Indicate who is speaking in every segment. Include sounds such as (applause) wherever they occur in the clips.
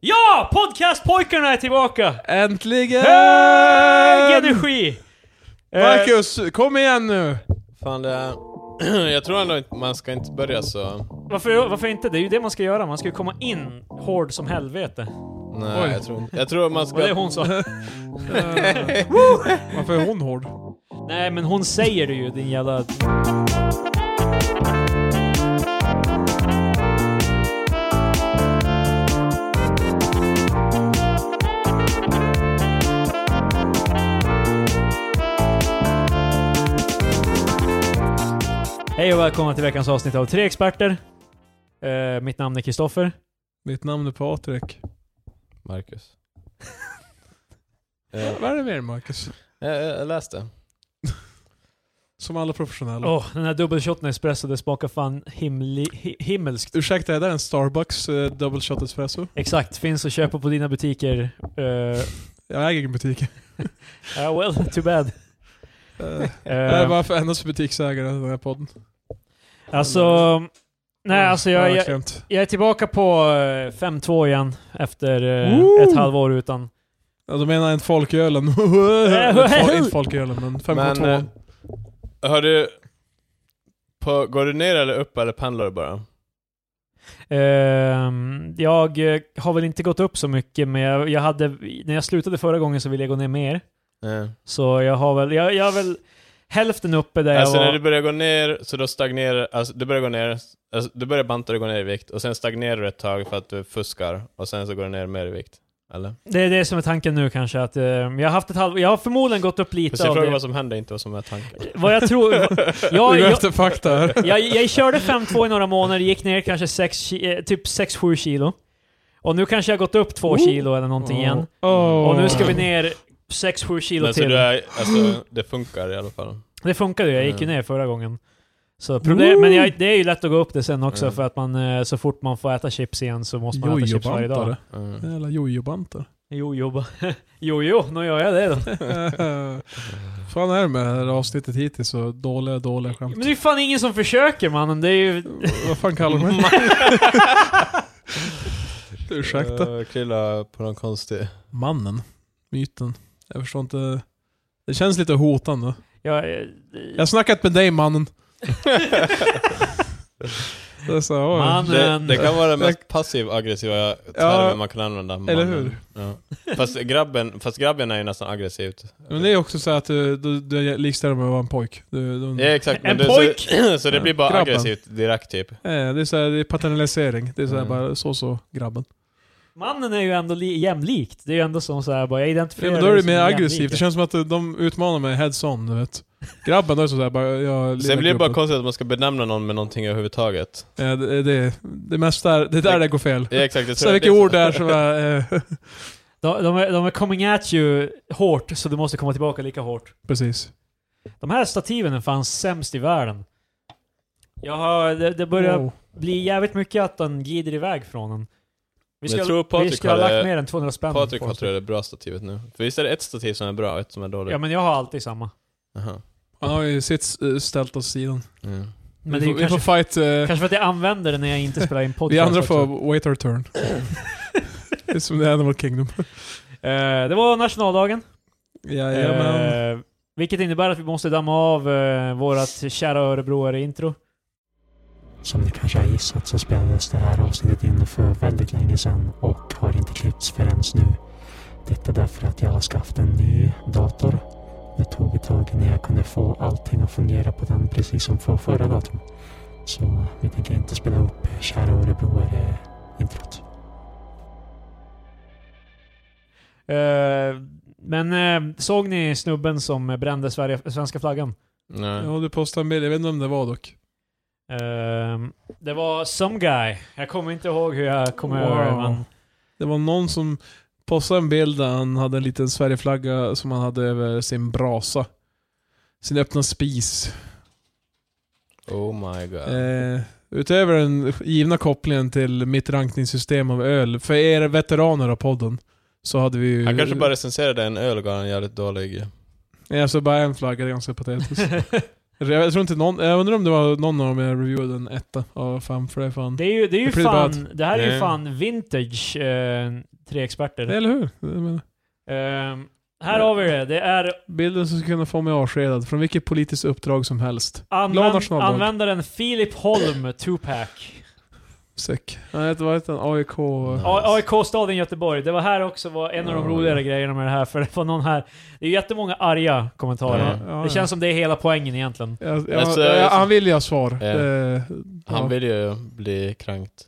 Speaker 1: Ja! Podcastpojkarna är tillbaka!
Speaker 2: Äntligen!
Speaker 1: Hög energi! Eh,
Speaker 2: Marcus, kom igen nu!
Speaker 3: Fan det... (clears throat) jag tror ändå inte man ska inte börja så...
Speaker 1: varför, varför inte? Det är ju det man ska göra, man ska ju komma in hård som helvete.
Speaker 3: Nej,
Speaker 2: Oj.
Speaker 3: jag tror inte. Jag tror man ska...
Speaker 1: Vad det hon sa.
Speaker 2: Eh, Varför är hon hård?
Speaker 1: Nej men hon säger det ju, din jävla... Hej och välkomna till veckans avsnitt av Tre Experter. Eh, mitt namn är Kristoffer.
Speaker 2: Mitt namn är Patrik.
Speaker 3: Marcus. jag,
Speaker 2: (laughs) Vad är det med dig Marcus?
Speaker 3: Eh, jag, jag läste.
Speaker 2: (laughs) Som alla professionella.
Speaker 1: Åh, den här dubbelshotten espresso, det smakar fan himli, hi, himmelskt.
Speaker 2: Ursäkta, är det en Starbucks eh, double shot espresso?
Speaker 1: Exakt, finns att köpa på dina butiker. Eh,
Speaker 2: Jag äger ingen butik. (laughs) Eh,
Speaker 1: ah, well, too
Speaker 3: (laughs)
Speaker 1: bad.
Speaker 2: Uh, jag är
Speaker 1: Eh,
Speaker 2: bara för endast butiksägare i den här podden.
Speaker 1: alltså... Nej, alltså jag, jag,
Speaker 2: jag...
Speaker 1: jag är tillbaka på eh, 5-2 igen efter eh,
Speaker 2: Woo!
Speaker 1: ett halvår utan.
Speaker 2: Ja, du menar jag inte (laughs) folkölen? inte, fol- inte folkölen, men
Speaker 3: Men...
Speaker 2: 5,2.
Speaker 3: eh, Har du... På, går du ner eller upp eller pendlar du bara?
Speaker 1: Ehm, jag eh, har väl inte gått upp så mycket, men jag, jag hade, när jag slutade förra gången så ville jag gå ner mer.
Speaker 3: Nej.
Speaker 1: Så jag har väl, jag, jag är väl hälften uppe där
Speaker 3: Alltså
Speaker 1: jag
Speaker 3: när
Speaker 1: var.
Speaker 3: du börjar gå ner, så då stagnerar... Alltså du börjar gå ner... Alltså, du börjar banta och gå ner i vikt, och sen stagnerar du ett tag för att du fuskar, och sen så går du ner mer i vikt. Eller?
Speaker 1: Det är det som är tanken nu kanske, att eh, jag har haft ett halv... Jag har förmodligen gått upp
Speaker 3: Fast
Speaker 1: lite
Speaker 3: jag
Speaker 1: av
Speaker 3: frågar
Speaker 1: det.
Speaker 3: vad som händer, inte vad som är tanken.
Speaker 1: Vad jag tror... jag,
Speaker 2: Du går
Speaker 1: jag,
Speaker 2: efter fakta här.
Speaker 1: jag, jag körde 5-2 i några månader, gick ner kanske sex, ki- eh, typ 6-7 kilo. Och nu kanske jag har gått upp 2
Speaker 2: Oh.
Speaker 1: kilo eller någonting igen.
Speaker 2: Oh.
Speaker 1: Och nu ska vi ner 6-7 kilo
Speaker 3: Men så
Speaker 1: till.
Speaker 3: du är... Alltså, det funkar i alla fall.
Speaker 1: Det funkade ju, jag gick ju ner förra gången. Så
Speaker 2: Woo!
Speaker 1: problem, men jag, det är ju lätt att gå upp det sen också
Speaker 3: Mm.
Speaker 1: för att man eh, så fort man får äta chips igen så måste man äta chips varje dag.
Speaker 2: Jojobantare.
Speaker 3: Mm.
Speaker 2: Jävla jojobantar.
Speaker 1: Jo, jo, (laughs) jo, jo, nu gör jag det då.
Speaker 2: (laughs) fan är det med det här avsnittet hittills? Så dåliga, dåliga
Speaker 1: (laughs)
Speaker 2: skämt.
Speaker 1: Men det är ju fan ingen som försöker mannen, det är ju...
Speaker 2: Vad fan kallar du mig? (laughs) Ursäkta.
Speaker 3: Eh, Krilla på någon konstig... (laughs)
Speaker 2: Mannen. Myten. Jag förstår inte. Det känns lite hotande.
Speaker 1: Jag, eh,
Speaker 2: Jag har snackat med dig mannen. det är så, här, oj.
Speaker 3: Det,
Speaker 1: mannen...
Speaker 3: det kan vara den mest passiv-aggressiva termen man kan använda. mannen.
Speaker 2: eller hur?
Speaker 3: Ja. Fast, grabben, fast grabben är ju nästan aggressivt.
Speaker 2: Men det är också så här att du, du, du likställer mig med att vara en pojk. Du, du,
Speaker 3: Ja, exakt, men
Speaker 1: En
Speaker 3: du,
Speaker 1: pojk!
Speaker 3: (clears throat) Så, så det blir bara
Speaker 2: Grabben.
Speaker 3: aggressivt direkt typ.
Speaker 2: Eh, Det är så här, det är paternalisering. Det är så här,
Speaker 3: Mm.
Speaker 2: bara så så grabben.
Speaker 1: Mannen är ju ändå li- jämlikt. Det är ju ändå som såhär bara, jag identifierar
Speaker 2: Ja, men då är
Speaker 1: dig
Speaker 2: det
Speaker 3: liksom
Speaker 1: som
Speaker 2: mer
Speaker 1: en jämlik.
Speaker 2: aggressivt. Det känns som att eh, de utmanar mig heads on, du vet. Grabben, då är det sådär bara... Jag,
Speaker 3: Sen blir det bara
Speaker 2: grabben.
Speaker 3: konstigt att man ska benämna någon med någonting överhuvudtaget.
Speaker 2: Eh, det, det, det är mest där, det är där det går fel.
Speaker 3: Ja, exakt, jag
Speaker 2: (laughs)
Speaker 3: tror
Speaker 2: Så
Speaker 3: att
Speaker 2: vilka
Speaker 3: det-
Speaker 2: ord det är som är... Eh, (laughs)
Speaker 1: De, de, är, de är coming at you hårt, så du måste komma tillbaka lika hårt.
Speaker 2: precis.
Speaker 1: De här stativen är fan sämst i världen. Jag har, det, det börjar
Speaker 2: Wow.
Speaker 1: blir jävligt mycket att den glider iväg från en. Vi
Speaker 3: Jag
Speaker 1: ska,
Speaker 3: tror
Speaker 1: vi
Speaker 3: Patrik
Speaker 1: ska ha
Speaker 3: hade-
Speaker 1: lagt mer än 200 spänn.
Speaker 3: Patrik
Speaker 1: på
Speaker 3: har
Speaker 1: oss.
Speaker 3: tror jag det bra stativet nu. För visst är det ett stativ som är bra och ett som är dåligt?
Speaker 1: Ja men jag har alltid samma.
Speaker 3: Aha.
Speaker 2: Han har ju sitt eh, ställt åt sidan.
Speaker 3: Mm.
Speaker 1: Men det
Speaker 2: vi
Speaker 1: är
Speaker 2: får,
Speaker 1: ju
Speaker 2: vi
Speaker 1: kanske,
Speaker 2: får fight... Eh,
Speaker 1: kanske för att jag använder det när jag inte spelar in podcast.
Speaker 2: vi andra får
Speaker 1: också.
Speaker 2: wait
Speaker 1: (laughs)
Speaker 2: our turn. det är som det är Animal Kingdom.
Speaker 1: Eh, det var nationaldagen.
Speaker 2: Jajamän.
Speaker 1: Eh, vilket innebär att vi måste damma av eh, vårat kära Örebroare-intro.
Speaker 4: Som ni kanske har gissat så spelades det här avsnittet in för väldigt länge sedan och har inte klippts förrän nu. Detta därför att jag har skaffat en ny dator. Det tog ett tag innan jag kunde få allting att fungera på den precis som för förra datorn. Så vi tänker inte spela upp Kära Örebroare-introt.
Speaker 1: Eh, men eh, såg ni snubben som brände Sverige, svenska flaggan?
Speaker 3: Nej.
Speaker 2: Ja, du postade en bild. Jag vet inte om det var dock.
Speaker 1: Eh, det var some guy. Jag kommer inte ihåg hur jag kom över det men... (laughs)
Speaker 2: Det var någon som postade en bild där han hade en liten Sverigeflagga som han hade över sin brasa. Sin öppna spis.
Speaker 3: Oh my god.
Speaker 2: Eh, utöver den givna kopplingen till mitt rankningssystem av öl, för er veteraner av podden, så hade vi ju...
Speaker 3: Han kanske bara recenserade en öl och gav en jävligt dålig...
Speaker 2: Nej, Alltså bara en flagga, det är ganska patetiskt. (laughs) Jag tror inte någon, jag undrar om det var någon av dem jag reviewade en etta av fan, för det är fan...
Speaker 1: Det är ju, det är ju
Speaker 2: Det blir
Speaker 1: fan... Det här är ju
Speaker 3: Mm.
Speaker 1: fan vintage, eh, tre experter.
Speaker 2: Eller hur? Jag menar,
Speaker 1: Ehm, här har vi det. Det är
Speaker 2: Bilden som skulle kunna få mig avskedad från vilket politiskt uppdrag som helst. Glad
Speaker 1: använd,
Speaker 2: nationaldag.
Speaker 1: användaren Filip Holm, Tupac.
Speaker 2: Säck. Nej, det var inte en AIK...
Speaker 1: A- AIK-staden Göteborg. Det var här också var en av de
Speaker 3: Ja,
Speaker 1: roligare grejerna med det här, för det var någon här... Det är ju jättemånga arga kommentarer.
Speaker 2: Ja, ja.
Speaker 1: Det känns som det är hela poängen egentligen.
Speaker 2: Jag, jag,
Speaker 3: Alltså,
Speaker 2: jag, han vill ju ha svar.
Speaker 3: Ja.
Speaker 2: Eh, ja.
Speaker 3: Han vill ju bli krankt.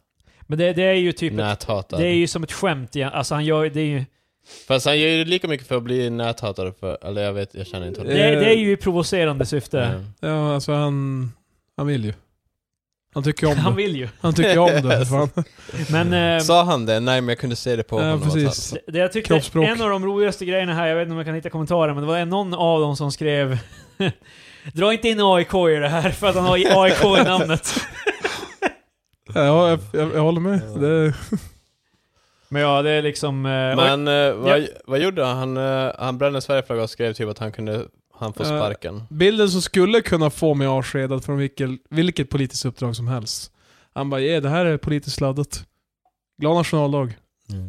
Speaker 1: Men det, det är ju typ... Ett,
Speaker 3: Näthatad.
Speaker 1: det är ju som ett skämt igen. Alltså han gör det är ju...
Speaker 3: Fast han gör ju lika mycket för att bli näthatad för, eller jag vet, jag känner inte honom.
Speaker 1: Det, det är ju i provocerande syfte.
Speaker 3: Mm.
Speaker 2: Ja, alltså han... Han vill ju. Han tycker om
Speaker 1: (laughs) Han
Speaker 2: det.
Speaker 1: vill ju.
Speaker 2: Han tycker
Speaker 3: (laughs)
Speaker 2: om det. Fan.
Speaker 1: Men... eh,
Speaker 3: Sa han det? Nej, men jag kunde se det på
Speaker 2: Ja,
Speaker 3: honom. att
Speaker 2: precis.
Speaker 1: Det- Det jag tyckte,
Speaker 2: Kroppsspråk.
Speaker 1: en av de roligaste grejerna här, jag vet inte om jag kan hitta kommentarer, men det var någon av dem som skrev (laughs) Dra inte in AIK i det här för att han har AIK i
Speaker 2: (laughs)
Speaker 1: namnet.
Speaker 2: Ja, jag, jag, jag håller med. Det,
Speaker 1: Men ja, det är liksom... eh,
Speaker 3: han-
Speaker 1: oj,
Speaker 3: Men eh, vad, vad gjorde han? Han, eh, han brände en Sverigeflagga och skrev typ att han kunde, han får
Speaker 2: Eh,
Speaker 3: sparken.
Speaker 2: bilden som skulle kunna få mig avskedad från vilket, vilket politiskt uppdrag som helst. Han bara, yeah, det här är politiskt laddat. Glad nationaldag.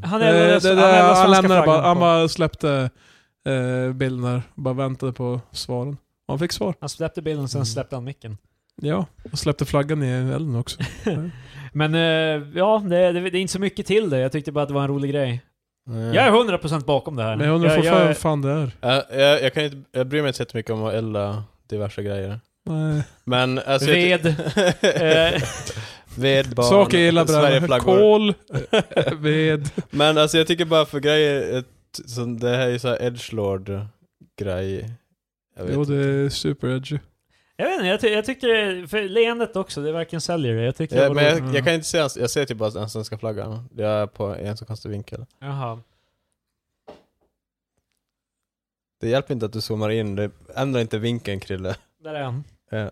Speaker 1: han
Speaker 2: Eh,
Speaker 1: eldade
Speaker 2: det-
Speaker 1: han
Speaker 2: det-
Speaker 1: eldade
Speaker 2: han
Speaker 1: svenska
Speaker 2: lämnade bara,
Speaker 1: flaggan
Speaker 2: han
Speaker 1: på-
Speaker 2: bara släppte eh, bilden där. Bara väntade på svaren. Och han fick svar.
Speaker 1: Han släppte bilden, sen
Speaker 2: Mm.
Speaker 1: släppte han micken.
Speaker 2: Ja, och släppte flaggan i elden också.
Speaker 1: Men eh, ja, det, det, det är inte så mycket till det. Jag tyckte bara att det var en rolig grej.
Speaker 3: Mm.
Speaker 1: Jag är 100% bakom det här.
Speaker 2: Men jag undrar
Speaker 1: jag,
Speaker 2: fortfarande
Speaker 1: jag,
Speaker 2: vad fan det är.
Speaker 3: Ja, Eh, jag, jag, kan inte, jag bryr mig inte så jättemycket om att elda diverse grejer.
Speaker 2: Nej.
Speaker 3: Men alltså... jag-
Speaker 1: ved, eh,
Speaker 3: (laughs) ved, barn,
Speaker 2: Saker jag gillar bränner.
Speaker 3: Sverigeflaggor.
Speaker 2: Kol, eh, ved.
Speaker 3: (laughs) Men alltså jag tycker bara för grejer, ett, som det här är ju såhär edgelord-grej. Jag vet
Speaker 2: Jo, det
Speaker 3: inte.
Speaker 2: är super edgy.
Speaker 1: jag vet inte, jag, ty, jag tyckte det, för leendet också, det verkligen säljer det. Jag tyckte det
Speaker 3: Ja,
Speaker 1: var
Speaker 3: men
Speaker 1: roligt.
Speaker 3: jag, jag kan inte se, hans- jag ser typ bara den svenska flaggan. Jag är på i en så konstig vinkel.
Speaker 1: Jaha.
Speaker 3: Det hjälper inte att du zoomar in, det ändrar inte vinkeln Krille.
Speaker 1: Där är han.
Speaker 3: Ja.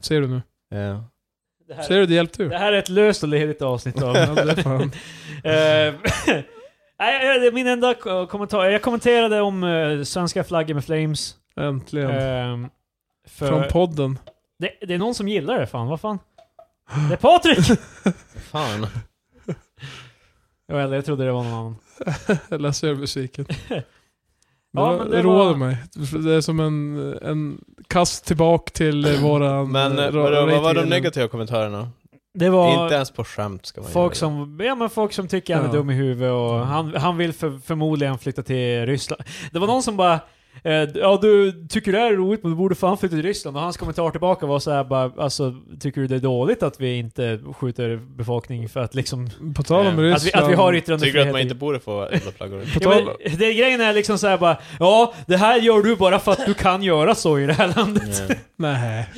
Speaker 2: Ser du nu?
Speaker 3: Ja.
Speaker 1: Det här,
Speaker 2: Ser du, det hjälpte ju.
Speaker 1: det här är ett löst och ledigt avsnitt av...
Speaker 2: (laughs) Ja, det är fan.
Speaker 1: (laughs) Eh, (laughs) nej, jag- det är min enda ko- kommentar. Jag kommenterade om eh, svenska flaggor med flames.
Speaker 2: Äntligen.
Speaker 1: Ehm, för
Speaker 2: Från podden.
Speaker 1: det, det är någon som gillar det fan, vad
Speaker 2: (gasps)
Speaker 1: fan? Det är Patrik! (laughs)
Speaker 3: Fan.
Speaker 1: Ja, eller jag trodde det var någon annan.
Speaker 2: Jag läser över musiken.
Speaker 1: Ja,
Speaker 2: Ja,
Speaker 1: men
Speaker 2: det
Speaker 1: det
Speaker 2: roade
Speaker 1: var-
Speaker 2: mig. Det är som en, en kast tillbaka till eh, våran...
Speaker 3: Men
Speaker 2: eh,
Speaker 3: eh, vadå, vad var de
Speaker 2: ratingen.
Speaker 3: negativa kommentarerna?
Speaker 1: Det var
Speaker 3: Inte ens på skämt ska man
Speaker 1: folk,
Speaker 3: göra.
Speaker 1: som, ja, men folk som tycker han är
Speaker 2: Ja.
Speaker 1: dum i huvudet och han, han vill för, förmodligen flytta till Ryssland. Det var någon som bara eh, Ja du tycker det här är roligt men du borde fan flytta till Ryssland. Och hans kommentar tillbaka var såhär bara alltså tycker du det är dåligt att vi inte skjuter befolkning för att liksom
Speaker 2: På tal om
Speaker 3: Eh,
Speaker 1: Att vi, att vi har yttrandefrihet.
Speaker 3: Tycker du att man
Speaker 1: i-
Speaker 3: inte borde få elda flaggor?
Speaker 2: På
Speaker 1: Ja,
Speaker 2: tal...
Speaker 1: men det, grejen är liksom såhär bara, ja det här gör du bara för att du kan göra så i det här landet.
Speaker 3: Ja.
Speaker 2: Nej.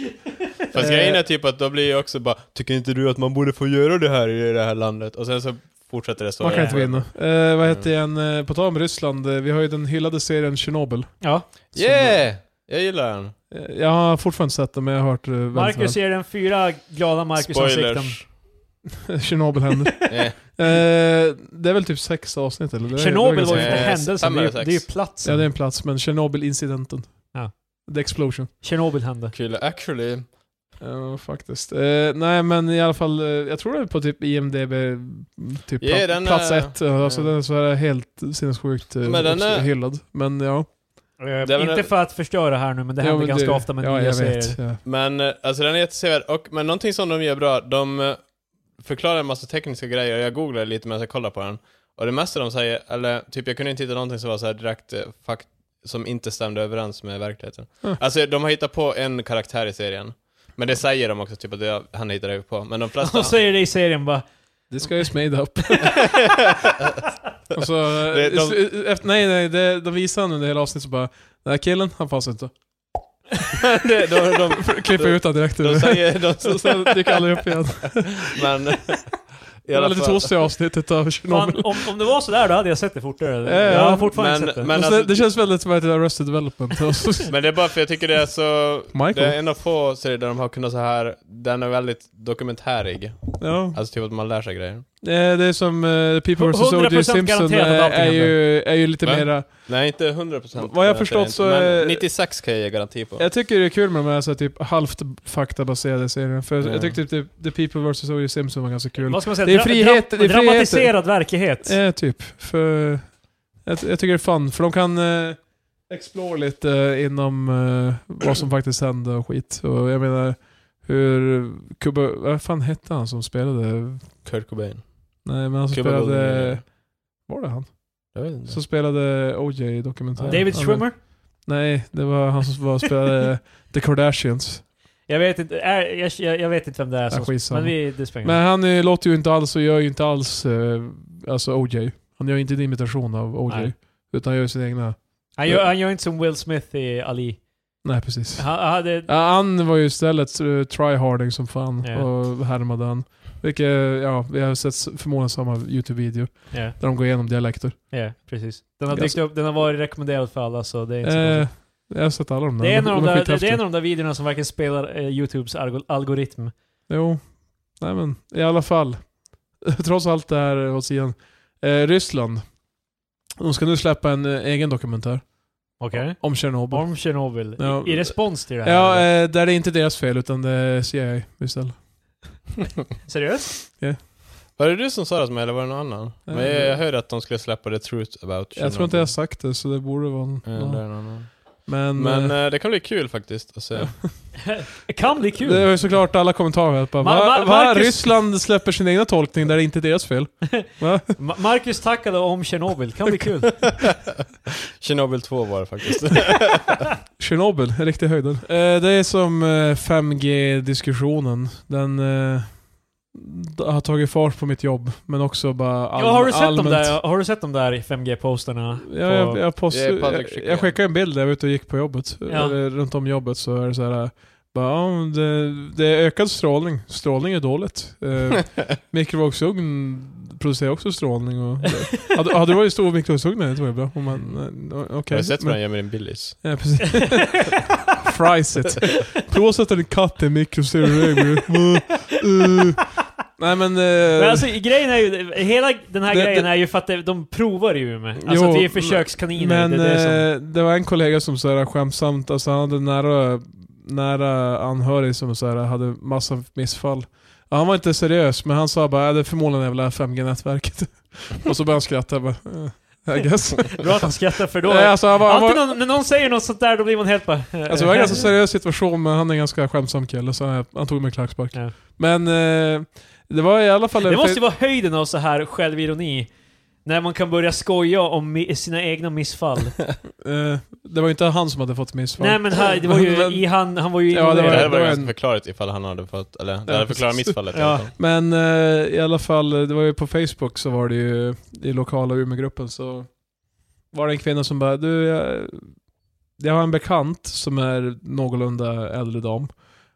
Speaker 3: Fast grejen är typ att då blir jag också bara Tycker inte du att man borde få göra det här i det här landet? Och sen så fortsätter det så.
Speaker 2: Man kan
Speaker 1: Ja.
Speaker 2: inte vinna. Eh, vad heter igen? Eh, på tal om Ryssland, eh, vi har ju den hyllade serien Chernobyl.
Speaker 1: Ja.
Speaker 3: Yeah! Jag gillar den.
Speaker 2: Eh, jag har fortfarande inte sett den, men jag har hört eh, väldigt (laughs)
Speaker 1: Marcus ger den fyra glada Marcus-ansikten.
Speaker 3: Spoilers.
Speaker 2: väl. Chernobyl händer.
Speaker 3: Yeah.
Speaker 2: eh, det är väl typ sex avsnitt eller? Det är- det är
Speaker 1: Tjernobyl
Speaker 2: ganska-
Speaker 1: var ju inte
Speaker 3: Eh,
Speaker 1: händelsen,
Speaker 3: fem
Speaker 1: det är ju-
Speaker 3: eller
Speaker 1: det
Speaker 3: sex.
Speaker 1: är ju platsen.
Speaker 2: Ja, det är en plats, men Chernobyl-incidenten.
Speaker 1: Ja.
Speaker 2: The explosion.
Speaker 1: Tjernobyl hände.
Speaker 3: Kul. Actually.
Speaker 2: Ja, faktiskt. Eh, nej, men i alla fall, eh, jag tror det är på typ IMDB, typ
Speaker 3: Ja,
Speaker 2: pla-
Speaker 3: den är-
Speaker 2: plats ett. Ja, Alltså
Speaker 3: ja.
Speaker 2: den är så här helt sinnessjukt eh,
Speaker 3: Men den är-
Speaker 2: hyllad. Men ja.
Speaker 1: Eh,
Speaker 3: Det är väl-
Speaker 1: inte för att förstöra här nu, men det
Speaker 2: ja,
Speaker 1: händer
Speaker 2: men
Speaker 1: ganska
Speaker 2: det-
Speaker 1: ofta med
Speaker 2: ja,
Speaker 1: nya
Speaker 2: jag
Speaker 1: serier.
Speaker 2: vet. Ja.
Speaker 3: Men eh, alltså den är jättesevärd. Och, men någonting som de gör bra, de eh, förklarar en massa tekniska grejer. Jag googlade lite medan jag kollade på den. Och det mesta de säger, eller typ jag kunde inte hitta någonting som var så här direkt eh, fakt som inte stämde överens med verkligheten.
Speaker 2: Mm.
Speaker 3: Alltså de har hittat på en karaktär i serien. Men det säger de också, typ att det, han hittade ju på. Men de
Speaker 2: (laughs)
Speaker 3: flesta...
Speaker 1: De säger det i serien bara.
Speaker 2: This guy is made
Speaker 3: (laughs)
Speaker 2: up. Och så, eh,
Speaker 3: Det- de-
Speaker 2: s- eh, efter, nej, nej, det, de visar han under hela avsnittet så bara, den här killen, han fanns inte.
Speaker 3: de, (laughs) de, de,
Speaker 2: Klipper ut han direkt ur
Speaker 3: de säger... De,
Speaker 2: (laughs) Så sen dyker alla upp igen.
Speaker 3: men... I
Speaker 2: Det var
Speaker 3: alla
Speaker 2: lite
Speaker 3: fall.
Speaker 2: tostiga avsnittet av Tjernobyl.
Speaker 1: Fan, om, om det var sådär då hade jag sett det fortare.
Speaker 2: Ja,
Speaker 1: jag har
Speaker 2: ja,
Speaker 1: fortfarande
Speaker 3: men-
Speaker 1: inte sett det.
Speaker 3: men-
Speaker 2: Och så-
Speaker 3: alltså-
Speaker 2: det känns väldigt som att det är Arrested Development. (laughs) Och så-
Speaker 3: Men det är bara för jag tycker det är så...
Speaker 2: Michael.
Speaker 3: Det är en av få serier där de har kunnat så här... Den är väldigt dokumentärig.
Speaker 2: Ja.
Speaker 3: Alltså typ att man lär sig grejer.
Speaker 2: Eh, Det är som eh, People vs. O.J.
Speaker 1: 100%
Speaker 2: Simpson eh,
Speaker 1: garanterat att allting
Speaker 2: är ju, är ju lite
Speaker 3: Va?
Speaker 2: mera...
Speaker 3: Nej, inte 100%
Speaker 2: Vad jag
Speaker 3: garanterat
Speaker 2: förstått
Speaker 3: inte,
Speaker 2: så är-
Speaker 3: Men 96 kan jag ge garanti på.
Speaker 2: Jag tycker det är kul med de här så här, typ halvt faktabaserade serierna. För
Speaker 3: Ja.
Speaker 2: jag tyckte typ The- The People vs. O.J. Simpson var ganska kul.
Speaker 1: Vad ska man säga?
Speaker 2: Det är
Speaker 1: Dra-
Speaker 2: frihet-
Speaker 1: dra-
Speaker 2: det är frihet.
Speaker 1: dramatiserad verklighet.
Speaker 2: Eh, typ. För jag, jag tycker det är fun. För de kan eh, explore lite eh, inom eh, vad
Speaker 3: (clears throat)
Speaker 2: som faktiskt hände och skit. Och jag menar hur... Kuba, vad fan hette han som spelade?
Speaker 3: Kurt Cobain.
Speaker 2: Nej men han som
Speaker 3: Cuba
Speaker 2: spelade...
Speaker 3: Gooding.
Speaker 2: Var det han?
Speaker 3: Jag vet inte.
Speaker 2: Som spelade O.J. i dokumentären.
Speaker 1: David
Speaker 2: Ja, men-
Speaker 1: Schwimmer?
Speaker 2: Nej, det var han som
Speaker 1: (laughs)
Speaker 2: var spelade The Kardashians.
Speaker 1: Jag vet inte, är, jag, jag, jag vet inte vem det är
Speaker 2: Ja,
Speaker 1: som...
Speaker 2: skitsamma.
Speaker 1: men vi, det spelar ingen roll.
Speaker 2: Men han eh, låter ju inte alls och gör ju inte alls eh, alltså OJ. Han gör ju inte en imitation av OJ.
Speaker 1: Nej.
Speaker 2: Utan han gör sina egna.
Speaker 1: Han gör, han gör inte som Will Smith i Ali.
Speaker 2: Nej, precis.
Speaker 1: Han, han hade,
Speaker 2: Ja, han var ju istället eh, tryharding som fan
Speaker 1: Ja.
Speaker 2: och härmade han. Vilket, eh, ja, vi har sett s- förmodligen samma YouTube-video
Speaker 1: ja,
Speaker 2: där de går igenom dialekter.
Speaker 1: ja, precis. Den har
Speaker 2: Ganska-
Speaker 1: dykt upp, den har varit rekommenderad för alla så det är inte så
Speaker 2: Eh,
Speaker 1: konstigt.
Speaker 2: jag har sett alla de där.
Speaker 1: det är, en av de där, det, det
Speaker 2: skithäftiga.
Speaker 1: är en av de där videorna som verkligen spelar eh, Youtubes algo- algoritm.
Speaker 2: Jo. Nej men, i alla fall. (laughs) Trots allt det här åt sidan. Eh, Ryssland. De ska nu släppa en eh, egen dokumentär
Speaker 1: Okej?
Speaker 2: om Tjernobyl.
Speaker 1: Om Tjernobyl.
Speaker 2: Ja.
Speaker 1: I, I respons till det här.
Speaker 2: Ja,
Speaker 1: eller?
Speaker 2: eh, där är inte deras fel utan det är CIA istället.
Speaker 1: Seriöst?
Speaker 3: Var det du som sa det till mig, eller var det någon annan? Men jag, jag hörde att de skulle släppa The Truth About
Speaker 2: Eh, Jag tror inte jag har sagt det så det borde vara en,
Speaker 3: Tjernobyl. Ja, det
Speaker 2: någon.
Speaker 3: är någon annan.
Speaker 2: Men,
Speaker 3: Men
Speaker 2: eh,
Speaker 3: eh, det kan bli kul faktiskt att se.
Speaker 1: Det kan bli
Speaker 2: det
Speaker 1: kul.
Speaker 2: var ju såklart alla kommentarer. att Bara,
Speaker 1: Ma-
Speaker 2: va,
Speaker 1: Ma-
Speaker 2: va,
Speaker 1: Marcus-
Speaker 2: Ryssland släpper sin egna tolkning där det inte är deras fel. Va?
Speaker 1: Ma- Marcus tackade om Tjernobyl. Kan bli
Speaker 2: (laughs)
Speaker 1: kul.
Speaker 3: Tjernobyl 2 var det faktiskt.
Speaker 2: Tjernobyl, en riktig höjden. Eh, det är som eh, 5G-diskussionen. Den eh, d- har tagit fart på mitt jobb, men också bara all,
Speaker 1: ja, har, du sett
Speaker 2: allmänt.
Speaker 1: de där, har du sett de där 5G-posterna?
Speaker 2: Ja, jag,
Speaker 1: på-
Speaker 2: jag, post,
Speaker 3: Det är
Speaker 2: jag,
Speaker 3: Patrik
Speaker 2: jag skickade en bild där jag var ute och gick på jobbet.
Speaker 1: Ja.
Speaker 2: Eller runt om jobbet så är det så här. Bara, ja, det, det är ökad strålning. Strålning är dåligt.
Speaker 1: (laughs)
Speaker 2: Eh, mikrovågsugn producerar också strålning. Och, hade, hade det varit stor mikrovågsugn hade det varit bra. Om man, eh, okej.
Speaker 3: Har du sett vad
Speaker 2: Men-
Speaker 3: han gör med din Billys?
Speaker 2: Ja, precis. (laughs) Fries it. Prova att sätta en katt i en mikro så ser du hur det går. Eh, Nej men...
Speaker 1: (laughs)
Speaker 2: eh,
Speaker 1: Men alltså grejen är ju, hela den här
Speaker 2: Det-
Speaker 1: grejen
Speaker 2: det-
Speaker 1: är ju för att det- de provar ju med. Alltså
Speaker 2: Jo,
Speaker 1: att vi är försökskaniner.
Speaker 2: Men
Speaker 1: det är det som...
Speaker 2: eh, det var en kollega som så här, skämtsamt, alltså han hade en nära, nära anhörig som så här, hade massa missfall. Ja, Han var inte seriös, men han sa bara "Äh, det är förmodligen det jävla 5G-nätverket. (laughs) och så började han skratta. Jag bara, eh, I guess.
Speaker 1: Bra att han skrattar för då...
Speaker 2: (laughs) Nej, alltså, han var, han
Speaker 1: alltid
Speaker 2: var,
Speaker 1: någon, när någon säger något sånt där då blir man helt bara... eh,
Speaker 2: alltså, det var en
Speaker 1: eh, (laughs)
Speaker 2: ganska seriös situation, men han är en ganska skämtsam kille, så han, han tog mig klackspark.
Speaker 1: Ja.
Speaker 2: Men eh, det var i alla fall...
Speaker 1: Det måste ju vara höjden av så här självironi. När man kan börja skoja om mi- sina egna missfall.
Speaker 2: eh, det var ju inte han som hade fått missfall.
Speaker 1: Nej men här, det var ju
Speaker 2: (laughs) Men-
Speaker 1: i han, han var ju
Speaker 2: Ja, det
Speaker 3: Det
Speaker 1: involverad.
Speaker 3: här var
Speaker 2: det var
Speaker 3: ganska
Speaker 2: en-
Speaker 3: förklarligt ifall han hade fått, eller det hade
Speaker 2: precis.
Speaker 3: förklarat missfallet i
Speaker 1: Ja.
Speaker 3: alla fall.
Speaker 2: Men eh, i alla fall, det var ju på Facebook så var det ju i lokala Umeågruppen så var det en kvinna som bara du, jag, jag har en bekant som är någorlunda äldre dam.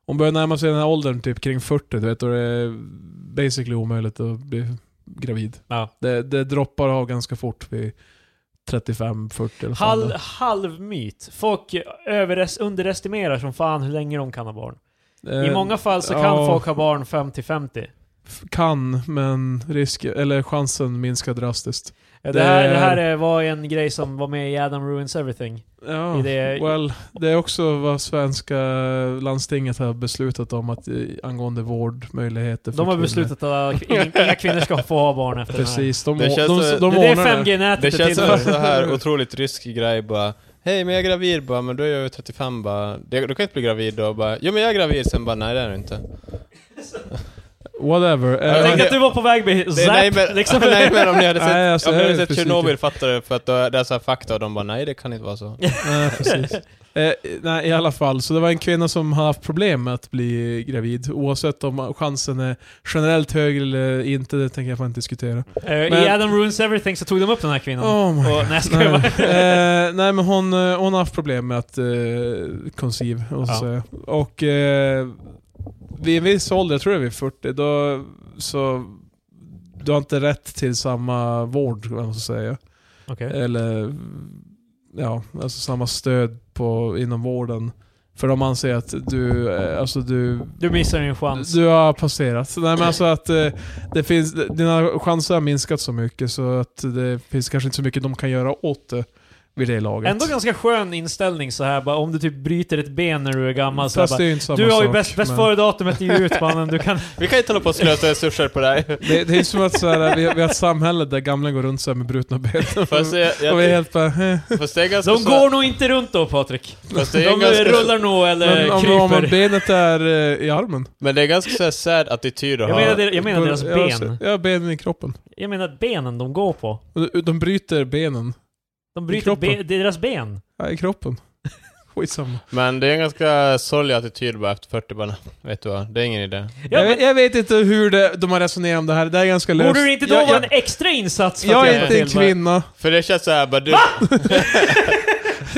Speaker 2: Hon börjar närma sig den här åldern, typ kring 40, du vet, och det är basically omöjligt att bli gravid.
Speaker 1: Ja.
Speaker 2: Det, det droppar av ganska fort vid 35-40 eller fan
Speaker 1: Halv,
Speaker 2: det är.
Speaker 1: halvmyt. Folk överes, underestimerar som fan hur länge de kan ha barn. I
Speaker 2: Eh,
Speaker 1: många fall så kan
Speaker 2: ja.
Speaker 1: folk ha barn 50-50.
Speaker 2: f- Kan, men risk, eller chansen minskar drastiskt.
Speaker 1: Det,
Speaker 2: Det
Speaker 1: här, det här
Speaker 2: är-
Speaker 1: är- var en grej som var med i Adam Ruins Everything.
Speaker 2: Ja,
Speaker 1: I det-
Speaker 2: well, det är också vad svenska landstinget har beslutat om att, i- angående vårdmöjligheter för
Speaker 1: De har
Speaker 2: kvinnor.
Speaker 1: beslutat att ingen- inga kvinnor ska få ha barn efter
Speaker 2: Precis, de,
Speaker 3: Det
Speaker 2: de, de,
Speaker 3: känns
Speaker 2: de,
Speaker 3: så-
Speaker 1: det här. Det är det
Speaker 2: ordnar det.
Speaker 1: 5G-nätet
Speaker 3: Det
Speaker 1: är till
Speaker 3: känns som
Speaker 1: för.
Speaker 3: en så
Speaker 2: (laughs)
Speaker 3: här otroligt rysk grej bara Hej men jag är gravid bara, men då är jag ju 35 bara "Det- Du kan inte bli gravid då bara Jo men jag är gravid, sen bara nej det är du inte
Speaker 2: Whatever.
Speaker 1: Jag
Speaker 2: Eh,
Speaker 1: tänkte att du var på väg med
Speaker 3: det, nej,
Speaker 1: Zap,
Speaker 3: men,
Speaker 1: liksom.
Speaker 3: (laughs) nej men om ni hade sett,
Speaker 2: (laughs) Nej, alltså,
Speaker 3: om ni
Speaker 2: jag
Speaker 3: hade
Speaker 2: är
Speaker 3: sett
Speaker 2: besviken.
Speaker 3: Tjernobyl fattar det för att då, det är så här fakta och de bara nej det kan inte vara så
Speaker 2: nej, precis. Eh, nej, i alla fall. Så det var en kvinna som har haft problem med att bli gravid. Oavsett om chansen är generellt högre eller inte, det tänker jag fan inte diskutera.
Speaker 1: Eh, I
Speaker 2: Men-
Speaker 1: Adam Ruins Everything så tog de upp den här kvinnan.
Speaker 2: Oh my
Speaker 1: Och, nej, jag skojar
Speaker 2: Nej.
Speaker 1: bara.
Speaker 2: (laughs) eh, nej men hon, eh, hon har haft problem med att eh, conceive, och,
Speaker 1: Ja.
Speaker 2: så, och eh, vid en viss ålder, jag tror det är vid 40, då så du har inte rätt till samma vård, vad man ska säga.
Speaker 1: Okej.
Speaker 2: Eller ja, alltså samma stöd på, inom vården För de anser att du, eh, alltså du
Speaker 1: Du missar din chans.
Speaker 2: du har passerat. Nej men alltså att eh, det finns, dina chanser har minskat så mycket så att det finns kanske inte så mycket de kan göra åt det vid det laget.
Speaker 1: Ändå ganska skön inställning så här bara om du typ bryter ett ben när du är gammal så här,
Speaker 2: Fast
Speaker 1: bara,
Speaker 2: det är ju inte samma
Speaker 1: Du har ju
Speaker 2: sak,
Speaker 1: bäst, bäst
Speaker 2: men-
Speaker 1: före-datumet i ut mannen, du
Speaker 2: (laughs)
Speaker 1: kan...
Speaker 3: Vi kan inte hålla på och slösa resurser på det här.
Speaker 2: Det, det är som att så här, vi, vi har ett samhälle där gamla går runt så här med brutna
Speaker 3: (laughs)
Speaker 2: ben.
Speaker 3: Fast, jag,
Speaker 2: och vi är
Speaker 3: jag,
Speaker 2: helt bara, eh.
Speaker 3: fast det är ganska
Speaker 1: De
Speaker 3: så-
Speaker 1: går nog inte runt då Patrik.
Speaker 3: fast det
Speaker 2: (laughs)
Speaker 1: De
Speaker 3: är ganska,
Speaker 1: rullar nog eller
Speaker 2: Men om, om
Speaker 1: kryper.
Speaker 2: benet är eh, i armen.
Speaker 3: Men det är ganska så här sad attityd att
Speaker 1: jag,
Speaker 3: ha.
Speaker 1: menar, der- jag menar
Speaker 2: Går-
Speaker 1: deras
Speaker 2: ja, så-
Speaker 1: ben.
Speaker 2: Ja, benen i kroppen.
Speaker 1: Jag menar benen de går på.
Speaker 2: De, de bryter benen.
Speaker 1: De
Speaker 2: I
Speaker 1: bryter
Speaker 2: kroppen.
Speaker 1: be, det är deras ben.
Speaker 2: Ja,
Speaker 1: (laughs)
Speaker 2: i kroppen. Skitsamma.
Speaker 3: Men det är en ganska sorglig attityd bara efter 40 bara, vet du vad, det är ingen idé.
Speaker 1: Ja,
Speaker 2: jag,
Speaker 1: men,
Speaker 2: vet- jag vet inte hur det, de har resonerat om det här. Det här är ganska löst.
Speaker 1: borde det inte då
Speaker 2: jag,
Speaker 1: vara
Speaker 2: jag,
Speaker 1: en extra insats för
Speaker 2: jag
Speaker 1: att
Speaker 2: är
Speaker 1: hjälpa
Speaker 2: inte en
Speaker 1: till? bara?
Speaker 2: kvinna.
Speaker 3: För det känns såhär bara, du,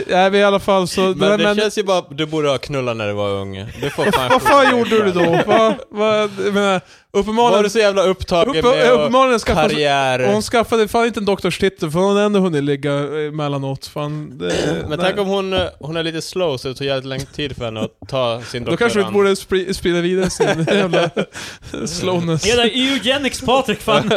Speaker 2: Nej, men i alla fall så...
Speaker 3: men
Speaker 2: nej,
Speaker 3: det
Speaker 2: men-
Speaker 3: känns ju bara, du borde ha knullat när du var ung.
Speaker 2: (laughs)
Speaker 3: Du får fan
Speaker 2: Vad
Speaker 3: skjuta dig
Speaker 2: fan gjorde du
Speaker 3: själv. (laughs)
Speaker 2: då? Vad, vad, jag menar,
Speaker 3: Var du
Speaker 2: uppenbarligen...
Speaker 3: så jävla upptagen
Speaker 2: Upp,
Speaker 3: med och
Speaker 2: uppenbarligen skaffade
Speaker 3: karriär?
Speaker 2: hon skaffade fan inte en doktorstitel för hon har ändå hunnit ligga emellanåt. Fan, det, nej.
Speaker 3: Men tänk om hon, eh, hon är lite slow så det tog jävligt lång tid för henne att ta sin
Speaker 2: Då kanske du
Speaker 3: doktorand.
Speaker 2: borde spri- sprida vidare
Speaker 3: (laughs)
Speaker 2: sin jävla slowness.
Speaker 1: Ja, det är eugenics Patrik
Speaker 2: (laughs)
Speaker 1: fan.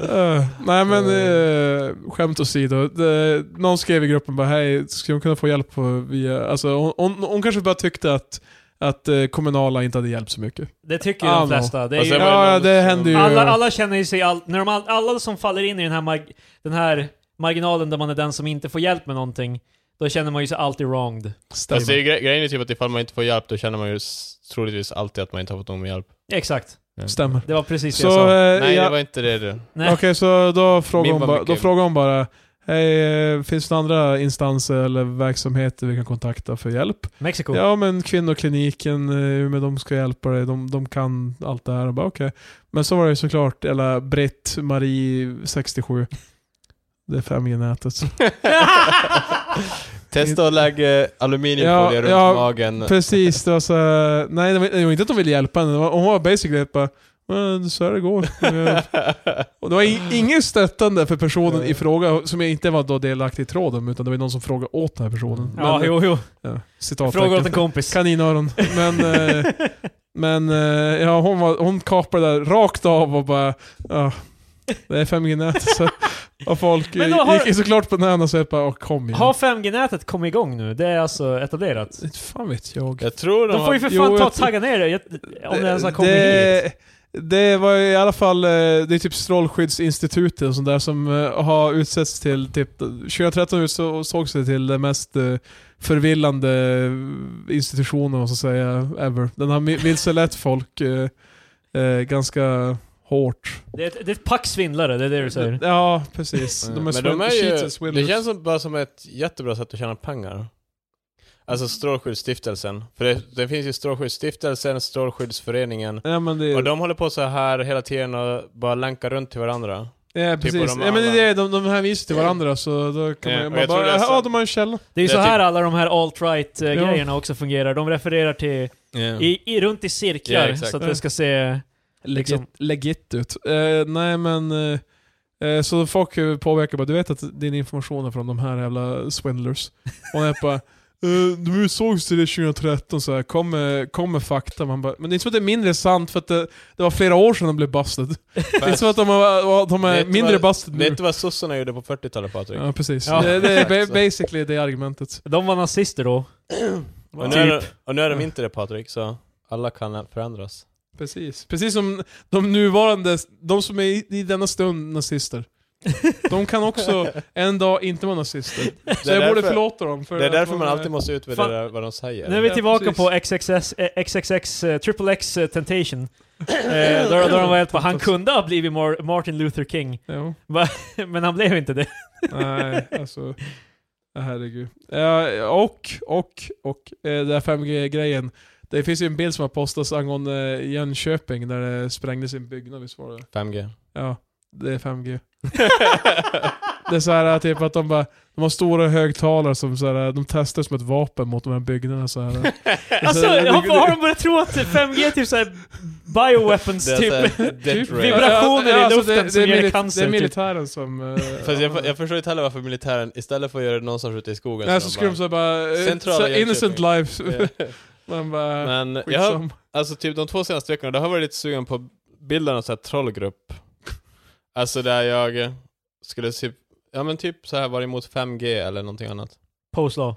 Speaker 2: Eh, nej men, uh, skämt åsido. Det, någon skrev i gruppen bara hej, skulle hon kunna få hjälp på via... Alltså hon, hon, hon kanske bara tyckte att, att eh, kommunala inte hade hjälpt så mycket.
Speaker 1: Det tycker ju de
Speaker 2: Alltså.
Speaker 1: flesta. Det är
Speaker 3: Och
Speaker 1: ju,
Speaker 3: sen var
Speaker 2: Ja,
Speaker 3: någon
Speaker 2: det
Speaker 3: som-
Speaker 2: händer ju.
Speaker 1: alla, alla känner ju sig... All, när de, all- alla som faller in i den här, mag, den här marginalen där man är den som inte får hjälp med någonting, då känner man ju sig alltid wronged.
Speaker 3: Fast det är, ju gre- grejen är typ att ifall man inte får hjälp då känner man ju s- troligtvis alltid att man inte har fått någon hjälp.
Speaker 1: Exakt.
Speaker 2: Stämmer.
Speaker 1: Det var precis det
Speaker 2: Så,
Speaker 1: jag sa.
Speaker 2: eh,
Speaker 3: Nej,
Speaker 2: ja.
Speaker 3: det var inte det du.
Speaker 1: Nej.
Speaker 2: Okej, så då frågar,
Speaker 3: Min
Speaker 2: hon
Speaker 3: var
Speaker 2: bara,
Speaker 3: mycket-
Speaker 2: då frågar hon bara Hej, eh, finns det andra instanser eller verksamheter vi kan kontakta för hjälp?
Speaker 1: Mexiko.
Speaker 2: Ja, men kvinnokliniken, eh, hur med de ska hjälpa dig, de, de kan allt det här. Och bara, okej. Men så var det ju såklart, eller Britt, Marie, 67. Det är
Speaker 3: (laughs)
Speaker 2: 5G-nätet.
Speaker 3: (laughs) Testa att lägga eh, aluminiumfolie
Speaker 2: Ja,
Speaker 3: runt
Speaker 2: ja,
Speaker 3: magen.
Speaker 2: Precis, det var så här- Nej, det var, det var inte att de ville hjälpa henne. Det var- Hon var basically bara "Men så här det
Speaker 3: (laughs)
Speaker 2: går. Eh, Och det
Speaker 1: Ah.
Speaker 2: var in, ingen stöttande för personen i fråga, som jag inte var då delaktig i tråden, utan det var någon som frågade åt den här personen.
Speaker 1: Mm.
Speaker 2: eh,
Speaker 1: Ja, jo, jo.
Speaker 2: Ja, citattecken.
Speaker 1: Fråga åt en kompis.
Speaker 2: (laughs) Kaninöron. Men, eh, men eh, ja, hon, var, hon kapade där rakt av och bara... Ja, det är 5G-nät. (laughs) Så, och folk
Speaker 1: Men
Speaker 2: eh,
Speaker 1: då har-
Speaker 2: gick ju såklart på näven och så bara "Åh, kom
Speaker 1: (laughs)
Speaker 2: igen.
Speaker 1: Har 5G-nätet kommit igång nu? Det är alltså etablerat?
Speaker 2: Inte Fan vet jag.
Speaker 3: Jag tror de,
Speaker 1: De får ju
Speaker 3: har...
Speaker 1: för
Speaker 2: Jo,
Speaker 1: fan ta
Speaker 2: jag
Speaker 1: och tagga ner det, jag- om det ens har kommit hit.
Speaker 2: det, det var i alla fall, eh, det är typ Strålskyddsinstitutet och sånt där som eh, har utsetts till, typ 2013 ut- så sågs det till den mest eh, förvillande eh, institutionen, så att säga, ever. Den har mi- vilselett folk eh, eh, ganska hårt.
Speaker 1: Det är ett, det är ett pack svindlare, det är det du säger.
Speaker 2: Ja, precis. De är,
Speaker 3: men
Speaker 2: swin-
Speaker 3: de är
Speaker 2: cheats
Speaker 3: ju,
Speaker 2: and swindlers.
Speaker 3: Det känns som, bara som ett jättebra sätt att tjäna pengar. Alltså Strålskyddsstiftelsen. För det, det finns ju Strålskyddsstiftelsen, Strålskyddsföreningen.
Speaker 2: Ja men det
Speaker 3: Och de håller på så här hela tiden och bara länkar runt till varandra.
Speaker 2: ja,
Speaker 3: typ, och
Speaker 2: precis.
Speaker 3: de
Speaker 2: ja, men det är
Speaker 3: alla-
Speaker 2: det, de, de hänvisar till varandra så då kan
Speaker 3: Ja, och
Speaker 2: man, man
Speaker 3: jag tror
Speaker 2: bara,
Speaker 3: det är så-
Speaker 2: ja de har en källa.
Speaker 1: Det är ju
Speaker 3: Det
Speaker 1: så
Speaker 3: är
Speaker 1: här
Speaker 3: typ-
Speaker 1: alla de här alt-right eh,
Speaker 2: Ja.
Speaker 1: grejerna också fungerar. De refererar till, i, i, runt i cirklar,
Speaker 3: Ja, exakt.
Speaker 1: så att det ska se...
Speaker 2: Legit,
Speaker 1: Liksom-
Speaker 2: legit ut. Eh, nej men... eh, Eh, så folk eh, påverkar bara, du vet att din information är från de här jävla swindlers. Och jag bara, (laughs) eh, de utsågs till det 2013 så här. Kom, med, kom med fakta. Man bara, men det är inte så att det är mindre sant för att det, det var flera år sedan de blev busted. (laughs) Det är inte så att de, har, de är
Speaker 3: Vet du
Speaker 2: mindre
Speaker 3: vad-
Speaker 2: busted nu.
Speaker 3: Vet du vad sossarna gjorde på 40-talet Patrik?
Speaker 2: Ja precis.
Speaker 1: Ja.
Speaker 2: Det, det är
Speaker 3: Exakt.
Speaker 2: ba- basically det argumentet.
Speaker 1: De var nazister då.
Speaker 3: Och, nu är,
Speaker 1: Typ.
Speaker 3: de- och nu är de inte det Patrik, så alla kan förändras.
Speaker 2: Precis. Precis som de nuvarande, de som är i, i denna stund nazister. De kan
Speaker 3: (laughs)
Speaker 2: också en dag inte vara nazister. Så
Speaker 3: Det är
Speaker 2: jag borde
Speaker 3: därför-
Speaker 2: förlåta dem. För
Speaker 3: Det är
Speaker 2: att
Speaker 3: därför
Speaker 2: de
Speaker 3: man
Speaker 2: är-
Speaker 3: alltid måste utvärdera vad de
Speaker 1: (laughs)
Speaker 3: säger.
Speaker 1: Nu är vi
Speaker 2: Ja,
Speaker 1: tillbaka
Speaker 2: precis.
Speaker 1: på XXS, eh, XXX, eh, Triple X eh, Temptation.
Speaker 3: (coughs)
Speaker 1: Eh, då, då de var helt på, han kunde ha blivit Mar- Martin Luther King, (laughs)
Speaker 2: Ja.
Speaker 1: men han blev inte det.
Speaker 3: (laughs)
Speaker 2: Nej, alltså. ja, Herregud. Ja, och, och, och. eh, Det här 5G-grejen. Det finns ju en bild som har postats angående eh, Jönköping där det sprängdes en byggnad, visst var det?
Speaker 3: 5G.
Speaker 2: Ja, det är 5G. Det är så här typ att de bara, de har stora högtalare som så här, de testar som ett vapen mot de här byggnaderna så här.
Speaker 1: Alltså,
Speaker 2: Det är så här-
Speaker 1: har, har de börjat tro att 5G typ såhär bioweapons
Speaker 3: (laughs) Det är
Speaker 1: typ.
Speaker 3: såhär death
Speaker 1: Vibra-
Speaker 3: ray.
Speaker 1: Vibrationer
Speaker 3: alltså,
Speaker 1: i luften
Speaker 2: det, det
Speaker 1: som
Speaker 2: är
Speaker 1: ger dig
Speaker 2: mili-
Speaker 1: cancer,
Speaker 2: Det är
Speaker 1: typ.
Speaker 2: militären som... eh,
Speaker 3: Fast jag,
Speaker 2: använder
Speaker 3: jag förstår inte heller varför militären, istället för att göra det någonstans ute i skogen
Speaker 2: Nej, så
Speaker 3: så de
Speaker 2: skulle de så bara... eh,
Speaker 3: Centrala
Speaker 2: så innocent
Speaker 3: Jönköping.
Speaker 2: lives.
Speaker 3: Ja.
Speaker 2: (laughs) Man bara... (laughs)
Speaker 3: Men jag har,
Speaker 2: skitsam.
Speaker 3: alltså typ de två senaste veckorna, då har jag varit lite sugen på bilden av så här trollgrupp. Alltså där jag eh, skulle typ, ja men typ så här vara emot 5G eller någonting annat.
Speaker 1: Postlaw.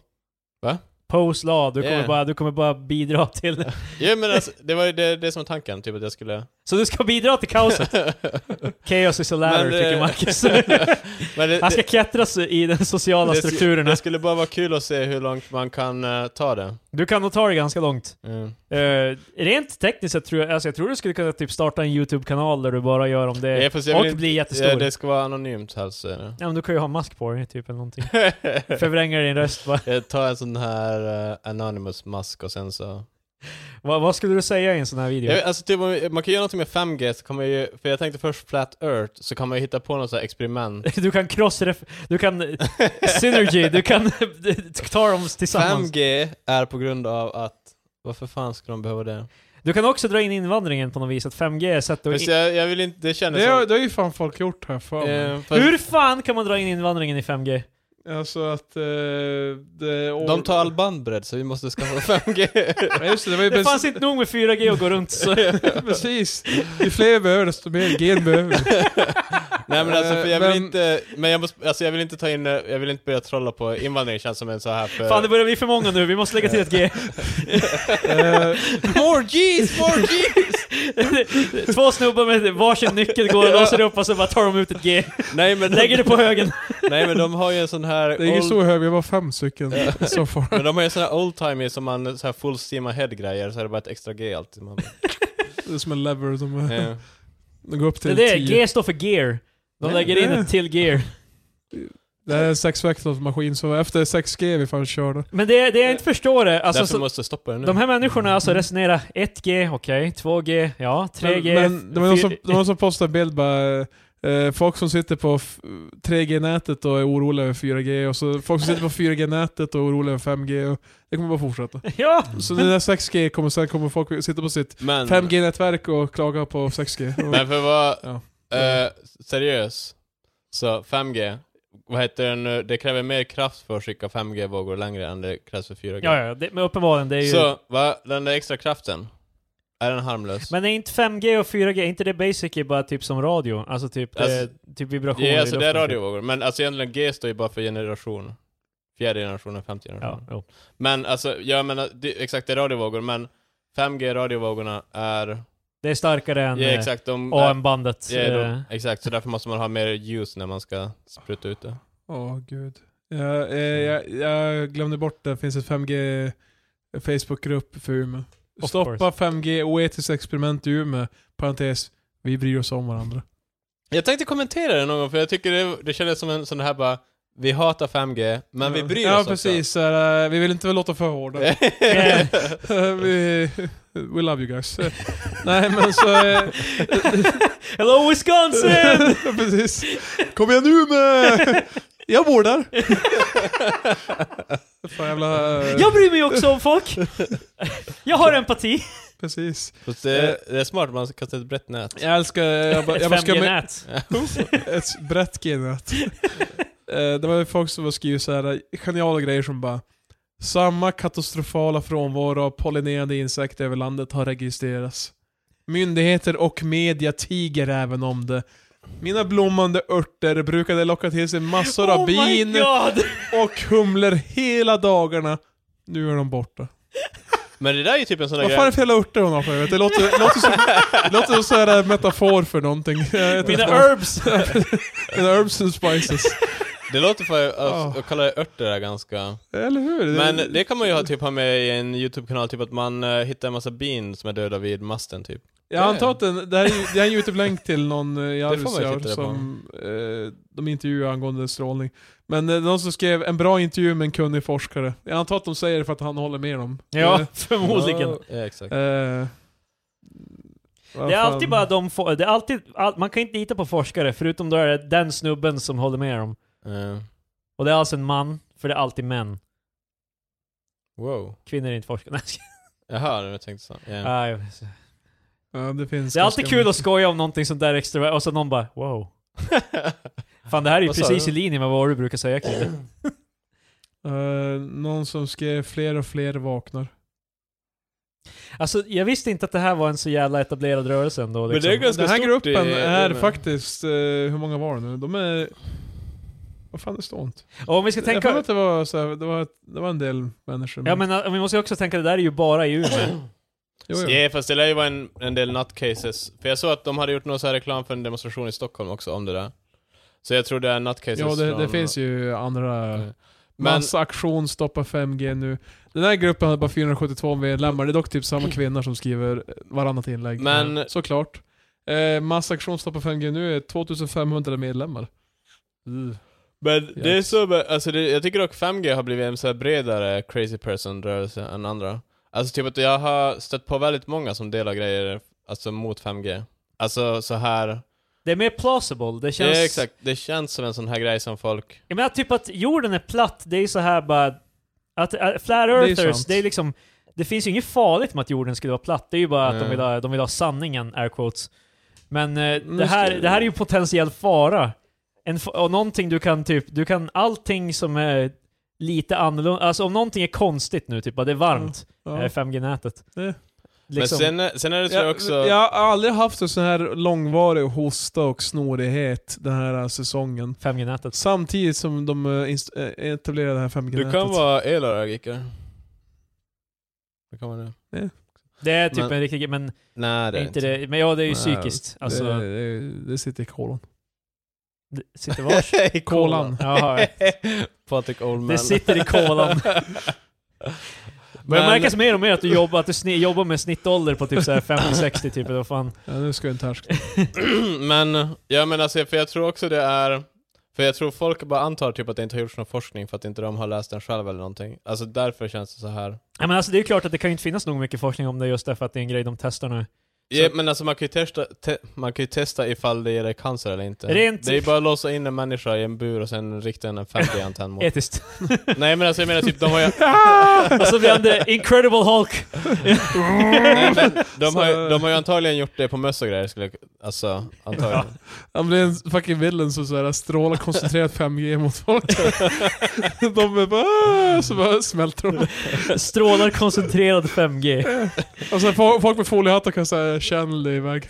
Speaker 3: Va?
Speaker 1: Postlaw, du kommer,
Speaker 3: Yeah.
Speaker 1: bara, du kommer bara bidra till...
Speaker 3: Ja men alltså, det var ju det, det som var tanken, typ att jag skulle...
Speaker 1: Så du ska bidra till kaoset?
Speaker 3: (laughs)
Speaker 1: Chaos is a ladder,
Speaker 3: Men,
Speaker 1: tycker
Speaker 3: eh,
Speaker 1: Marcus.
Speaker 3: (laughs)
Speaker 1: (laughs)
Speaker 3: men det,
Speaker 1: Han ska
Speaker 3: det,
Speaker 1: klättras i de sociala
Speaker 3: det-
Speaker 1: strukturerna.
Speaker 3: det skulle bara vara kul att se hur långt man kan eh, ta det.
Speaker 1: Du kan nog ta det ganska långt.
Speaker 3: Mm.
Speaker 1: Eh, rent tekniskt så tror jag, alltså jag tror du skulle kunna typ starta en YouTube-kanal där du bara gör om det.
Speaker 3: Ja, fast jag
Speaker 1: Eh, och
Speaker 3: vill inte-
Speaker 1: bli jättestor.
Speaker 3: Ja, det ska vara anonymt alltså. helst. säger jag.
Speaker 1: Ja men du kan ju ha mask på dig typ eller någonting. Förvränga din röst bara.
Speaker 3: (laughs) Jag tar en sån här eh, anonymous mask och sen så...
Speaker 1: Vad, vad skulle du säga i en sån här video?
Speaker 3: Jag vet, alltså typ, om vi- man kan göra någonting med 5G, så kan man ju, för jag tänkte först flat earth, så kan man ju hitta på något så här experiment.
Speaker 1: Du kan cross du kan (laughs) synergy, du
Speaker 3: (laughs)
Speaker 1: kan ta dem tillsammans.
Speaker 3: 5G är på grund av att, varför fan skulle de behöva det?
Speaker 1: Du kan också dra in invandringen på något vis, att 5G är sätt att...
Speaker 3: Fast jag, jag vill inte, det kändes
Speaker 2: Det har,
Speaker 3: som...
Speaker 2: det har ju fan folk gjort här för mig.
Speaker 1: Ehm.
Speaker 3: eh, fast
Speaker 1: Hur fan kan man dra in invandringen i 5G?
Speaker 2: Alltså att... eh, det, och,
Speaker 3: De tar all bandbredd, så vi måste skaffa (laughs) 5G.
Speaker 2: Ja, just det, det var
Speaker 1: (laughs)
Speaker 2: ju
Speaker 1: Det
Speaker 2: bens-
Speaker 1: fanns inte nog med 4G att gå runt (laughs)
Speaker 3: (laughs)
Speaker 1: så... (laughs)
Speaker 2: Precis. Ju fler vi behöver desto mer gen behöver
Speaker 1: (laughs)
Speaker 2: vi.
Speaker 3: Nej men alltså, för jag vill
Speaker 1: Eh,
Speaker 2: Men-
Speaker 3: inte, men jag måste, alltså jag vill inte ta in, eh, jag vill inte börja trolla på invandring, känns som en så här för...
Speaker 1: Fan det börjar bli för många nu, vi måste lägga till ett
Speaker 2: (laughs)
Speaker 1: G.
Speaker 2: Eh,
Speaker 3: more G's, more G's!
Speaker 1: Två snubbar med varsin nyckel går och låser upp och så bara tar de ut ett G.
Speaker 3: Nej
Speaker 1: (laughs)
Speaker 3: men,
Speaker 1: Lägger det på högen.
Speaker 3: nej men de har ju en sån här...
Speaker 2: det är ingen
Speaker 3: old-
Speaker 2: stor hög, vi var fem stycken (laughs) så far.
Speaker 3: Men de har ju såna här oldtimey som man så här full steam ahead grejer, så är det bara ett extra G alltid.
Speaker 1: (laughs)
Speaker 3: Man, bara,
Speaker 2: Det är som en lever som eh,
Speaker 3: eh.
Speaker 1: Alltså,
Speaker 2: de går upp
Speaker 1: Det är
Speaker 2: till
Speaker 1: Ehm. det,
Speaker 2: 10.
Speaker 1: G står för gear. De
Speaker 3: Ja.
Speaker 1: lägger in ett till gear.
Speaker 2: Det här är en sexväxelsmaskin, så efter 6G är vi fan körda.
Speaker 1: Men det, det jag inte förstår är, alltså,
Speaker 3: Därför
Speaker 1: så,
Speaker 3: måste jag stoppa det nu.
Speaker 1: de här människorna alltså resonerar 1G, okej, 2G, ja, 3G,
Speaker 2: Men, men det var någon som,
Speaker 1: fyr-
Speaker 2: det var någon som postade en bild bara... Eh, folk som sitter på f- 3G-nätet och är oroliga över 4G, och så folk som sitter på 4G-nätet och är oroliga över 5G. Och det kommer bara fortsätta.
Speaker 1: (laughs) Ja!
Speaker 2: Så det där 6G kommer sen kommer folk sitta på sitt
Speaker 3: men,
Speaker 2: 5G-nätverk och klaga på 6G. Och,
Speaker 3: (laughs) men för att vara
Speaker 2: Ja.
Speaker 3: eh, seriös, så 5G, vad heter det nu, det kräver mer kraft för att skicka 5G-vågor längre än det krävs för 4G.
Speaker 1: Ja, ja, det, men uppenbarligen, det är ju...
Speaker 3: Så, va, den där extra kraften, är den harmlös?
Speaker 1: Men är inte 5G och 4G, är inte det basic är bara typ som radio? Alltså typ, det-
Speaker 3: Alltså-
Speaker 1: typ vibrationer
Speaker 3: ja,
Speaker 1: i
Speaker 3: alltså det är
Speaker 1: luften, typ.
Speaker 3: radiovågor, men alltså egentligen G står ju bara för generation. Fjärde generationen, femte
Speaker 1: typ.
Speaker 3: generationen.
Speaker 1: Ja, jo.
Speaker 3: Men alltså, jag menar, det, exakt det är radiovågor, men 5G-radiovågorna är...
Speaker 1: Det är starkare än
Speaker 3: Ja,
Speaker 2: eh,
Speaker 3: exakt, de... är-
Speaker 1: AM-bandet.
Speaker 3: Ja,
Speaker 1: eh,
Speaker 3: då, exakt, så därför måste man ha mer ljus när man ska spruta ut det.
Speaker 2: Åh gud. Jag, eh,
Speaker 3: Mm.
Speaker 2: jag, jag glömde bort det finns ett 5G Facebookgrupp för Umeå.
Speaker 1: Of
Speaker 2: Stoppa 5G oetiskt experiment i Umeå. Parentes, vi bryr oss om varandra.
Speaker 3: Jag tänkte kommentera det någon gång, för jag tycker det, det kändes som en sån här bara, vi hatar 5G, men vi
Speaker 2: Ja.
Speaker 3: bryr
Speaker 2: ja,
Speaker 3: oss
Speaker 2: precis. Så här, eh, vi vill inte väl låta för hårda. (laughs) vi, we love you guys. (laughs) Nej men så... eh,
Speaker 1: Hello Wisconsin!
Speaker 2: (laughs) precis. Kom igen nu med... Jag bor där. (laughs) Fan jävla... eh,
Speaker 1: Jag bryr mig också om folk! Jag har empati!
Speaker 2: Precis.
Speaker 3: (laughs) Fast det,
Speaker 2: Eh.
Speaker 3: det är smart, man ska kasta ett brett nät.
Speaker 2: Jag älskar... Jag bara,
Speaker 1: Ett
Speaker 2: jag bara ska med,
Speaker 1: 5G-nät.
Speaker 2: (laughs) ett brett genet. Eh, det var ju folk som skrev så här geniala grejer som bara Samma katastrofala frånvaro av pollinerande insekter över landet har registrerats. Myndigheter och media tiger även om det. Mina blommande örter brukade locka till sig massor av
Speaker 1: Oh my
Speaker 2: bin
Speaker 1: god!
Speaker 2: och humlor hela dagarna. Nu är de borta.
Speaker 3: Men det där är ju typ en sån där
Speaker 2: Vad fan är det
Speaker 3: grej.
Speaker 2: för jävla örter hon har för? Det låter, det låter som, det låter som så här metafor för någonting. Jag vet
Speaker 1: Mina
Speaker 2: inte.
Speaker 3: (laughs)
Speaker 1: herbs!
Speaker 2: Mina herbs and spices.
Speaker 3: Det låter för att,
Speaker 2: Ja.
Speaker 3: att kalla det örter där ganska...
Speaker 2: Eller hur?
Speaker 3: Men det kan man ju ha, typ ha med i en YouTube-kanal, typ att man eh, hittar en massa bin som är döda vid masten typ.
Speaker 2: Jag antar att den, det här är, ju- det här är en YouTube-länk till någon eh, i
Speaker 3: får man ju titta
Speaker 2: Arvidsjaur
Speaker 3: på.
Speaker 2: som eh, de intervjuar angående strålning. Men eh, någon som skrev en bra intervju med en kunnig forskare. Jag antar att de säger det för att han håller med dem.
Speaker 1: Ja,
Speaker 2: Mm,
Speaker 1: förmodligen.
Speaker 3: Ja, exakt.
Speaker 2: Eh, eh, vad
Speaker 1: Det är
Speaker 2: fan.
Speaker 1: alltid bara de få, det är alltid, all, man kan inte lita på forskare, förutom då är det den snubben som håller med dem.
Speaker 3: Eh,
Speaker 1: Och det är alltså en man, för det är alltid män.
Speaker 3: wow.
Speaker 1: Kvinnor är inte forskare. Nej, jag skojar.
Speaker 3: Jaha, jag tänkte så. Yeah.
Speaker 1: Nej,
Speaker 2: Ja, det finns
Speaker 1: Det är alltid
Speaker 2: ganska
Speaker 1: kul att skoja om någonting sånt där extra, och så någon bara wow. Fan det här är ju
Speaker 3: Vad sa
Speaker 1: precis
Speaker 3: du?
Speaker 1: i linje med vad du brukar säga kring
Speaker 2: (clears throat)
Speaker 1: det.
Speaker 2: Eh, någon som skrev fler och fler vaknar.
Speaker 1: Alltså jag visste inte att det här var en så jävla etablerad rörelse ändå.
Speaker 3: (laughs) Men det är
Speaker 1: Liksom.
Speaker 3: ganska
Speaker 2: Den här
Speaker 3: stort
Speaker 2: gruppen
Speaker 3: i- i-
Speaker 2: är
Speaker 3: men-
Speaker 2: faktiskt, eh, hur många var det nu? De är... Vad fan, det står inte.
Speaker 1: Och om vi ska
Speaker 2: Jag, jag för mig
Speaker 1: tänka...
Speaker 2: att det var, så här, det, var ett, det var en del människor.
Speaker 1: Ja men äh, vi måste ju också tänka, det där är ju bara i
Speaker 3: (clears throat)
Speaker 1: Umeå.
Speaker 2: jo, jo.
Speaker 3: Ja, fast det lär ju vara en, en del nutcases. För jag såg att de hade gjort någon så här reklam för en demonstration i Stockholm också om det där. Så jag tror det är nutcases
Speaker 2: ja det, det
Speaker 3: från-
Speaker 2: finns ju andra...
Speaker 3: Mm. Men-
Speaker 2: Massaktion stoppa 5G nu. Den här gruppen har bara 472 medlemmar, det är dock typ samma
Speaker 1: Mm.
Speaker 2: kvinnor som skriver varannat inlägg.
Speaker 3: Men-
Speaker 2: Såklart. Eh, massaktion stoppa 5G nu är 2500 medlemmar. Mm.
Speaker 3: Men det är
Speaker 2: Yes.
Speaker 3: så, med- alltså det, jag tycker dock 5G har blivit en så här bredare crazy person-rörelse än andra. Alltså typ att jag har stött på väldigt många som delar grejer, alltså mot 5G. Alltså så här,
Speaker 1: Det är mer plausible, det
Speaker 3: det
Speaker 1: känns...
Speaker 3: är exakt, det känns som en sån här grej som folk...
Speaker 1: Jag menar typ att jorden är platt, det är ju så här bara... Att, att flat earthers, det är,
Speaker 2: sant.
Speaker 1: liksom... Det finns ju inget farligt med att jorden skulle vara platt, det är ju bara att de,
Speaker 3: Nej.
Speaker 1: vill ha, de vill ha sanningen, air quotes. Men eh, det,
Speaker 2: Mm,
Speaker 1: här,
Speaker 2: just-
Speaker 1: det här är ju potentiell fara. En, fa- och någonting du kan typ, du kan allting som är lite annorlunda, alltså om någonting är konstigt nu, typ att det är varmt,
Speaker 2: Ja.
Speaker 1: är 5G-nätet.
Speaker 2: Det-
Speaker 1: Liksom,
Speaker 3: Men sen, är- sen är det tror jag
Speaker 2: Jag,
Speaker 3: också...
Speaker 2: jag har aldrig haft en sån här långvarig hosta och snorighet den här säsongen.
Speaker 1: 5G-nätet.
Speaker 2: Samtidigt som de eh, inst- eh, etablerade det här 5G-nätet.
Speaker 3: Du kan vara elallergiker. Det kan vara det.
Speaker 1: Det är typ
Speaker 3: Men-
Speaker 1: en riktig men
Speaker 3: Nej, det är
Speaker 1: inte
Speaker 3: (laughs)
Speaker 1: det. Men ja, det är ju
Speaker 3: Nej,
Speaker 1: psykiskt. Alltså,
Speaker 2: det, det, det sitter i kolon.
Speaker 1: det sitter
Speaker 2: (laughs)
Speaker 1: var?
Speaker 3: I
Speaker 2: kolan.
Speaker 1: (laughs) Jaha, ja.
Speaker 3: (laughs) Patrik Oldman.
Speaker 1: Det sitter i kolan.
Speaker 3: (laughs)
Speaker 1: Men det märks mer och mer att du jobbar, att du sni, jobbar med snittålder på typ så här 50-60 typ, eller vad fan.
Speaker 2: Ja, nu ska jag inte (laughs) härska.
Speaker 3: (clears throat) men, ja men alltså, för jag tror också det är... För jag tror folk bara antar typ att det inte har gjorts någon forskning för att inte de har läst den själv eller någonting. Alltså därför känns det så här.
Speaker 1: Ja, men alltså det är ju klart att det kan ju inte finnas nog mycket forskning om det just därför att det är en grej de testar nu.
Speaker 3: Ja, men alltså man kan ju testa, te, man kan ju testa ifall det ger dig cancer eller inte.
Speaker 1: Rent-
Speaker 3: Det är ju bara att låsa in en människa i en bur och sen rikta en 50-antenn mot.
Speaker 1: Etiskt. (laughs)
Speaker 3: Nej men alltså jag menar typ, de har ju...
Speaker 1: och så blir han the incredible Hulk.
Speaker 3: Nej, men de, har, ju-
Speaker 2: Så-
Speaker 3: de har ju antagligen gjort det på möss och grejer, skulle jag, alltså antagligen.
Speaker 2: Han blir en fucking villain som såhär strålar koncentrerat 5G mot folk. de är bara "Ah", så bara smälter de.
Speaker 1: Strålar koncentrerad 5G.
Speaker 2: Och sen fo- folk med foliehattar kan såhär channel det iväg.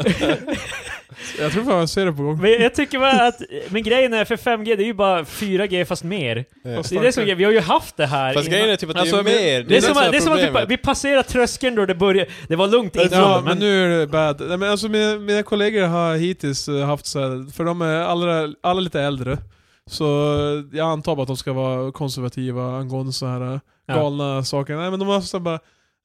Speaker 2: jag tror fan jag ser det på gång.
Speaker 1: Men jag tycker bara att, men grejen är för 5G, det är ju bara 4G fast mer.
Speaker 3: Ja.
Speaker 1: Det är det som är grejen. vi har ju haft det här
Speaker 3: Fast
Speaker 1: innan.
Speaker 3: grejen är typ att det är ju
Speaker 2: Alltså, men-
Speaker 3: mer,
Speaker 1: det är, som,
Speaker 3: som
Speaker 1: att- det är som att vi, pa-
Speaker 3: problemet.
Speaker 1: vi passerar tröskeln då det börjar. Det var lugnt innan,
Speaker 2: Ja,
Speaker 1: men
Speaker 2: Alltså, men nu är det bad. Nej, men alltså mina, mina kollegor har hittills eh, haft så här, för de är alla, alla lite äldre. Så eh, jag antar bara att de ska vara konservativa angående så här eh,
Speaker 1: Ja.
Speaker 2: galna saker. Nej men de har så här bara,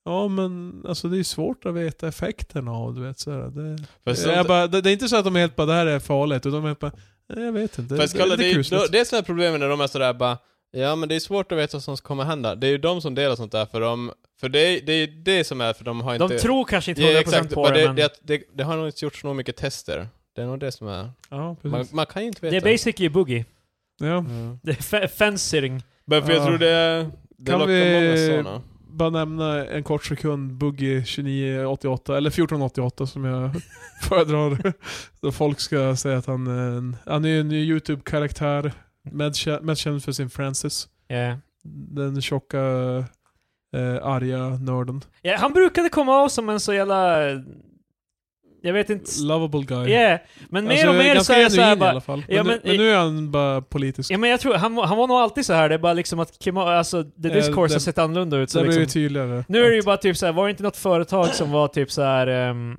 Speaker 2: ja men alltså det är ju svårt att veta effekterna av du vet så här, det.
Speaker 3: Fast
Speaker 2: jag
Speaker 3: sånt-
Speaker 2: bara, det, det är inte så att de är helt bara det här är farligt, utan de är helt bara "Nej, jag vet inte.
Speaker 3: Fast
Speaker 2: det,
Speaker 3: kolla,
Speaker 2: det,
Speaker 3: det, är
Speaker 2: är
Speaker 3: ju-
Speaker 2: kusligt.
Speaker 3: då- det är sådana problem när de är sådär bara Ja men det är svårt att veta vad som kommer hända. Det är ju de som delar sånt där för de, för det är, det är ju det som är för de har inte...
Speaker 1: de tror kanske inte 100%
Speaker 3: ja, exakt,
Speaker 1: på
Speaker 3: bara
Speaker 1: det,
Speaker 3: det,
Speaker 1: men...
Speaker 3: det, att det, det har nog inte gjorts så mycket tester. Det är nog det som är...
Speaker 2: ja,
Speaker 3: Man,
Speaker 2: precis.
Speaker 3: man kan ju inte
Speaker 1: Det är
Speaker 3: veta.
Speaker 1: basically boogie.
Speaker 2: Ja.
Speaker 3: Mm.
Speaker 1: Det är fe- fencing.
Speaker 3: Men för jag
Speaker 2: Ja.
Speaker 3: tror det, det
Speaker 2: Kan
Speaker 3: lockar
Speaker 2: vi-
Speaker 3: många sådana.
Speaker 2: Bara nämna en kort sekund Buggy 2988, eller 1488
Speaker 1: (laughs)
Speaker 2: som jag föredrar. Då folk ska säga att han är en, han är ju en ny YouTube-karaktär.
Speaker 1: Mm.
Speaker 2: medkä- Mest känd för sin Francis.
Speaker 1: Yeah.
Speaker 2: Den tjocka, eh, arga nörden.
Speaker 1: Ja, han brukade komma av som en så jävla... Jag vet inte...
Speaker 2: Lovable guy.
Speaker 1: Yeah. Men mer
Speaker 2: Alltså,
Speaker 1: och mer så
Speaker 2: ganska
Speaker 1: är jag såhär
Speaker 2: genuin i
Speaker 1: bara...
Speaker 2: alla fall. Men,
Speaker 1: Ja,
Speaker 2: nu,
Speaker 1: men-
Speaker 2: men nu är han bara politisk.
Speaker 1: Ja, men jag tror, han, han var nog alltid så här. det är bara liksom att klimat, alltså, the
Speaker 2: Eh,
Speaker 1: discourse har
Speaker 2: det-
Speaker 1: sett annorlunda ut.
Speaker 2: så
Speaker 1: Så
Speaker 2: det blir ju typ-
Speaker 1: liksom.
Speaker 2: tydligare.
Speaker 1: Nu är det ju
Speaker 2: att-
Speaker 1: bara typ så här. var det inte något företag som var typ så här. ehm,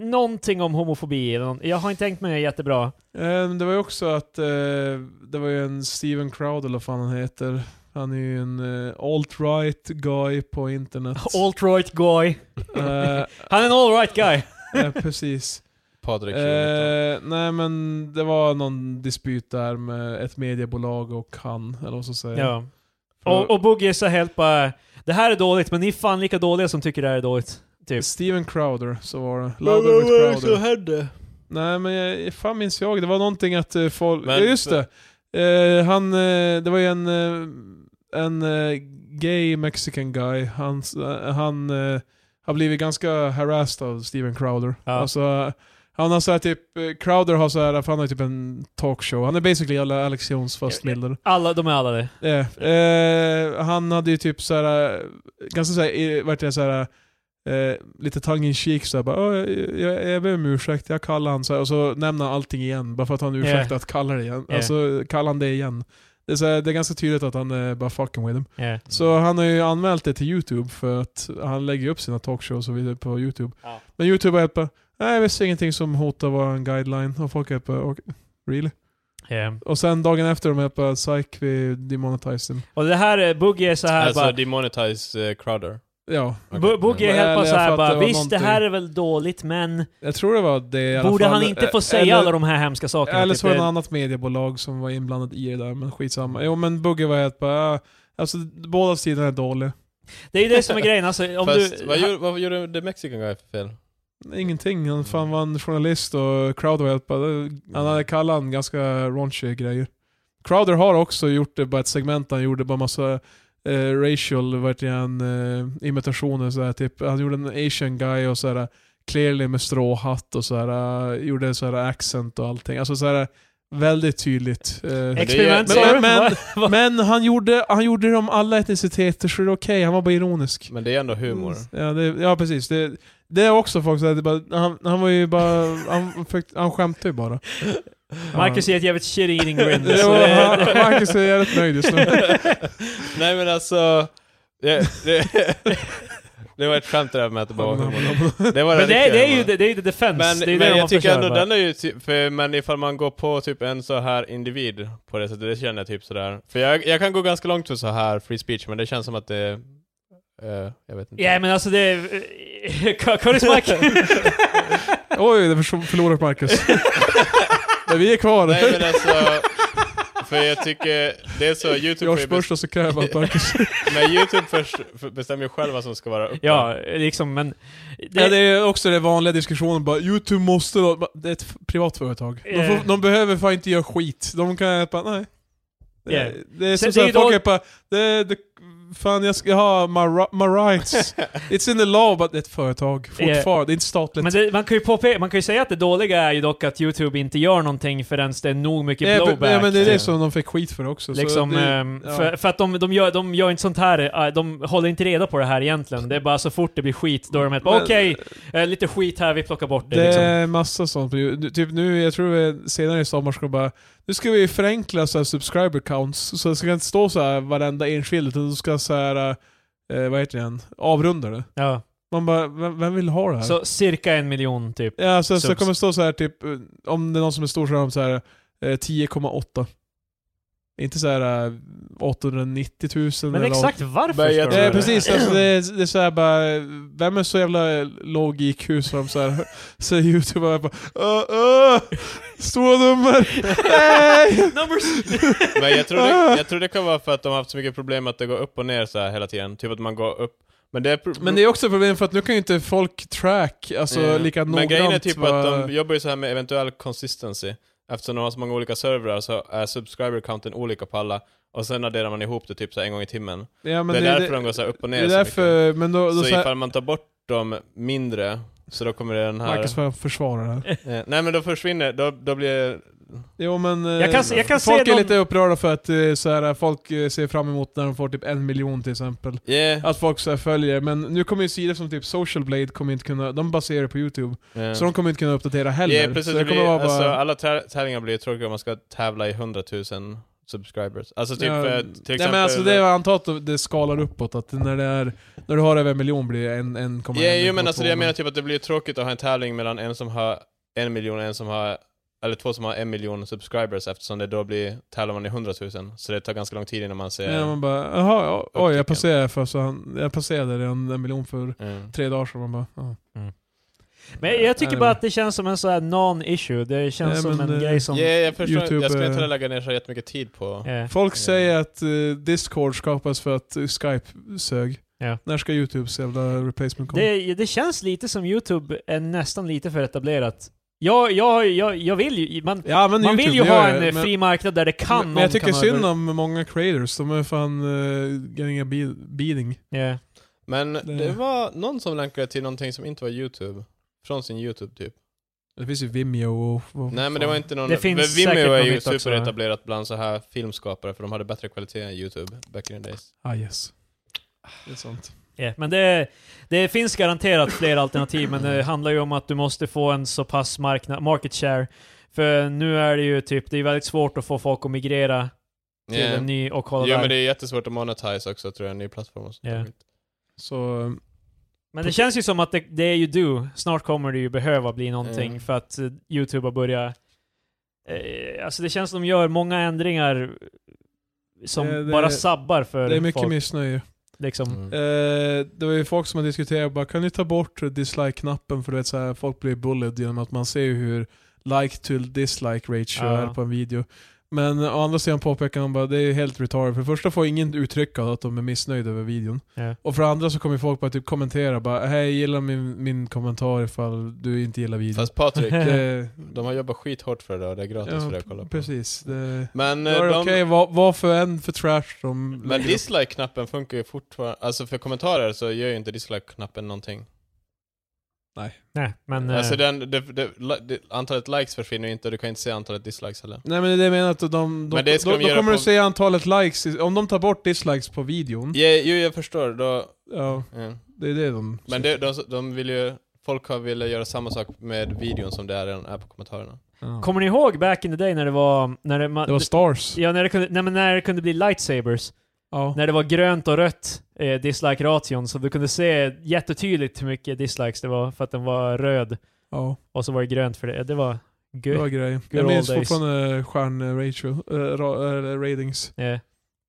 Speaker 1: någonting om homofobi eller någon, Jag har inte tänkt mig det jättebra.
Speaker 2: Ehm, Det var ju också att eh, det var ju en Steven Crowder eller vad fan han heter. Han är ju en eh, alt-right guy
Speaker 1: (laughs)
Speaker 2: på internet.
Speaker 1: Alt-right guy.
Speaker 2: Eh,
Speaker 1: Han är en all-right guy.
Speaker 2: eh,
Speaker 1: (laughs)
Speaker 2: precis.
Speaker 3: Patrik uh,
Speaker 2: Eh, nej men det var någon dispyt där med ett mediebolag och han, eller vad ska jag säga.
Speaker 1: Ja.
Speaker 2: För-
Speaker 1: Och, och Boogie är så helt bara, det här är dåligt men ni är fan lika dåliga som tycker det här är dåligt. Typ.
Speaker 2: Steven Crowder, så var det. Louder with Crowder.
Speaker 3: hände?
Speaker 2: Nej men jag, fan minns jag, det var någonting att eh, folk...
Speaker 3: Men-
Speaker 2: ja just det! Eh, han, eh, det var ju en, eh, en eh, gay mexican guy, han, s- eh, han eh, har blivit ganska harassed av Steven Crowder.
Speaker 1: Ja.
Speaker 2: Alltså, han har såhär typ, eh, Crowder har såhär, för han har typ en talkshow. Han är basically alla Alex Jones fast
Speaker 1: Ja, ja.
Speaker 2: mildare.
Speaker 1: Alla, de är alla det.
Speaker 2: Eh, eh, han hade ju typ såhär, eh, ganska såhär, eh, vad heter det, såhär, eh, lite tongue in cheek såhär bara, "Åh, jag, jag, jag ber om ursäkt, jag kallar han såhär, och så nämner han allting igen, bara för att han ursäktar att kalla det igen.
Speaker 1: Ja.
Speaker 2: Alltså, kallar han det igen. Det är, såhär, det är ganska tydligt att han är bara fucking with him.
Speaker 1: Ja.
Speaker 2: Så han har ju anmält det till YouTube för att han lägger upp sina talkshows och vidare på YouTube.
Speaker 1: Ja.
Speaker 2: Men YouTube har helt bara, nej vi ser ingenting som hotar våran guideline. Och folk har helt bara, "Okej, really?
Speaker 1: Ja.
Speaker 2: Och sen dagen efter de helt bara, psych vi demonetized him.
Speaker 1: Och det här, eh, Boogie är så här
Speaker 3: Alltså
Speaker 1: bara...
Speaker 3: demonetize eh, Crowder.
Speaker 2: Ja,
Speaker 3: Okej.
Speaker 1: Bu- Boogie är helt
Speaker 2: Mm.
Speaker 1: bara
Speaker 2: Eller
Speaker 1: så
Speaker 2: jag
Speaker 1: här
Speaker 2: fattar,
Speaker 1: bara,
Speaker 2: det var
Speaker 1: visst det
Speaker 2: någonting.
Speaker 1: här är väl dåligt men...
Speaker 2: jag tror det var det i alla
Speaker 1: Borde
Speaker 2: fall.
Speaker 1: han inte få
Speaker 2: Eh,
Speaker 1: säga
Speaker 2: eller,
Speaker 1: alla de här hemska sakerna?
Speaker 2: Eller
Speaker 1: typ?
Speaker 2: så var det
Speaker 1: Det-
Speaker 2: något annat mediebolag som var inblandat i det där, men skitsamma. Jo men Bugge var helt bara, "Ah, alltså båda sidorna är dåliga.
Speaker 1: Det är ju det som är grejen, alltså om
Speaker 3: Fast,
Speaker 1: du... (laughs)
Speaker 3: vad, gjorde, vad gjorde The Mexican Guy för fel?
Speaker 2: Ingenting, han fan var en journalist och Crowder var helt bara, han hade kallat han ganska raunchy grejer. Crowder har också gjort det, bara ett segment där han gjorde bara massa eh, racial vad heter det, han, eh, imitationer sådär, typ. Han gjorde en asian guy och sådär clearly med stråhatt och sådär, eh, gjorde sådär accent och allting. Alltså sådär väldigt tydligt. Eh,
Speaker 1: (laughs) Experiment
Speaker 2: Men det är-
Speaker 1: sa du?
Speaker 2: men-
Speaker 1: Vad- vad-
Speaker 2: men han gjorde, han gjorde det om alla etniciteter så det är okej, han var bara ironisk.
Speaker 3: Men det är ändå humor.
Speaker 2: Mm. Ja, det, ja precis. Det, det är också folk som bara, han, han var ju bara, han, försökte- han skämtade ju bara.
Speaker 1: (laughs) Marcus är ett jävligt shit eating
Speaker 2: (laughs)
Speaker 1: grin.
Speaker 2: Ja,
Speaker 1: så
Speaker 2: han,
Speaker 1: det-
Speaker 2: (laughs) Marcus är jävligt nöjd just nu.
Speaker 3: (laughs) Nej men alltså... Det, det, (laughs) det var ett skämt det där med att det bara var humor. Det var
Speaker 1: Men det, är-
Speaker 3: riktiga
Speaker 1: det är ju
Speaker 3: humorn.
Speaker 1: det, det är ju the defense.
Speaker 3: Men,
Speaker 1: det är det
Speaker 3: men
Speaker 1: de
Speaker 3: jag tycker
Speaker 1: försöker
Speaker 3: ändå
Speaker 1: bara.
Speaker 3: den är ju typ, för, men ifall man går på typ en så här individ på det sättet, det känner jag typ sådär. För jag, jag kan gå ganska långt för så här free speech, men det känns som att det, eh, jag vet inte.
Speaker 1: Ja men alltså det... är-
Speaker 2: eh, (laughs)
Speaker 1: Curtis Mike.
Speaker 2: Oj, det förs- förlorar Marcus. Men vi är kvar.
Speaker 3: Nej men alltså, för jag tycker, det är så, YouTube, får ju
Speaker 2: George
Speaker 3: bes-
Speaker 2: Bush och så kräver att Marcus...
Speaker 3: men YouTube först, för, bestämmer ju själv vad som ska vara uppe.
Speaker 1: (laughs) ja, liksom men... Det,
Speaker 2: Ja, det är också den vanliga diskussionen bara, YouTube måste då, bara, det är ett f- privat företag. De,
Speaker 1: Eh.
Speaker 2: får, de behöver fan inte göra skit. De kan bara, nej. Det,
Speaker 1: Yeah.
Speaker 2: det är
Speaker 1: Sen
Speaker 2: som
Speaker 1: det är ju
Speaker 2: såhär,
Speaker 1: då-
Speaker 2: folk är bara, det, det, fan jag ska ha my, ri- my
Speaker 1: (laughs)
Speaker 2: rights. It's in the law, but det är ett företag fortfarande. Det är inte statligt.
Speaker 1: men det, man, kan ju påpe- man kan ju säga att det dåliga är ju dock att YouTube inte gör någonting förrän det är nog mycket
Speaker 2: Nej,
Speaker 1: blowback.
Speaker 2: men- nej, men det är
Speaker 1: till-
Speaker 2: det som de fick skit för också.
Speaker 1: Liksom,
Speaker 2: så det,
Speaker 1: ehm,
Speaker 2: ja.
Speaker 1: för, för att de, de, gör, de gör inte sånt här, eh, de håller inte reda på det här egentligen. Det är bara så fort det blir skit, då är de helt bara
Speaker 2: Men-
Speaker 1: okej, eh, lite skit här, vi plockar bort det,
Speaker 2: Det
Speaker 1: liksom.
Speaker 2: är massa sånt. på Youtube. Typ nu, jag tror vi senare i sommar ska bara Nu ska vi förenkla så här subscriber counts. Så det ska inte stå så här varenda enskild, utan du ska så här eh, vad heter det igen? Avrunda det.
Speaker 1: Ja.
Speaker 2: Man bara, vem, vem vill ha det här?
Speaker 1: Så cirka en miljon typ.
Speaker 2: ja, så, så
Speaker 1: subs-
Speaker 2: kommer det stå så här typ, eh, om det är någon som är stor så har de så här eh, 10,8. Inte så här eh, 890 000
Speaker 1: Men
Speaker 2: eller
Speaker 1: exakt varför
Speaker 3: Börja
Speaker 1: ska de
Speaker 3: till-
Speaker 1: göra
Speaker 2: Ja
Speaker 1: det?
Speaker 2: precis, alltså, det, är, det är såhär bara, vem är så jävla låg IQ som de (laughs) såhär, säger youtube och bara uh, uh, Stora
Speaker 3: (laughs)
Speaker 2: nummer!
Speaker 1: (laughs)
Speaker 2: Nej!
Speaker 1: Numbers!
Speaker 3: Men jag tror,
Speaker 2: (laughs)
Speaker 3: det, jag tror det kan vara för att de har haft så mycket problem att det går upp och ner så här hela tiden, typ att man går upp. Men det är, pro-
Speaker 2: Men det är också ett problem för att nu kan ju inte folk track, alltså
Speaker 3: Ja.
Speaker 2: lika noggrant.
Speaker 3: Men grejen är typ
Speaker 2: vad-
Speaker 3: att de jobbar ju så här med eventuell consistency. Eftersom de har så många olika servrar så är subscriber counten olika på alla. Och sen adderar man ihop det typ så här en gång i timmen.
Speaker 2: ja, men
Speaker 3: det är därför
Speaker 2: det,
Speaker 3: de går så här upp och
Speaker 2: det
Speaker 3: ner
Speaker 2: är
Speaker 3: så mycket.
Speaker 2: därför, men då, då
Speaker 3: Så
Speaker 2: så här,
Speaker 3: ifall man tar bort de mindre, så då kommer den här...
Speaker 2: Marcus får försvara det här.
Speaker 3: Eh, nej men då försvinner, då, då blir
Speaker 2: Jo men, eh,
Speaker 1: Jag kan se- jag kan se
Speaker 2: folk är
Speaker 1: någon-
Speaker 2: lite upprörda för att eh, så här, folk eh, ser fram emot när de får typ en miljon till exempel.
Speaker 3: det... Yeah.
Speaker 2: Att folk så här, följer, men nu kommer ju sidor som typ Social Blade kommer inte kunna, de baserar det på youtube.
Speaker 3: Eh.
Speaker 2: Så de kommer inte kunna uppdatera heller.
Speaker 3: Yeah, precis,
Speaker 2: så
Speaker 3: det
Speaker 2: det kommer
Speaker 3: blir,
Speaker 2: vara bara...
Speaker 3: alltså, alla tä- tävlingar blir ju tråkiga om man ska tävla i 100 000 subscribers. Alltså typ,
Speaker 2: Ja,
Speaker 3: eh,
Speaker 2: nej,
Speaker 3: till exempel...
Speaker 2: men alltså det är antar att det skalar uppåt, att när, det är, när du har över en miljon blir det en, en komma
Speaker 3: Ja, jo men alltså det jag menar typ att det blir tråkigt att ha en tävling mellan en som har en miljon och en som har, eller två som har en miljon subscribers eftersom det då blir, tävlar man i hundratusen. Så det tar ganska lång tid innan man ser...
Speaker 2: Ja, man bara, jaha, ja, oj
Speaker 3: Upptäcken.
Speaker 2: jag passerade, för så han, jag passerade redan en miljon för
Speaker 3: Mm.
Speaker 2: tre dagar sedan. Man bara, ja.
Speaker 1: Men jag tycker
Speaker 2: Nej,
Speaker 1: bara
Speaker 2: men-
Speaker 1: att det känns som en sån här non-issue. Det känns
Speaker 2: Nej,
Speaker 1: som
Speaker 2: men,
Speaker 1: en
Speaker 2: eh,
Speaker 1: grej som...
Speaker 3: Ja, jag förstår.
Speaker 2: YouTube,
Speaker 3: jag skulle inte
Speaker 2: eh,
Speaker 3: lägga ner så jättemycket tid på...
Speaker 1: eh,
Speaker 2: Folk
Speaker 3: Ja.
Speaker 2: säger att eh, Discord skapas för att eh, Skype sög.
Speaker 1: Ja.
Speaker 2: När ska Youtubes jävla replacement komma?
Speaker 1: Det, det känns lite som YouTube är nästan lite för etablerat. Jag, jag, jag, jag vill ju... Man,
Speaker 2: jag använder
Speaker 1: man vill ju
Speaker 2: YouTube, det
Speaker 1: ha
Speaker 2: gör
Speaker 1: en
Speaker 2: jag,
Speaker 1: eh,
Speaker 2: men-
Speaker 1: fri marknad där det kan
Speaker 2: Men
Speaker 1: någon
Speaker 2: jag tycker
Speaker 1: kan
Speaker 2: synd
Speaker 1: över-
Speaker 2: eh, om många creators, de är fan uh, getting a be- beating.
Speaker 1: Ja.
Speaker 3: Men
Speaker 2: Det-
Speaker 3: det var någon som länkade till någonting som inte var YouTube. Från sin YouTube typ.
Speaker 2: Det finns ju Vimeo och... och
Speaker 3: Nej men det var inte någon...
Speaker 1: Det finns
Speaker 3: men Vimeo
Speaker 1: säkert
Speaker 3: är
Speaker 1: någon
Speaker 3: ju
Speaker 1: hit också,
Speaker 3: superetablerat bland så här filmskapare för de hade bättre kvalitet än YouTube back in the days.
Speaker 2: Ah yes. Det är sant.
Speaker 1: Ja, men det, det finns garanterat fler alternativ, men
Speaker 2: Mm.
Speaker 1: det handlar ju om att du måste få en så pass marknad, market share. För nu är det ju typ, det är väldigt svårt att få folk att migrera till
Speaker 3: Yeah.
Speaker 1: en ny och kolla
Speaker 3: Jo
Speaker 1: där.
Speaker 3: men det är jättesvårt att monetize också tror jag, en ny plattform och
Speaker 1: Ja.
Speaker 3: sånt. där.
Speaker 2: Så... eh,
Speaker 1: Men det känns ju som att det, det är ju du. Snart kommer det ju behöva bli någonting
Speaker 3: Mm.
Speaker 1: för att eh, YouTube har börjat... Eh, alltså det känns som de gör många ändringar som
Speaker 2: Det- det-
Speaker 1: bara sabbar för
Speaker 2: Det är mycket
Speaker 1: folk.
Speaker 2: missnöje.
Speaker 1: Liksom.
Speaker 3: Mm.
Speaker 2: Eh, det var ju folk som har diskuterat bara, kan ni ta bort dislike-knappen för du vet så här, folk blir bullied genom att man ser ju hur like till dislike ratio
Speaker 1: Ja.
Speaker 2: är på en video. Men eh, å andra sidan påpekar han bara, det är ju helt retarded. För det första får ingen uttrycka att de är missnöjda över videon.
Speaker 1: Ja.
Speaker 2: Och för det andra så kommer folk bara typ kommentera bara, hej gilla min, min kommentar ifall du inte gillar videon.
Speaker 3: Fast Patrik,
Speaker 2: det,
Speaker 3: de har jobbat skithårt för det och det är gratis för dig att kolla på.
Speaker 2: precis. Det,
Speaker 3: Men,
Speaker 2: då
Speaker 3: eh,
Speaker 2: är det
Speaker 3: de,
Speaker 2: okej vad, vad för en för trash de lägger
Speaker 3: men
Speaker 2: upp.
Speaker 3: dislike-knappen funkar ju fortfarande, alltså för kommentarer så gör ju inte dislike-knappen någonting.
Speaker 1: Nej, men... eh,
Speaker 3: Alltså den, det, det, li- det, antalet likes försvinner ju inte och du kan inte se antalet dislikes heller.
Speaker 2: Nej men det är det jag menar att de, de,
Speaker 3: Men det
Speaker 2: då,
Speaker 3: ska
Speaker 2: då
Speaker 3: de göra
Speaker 2: kommer du
Speaker 3: på-
Speaker 2: se antalet likes, i- om de tar bort dislikes på videon.
Speaker 3: Ja, jo, jag förstår. Då,
Speaker 2: Ja,
Speaker 3: ja.
Speaker 2: det är det de...
Speaker 3: Men det, de, de vill ju, folk har velat göra samma sak med videon som det är redan är på kommentarerna.
Speaker 2: ja.
Speaker 1: Kommer ni ihåg back in the day när det var... När det, ma-
Speaker 2: Det var stars.
Speaker 1: Ja, när det, kunde, nej, men när det kunde bli lightsabers.
Speaker 2: Ja.
Speaker 1: När det var grönt och rött eh, dislike-ration, så du kunde se jättetydligt hur mycket dislikes det var för att den var röd.
Speaker 2: ja.
Speaker 1: Och så var det grönt för det. Det var... Gud.
Speaker 2: Bra grej. Jag
Speaker 1: old
Speaker 2: minns
Speaker 1: days.
Speaker 2: fortfarande stjärn-ratio, äh, ratings.
Speaker 1: Ja.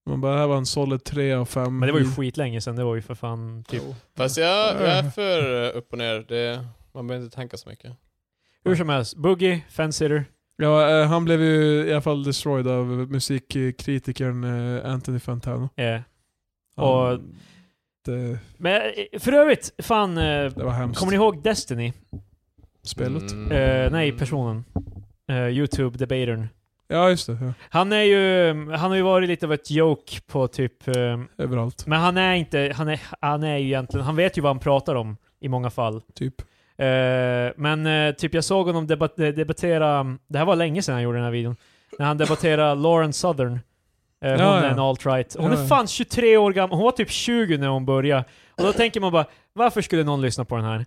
Speaker 2: Man bara, det här var en solid 3 av Mm. 5.
Speaker 1: Eh, Men det var ju skitlänge sedan, det var ju för fan typ...
Speaker 3: Fast jag, jag är för eh, upp och ner. Det, man behöver inte tänka så mycket.
Speaker 1: Hur som helst, Boogie, Fensitter.
Speaker 2: Ja, eh, han blev ju i alla fall destroyed av musikkritikern eh, Anthony Fantano.
Speaker 1: Yeah.
Speaker 2: Han-
Speaker 1: Och-
Speaker 2: det,
Speaker 1: eh, Men eh, för övrigt, fan... eh,
Speaker 2: det var hemskt.
Speaker 1: Kommer ni ihåg Destiny?
Speaker 2: Spelet.
Speaker 3: Mm.
Speaker 1: Eh, nej, personen. Eh, Youtube-debatern.
Speaker 2: Ja, just det. Ja.
Speaker 1: Han är ju... Han har ju varit lite av ett joke på typ... eh,
Speaker 2: Överallt.
Speaker 1: men han är inte... Han är, han är ju egentligen... Han vet ju vad han pratar om i många fall.
Speaker 2: Typ.
Speaker 1: Eh, men eh, typ jag såg honom debat eh, debattera, det här var länge sedan han gjorde den här videon, när han
Speaker 2: (laughs)
Speaker 1: debatterade Lauren Southern. Eh, hon
Speaker 2: Ja, ja.
Speaker 1: är en alt-right. Hon
Speaker 2: Ja,
Speaker 1: är
Speaker 2: ja.
Speaker 1: fan 23 år gammal, hon var typ 20 när hon började. Och då tänker man bara, varför skulle någon lyssna på den här?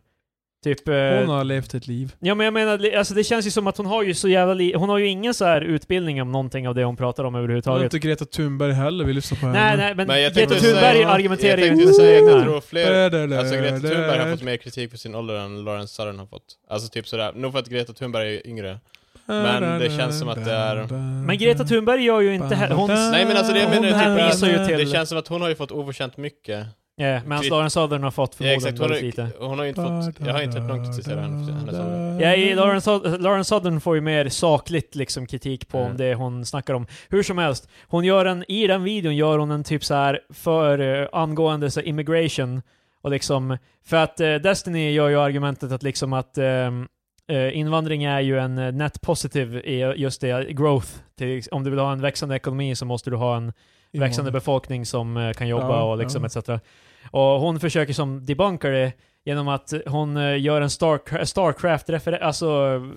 Speaker 1: Typ... eh,
Speaker 2: Hon har levt ett liv.
Speaker 1: Ja men jag menar, li- alltså det känns ju som att hon har ju så jävla li- Hon har ju ingen så här utbildning om någonting av det hon pratar om
Speaker 2: Det var
Speaker 1: överhuvudtaget.
Speaker 2: inte Greta Thunberg heller vi lyssnar på
Speaker 1: Nej nej, men,
Speaker 3: Men jag
Speaker 1: Greta
Speaker 3: tänkte säga-
Speaker 1: Thunberg
Speaker 2: jag
Speaker 1: argumenterar
Speaker 3: jag
Speaker 1: ju
Speaker 3: tänkte
Speaker 1: inte
Speaker 3: säga,
Speaker 1: sina
Speaker 3: jag
Speaker 1: egna.
Speaker 3: tror fler... Alltså Greta Thunberg har fått mer kritik för sin ålder än Lawrence Sutton har fått. Alltså typ sådär. Nog för att Greta Thunberg är yngre. men det känns som att det är-
Speaker 1: Men Greta Thunberg gör ju inte heller... Hon,
Speaker 3: Nej men alltså det jag
Speaker 1: Hon
Speaker 3: menar är
Speaker 1: hänvisar ju
Speaker 3: typ
Speaker 1: till-
Speaker 3: Det känns som att hon har ju fått oförtjänt mycket.
Speaker 1: yeah, medan
Speaker 3: Krit-
Speaker 1: Lauren Southern har fått
Speaker 3: Ja, exakt,
Speaker 1: förmodligen
Speaker 3: hon,
Speaker 1: väldigt lite.
Speaker 3: har, hon har ju inte fått... Jag har inte hört någon kritisera henne för hennes ålder.
Speaker 1: Ja, i
Speaker 2: Mm.
Speaker 1: Lauren, Sud- Lauren Southern får ju mer sakligt liksom kritik på om
Speaker 3: Mm.
Speaker 1: det hon snackar om. Hur som helst, hon gör en, i den videon gör hon en typ så här för eh, angående så här, immigration och liksom, för att eh, Destiny gör ju argumentet att liksom att ehm, eh, invandring är ju en eh, net positive i just det, growth. Till, om du vill ha en växande ekonomi så måste du ha en växande befolkning som eh, kan jobba
Speaker 2: Ja,
Speaker 1: och liksom
Speaker 2: ja.
Speaker 1: etc. Och hon försöker som debunka det genom att hon eh, gör en Starcra- Starcraft-analogi. Alltså,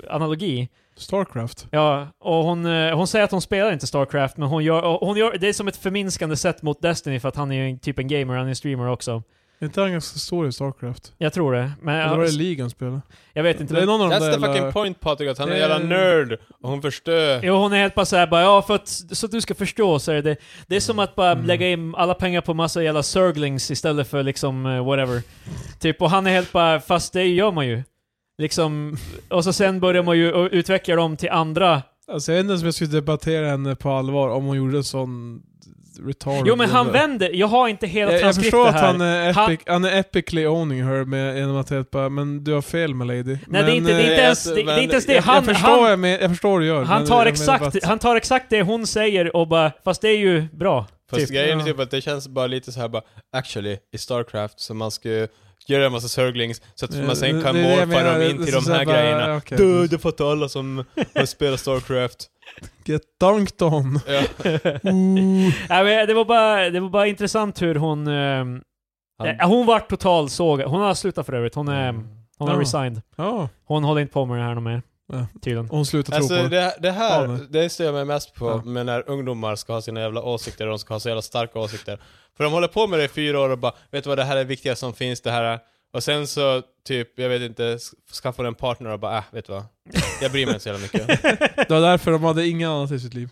Speaker 1: eh, analogi.
Speaker 2: Starcraft.
Speaker 1: ja, och hon, eh, hon säger att hon spelar inte Starcraft, men hon gör, och hon gör det är som ett förminskande sätt mot Destiny för att han är ju en- typ en gamer, han är en streamer också.
Speaker 2: Är inte han ganska stor i Starcraft?
Speaker 1: Jag tror det, men
Speaker 2: Eller var det
Speaker 1: jag,
Speaker 2: ligan spelade?
Speaker 1: jag vet inte.
Speaker 2: Det är
Speaker 1: Men,
Speaker 2: någon av de
Speaker 3: That's
Speaker 2: där
Speaker 3: the fucking
Speaker 2: jävla...
Speaker 3: point Patrik, att han är en
Speaker 2: eh, Det-
Speaker 3: jävla nerd och hon förstör.
Speaker 1: Jo, hon är helt bara såhär bara, ja för att, så att du ska förstå så är det, det är som att bara
Speaker 2: Mm.
Speaker 1: lägga in alla pengar på massa jävla surglings istället för liksom eh, whatever. typ, och han är helt bara, fast det gör man ju. Liksom, och så sen börjar man ju eh, utveckla dem till andra
Speaker 2: Alltså jag vet inte ens om jag skulle debattera henne på allvar om hon gjorde en sån retard.
Speaker 1: Jo men han vänder, jag har inte hela
Speaker 2: jag, jag
Speaker 1: transkriptet
Speaker 2: förstår att
Speaker 1: här.
Speaker 2: han är, epic,
Speaker 1: Han-
Speaker 2: han... är epically owning her med, genom att helt bara, men du har fel med lady. Nej
Speaker 1: Nej det är inte, det är inte
Speaker 3: eh,
Speaker 1: ens
Speaker 3: jag-
Speaker 1: det. det, är inte ens det.
Speaker 2: jag,
Speaker 1: Han,
Speaker 2: jag, förstår vad
Speaker 1: han,
Speaker 2: jag, men, jag förstår vad du gör.
Speaker 1: han,
Speaker 2: men
Speaker 1: tar
Speaker 2: jag menar bara
Speaker 1: exakt,
Speaker 2: att-
Speaker 1: han tar exakt det hon säger och bara, fast det är ju
Speaker 2: (laughs)
Speaker 1: bra.
Speaker 3: Fast
Speaker 1: Typ.
Speaker 3: grejen är
Speaker 2: Ja.
Speaker 3: typ att det känns bara lite så här bara, actually, i Starcraft så man ska göra en massa surglings så att man sen kan
Speaker 2: Eh, Det är det jag
Speaker 3: morfa
Speaker 2: menar,
Speaker 3: dem
Speaker 2: det-
Speaker 3: in
Speaker 2: det
Speaker 3: till
Speaker 2: är
Speaker 3: de
Speaker 2: så
Speaker 3: här
Speaker 2: bara,
Speaker 3: grejerna.
Speaker 2: okej.
Speaker 3: Du, det fattar alla som har spelat Starcraft.
Speaker 2: Get dunked
Speaker 3: (laughs)
Speaker 2: on.
Speaker 1: (laughs)
Speaker 2: (laughs)
Speaker 3: Ja.
Speaker 1: Nej, men det, var bara, det var bara intressant hur hon... ehm,
Speaker 3: Han-
Speaker 1: Eh, Hon var total såg. Hon har slutat för övrigt. Hon, är,
Speaker 2: Mm. eh,
Speaker 1: hon har
Speaker 2: Ja.
Speaker 1: resigned.
Speaker 2: Ja,
Speaker 1: Hon håller inte på med det här någon mer.
Speaker 2: Ja.
Speaker 1: Tydligen.
Speaker 2: och hon slutar tro på
Speaker 3: Alltså
Speaker 2: det.
Speaker 3: det, det här,
Speaker 2: Ja, men-
Speaker 3: det stör jag mig mest på
Speaker 2: Ja.
Speaker 3: med när ungdomar ska ha sina jävla åsikter och de ska ha så jävla starka åsikter. För de håller på med det i fyra år och bara, vet du vad det här är viktiga som finns, det här är... Och sen så typ, jag vet inte, sk- skaffar en partner och bara, äh, vet du vad? Jag bryr mig inte så jävla mycket. (laughs)
Speaker 2: Det var därför de hade inget annat i sitt liv.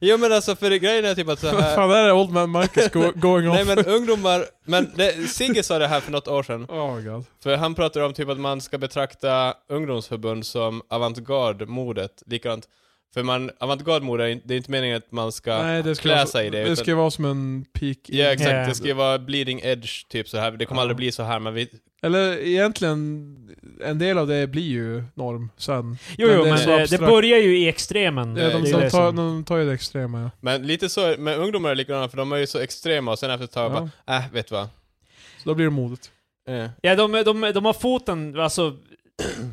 Speaker 3: jo men alltså för grejen är typ att så
Speaker 2: (laughs) Vad
Speaker 3: här...
Speaker 2: fan är det Old Man Marcus
Speaker 3: (laughs)
Speaker 2: go going off?
Speaker 3: Nej men ungdomar, men det, Sigge sa det här för något år sedan.
Speaker 2: (laughs) Oh my god.
Speaker 3: För han pratar om typ att man ska betrakta ungdomsförbund som avantgarde-modet. Likadant. För man, avantgarde-mode, är inte- det är inte meningen att man ska...
Speaker 2: Nej, det ska,
Speaker 3: klä
Speaker 2: vara,
Speaker 3: sig i det,
Speaker 2: det,
Speaker 3: utan-
Speaker 2: ska vara som en peak.
Speaker 3: Ja exakt,
Speaker 1: Yeah.
Speaker 3: det ska ju vara bleeding edge typ så här. Det kommer
Speaker 2: Ja.
Speaker 3: aldrig bli så här men vi...
Speaker 2: Eller egentligen, en del av det blir ju norm sen.
Speaker 1: Jo,
Speaker 2: Men
Speaker 1: jo,
Speaker 2: det
Speaker 1: men
Speaker 2: är
Speaker 1: eh,
Speaker 2: så
Speaker 1: det, det
Speaker 2: abstrakt.
Speaker 1: börjar ju i extremen.
Speaker 2: Ja,
Speaker 3: Nej,
Speaker 2: de,
Speaker 1: Det är
Speaker 2: de,
Speaker 1: det
Speaker 2: tar,
Speaker 1: som-
Speaker 2: de tar ju det extrema ja.
Speaker 3: Men lite så, men ungdomar är likadana för de är ju så extrema och sen efter ett tag
Speaker 2: ja.
Speaker 3: bara, äh, vet du vad?
Speaker 2: Så då blir det modet.
Speaker 3: Eh.
Speaker 1: Ja, de, de, de har foten alltså (clears throat)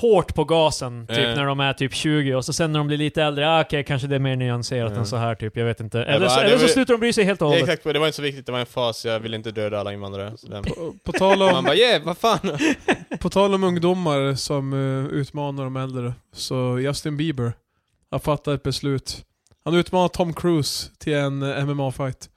Speaker 1: hårt på gasen, typ
Speaker 3: Eh.
Speaker 1: när de är typ 20, och så sen när de blir lite äldre, ah, okej, kanske det är mer nyanserat
Speaker 3: Mm.
Speaker 1: än så här typ, jag vet inte. Eller,
Speaker 3: bara,
Speaker 1: så,
Speaker 3: det
Speaker 1: eller så
Speaker 3: var-
Speaker 1: slutar de bry sig helt och
Speaker 3: Ja,
Speaker 1: hållet.
Speaker 3: exakt, det var inte så viktigt, det var en fas, jag ville inte döda alla invandrare. Så där.
Speaker 2: På, på, tal
Speaker 3: (laughs) Man
Speaker 2: om,
Speaker 3: bara, yeah, vad fan!
Speaker 2: på tal om ungdomar som eh, utmanar de äldre. Så Justin Bieber har fattat ett beslut. Han utmanar Tom Cruise till en eh, MMA-fight.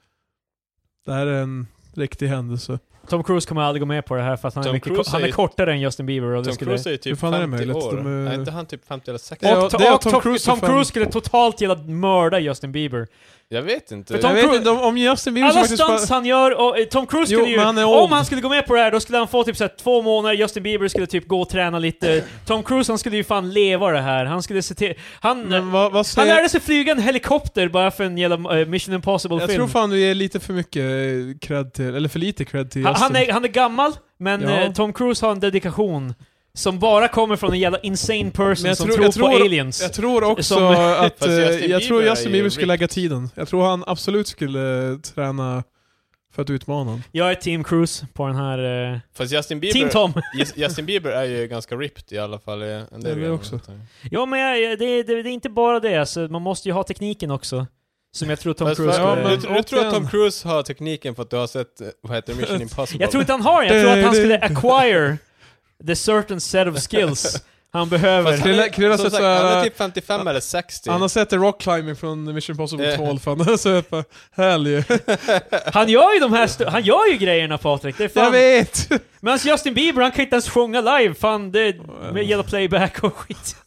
Speaker 2: Det här är en riktig händelse.
Speaker 1: (laughs) Tom Cruise kommer aldrig gå med på det här för att han, är,
Speaker 3: Tom
Speaker 1: mycket,
Speaker 3: Cruise
Speaker 1: ko- han är
Speaker 3: är-
Speaker 1: kortare än Justin Bieber. Och det
Speaker 3: Tom
Speaker 1: skulle...
Speaker 3: Cruise är ju
Speaker 2: Hur
Speaker 3: typ
Speaker 2: fan är det
Speaker 3: 50
Speaker 2: möjligt?
Speaker 3: år.
Speaker 2: De är-
Speaker 3: Är inte han typ 50 eller 60?
Speaker 2: Det är-
Speaker 1: Och,
Speaker 2: det är
Speaker 1: och
Speaker 2: Tom
Speaker 1: Tom,
Speaker 2: Cruise
Speaker 1: Tom
Speaker 2: för fan.
Speaker 1: Cruise skulle totalt gilla mörda Justin Bieber.
Speaker 3: Jag vet inte.
Speaker 1: För Tom
Speaker 2: jag vet
Speaker 1: Cruise-
Speaker 2: inte om, om Justin Bieber
Speaker 1: Alla
Speaker 2: faktiskt bara-
Speaker 1: stunts han gör, och eh, Tom Cruise
Speaker 2: Jo,
Speaker 1: skulle ju...
Speaker 2: men han är old.
Speaker 1: om han skulle gå med på det här, då skulle han få typ så här två månader, Justin Bieber skulle typ gå och träna lite. Tom Cruise, han skulle ju fan leva det här. Han skulle se till... Han...
Speaker 2: Men vad, vad
Speaker 1: Han
Speaker 2: säger...
Speaker 1: lärde sig flyga en helikopter bara för en jävla eh, Mission
Speaker 2: jag
Speaker 1: Impossible-film.
Speaker 2: tror fan du ger lite för mycket eh, cred till, eller för lite cred till
Speaker 1: Han,
Speaker 2: Justin.
Speaker 1: han, är, han är gammal, men
Speaker 2: Ja.
Speaker 1: eh, Tom Cruise har en dedikation som bara kommer från en jävla insane
Speaker 2: Men
Speaker 1: person
Speaker 2: jag
Speaker 1: som
Speaker 2: tror-
Speaker 1: tror,
Speaker 2: jag tror-
Speaker 1: på aliens.
Speaker 2: Jag tror också
Speaker 1: Som- (laughs)
Speaker 2: att...
Speaker 3: Fast
Speaker 2: eh,
Speaker 3: Justin
Speaker 2: jag tror
Speaker 3: Bieber är
Speaker 2: Justin
Speaker 3: ju
Speaker 2: Bieber skulle
Speaker 3: ripped.
Speaker 2: lägga tiden. Jag tror han absolut skulle eh, träna för att utmana honom.
Speaker 1: Jag är Team Cruise på den här... eh,
Speaker 3: Fast Justin
Speaker 1: Team
Speaker 3: Bieber,
Speaker 1: Tom! (laughs)
Speaker 3: Jus- Justin Bieber är ju ganska ripped i alla fall. i En
Speaker 2: Det är
Speaker 3: del
Speaker 2: det
Speaker 3: grejer.
Speaker 2: också.
Speaker 1: Ja men jag- jag- det, det, det är inte bara det, alltså, man måste ju ha tekniken också. Som jag tror Tom
Speaker 3: Fast-
Speaker 1: Cruise
Speaker 3: fast-
Speaker 1: skulle...
Speaker 2: Ja, men-
Speaker 3: du, du tror att Tom
Speaker 2: återigen.
Speaker 3: Cruise har tekniken för att du har sett, eh, vad heter
Speaker 2: (laughs)
Speaker 3: det, Mission Impossible?
Speaker 1: Jag tror inte han har den, jag tror att han skulle acquire the certain set of skills han behöver.
Speaker 3: Fast han,
Speaker 2: Krilla- Krilla
Speaker 3: är, som
Speaker 2: sätter
Speaker 3: sagt, han är
Speaker 2: här-
Speaker 3: typ 55 eller 60.
Speaker 2: Han har sett The Rock Climbing från Mission Impossible
Speaker 3: Eh.
Speaker 2: 2 fan. (laughs) Så jag bara, hell yeah.
Speaker 1: Han gör ju de här... stu- Han gör ju grejerna Patrik, det är
Speaker 2: Jag
Speaker 1: fan...
Speaker 2: vet!
Speaker 1: Men alltså Justin Bieber, han kan inte ens sjunga live, fan det... Med gäller playback och skit.
Speaker 2: (laughs)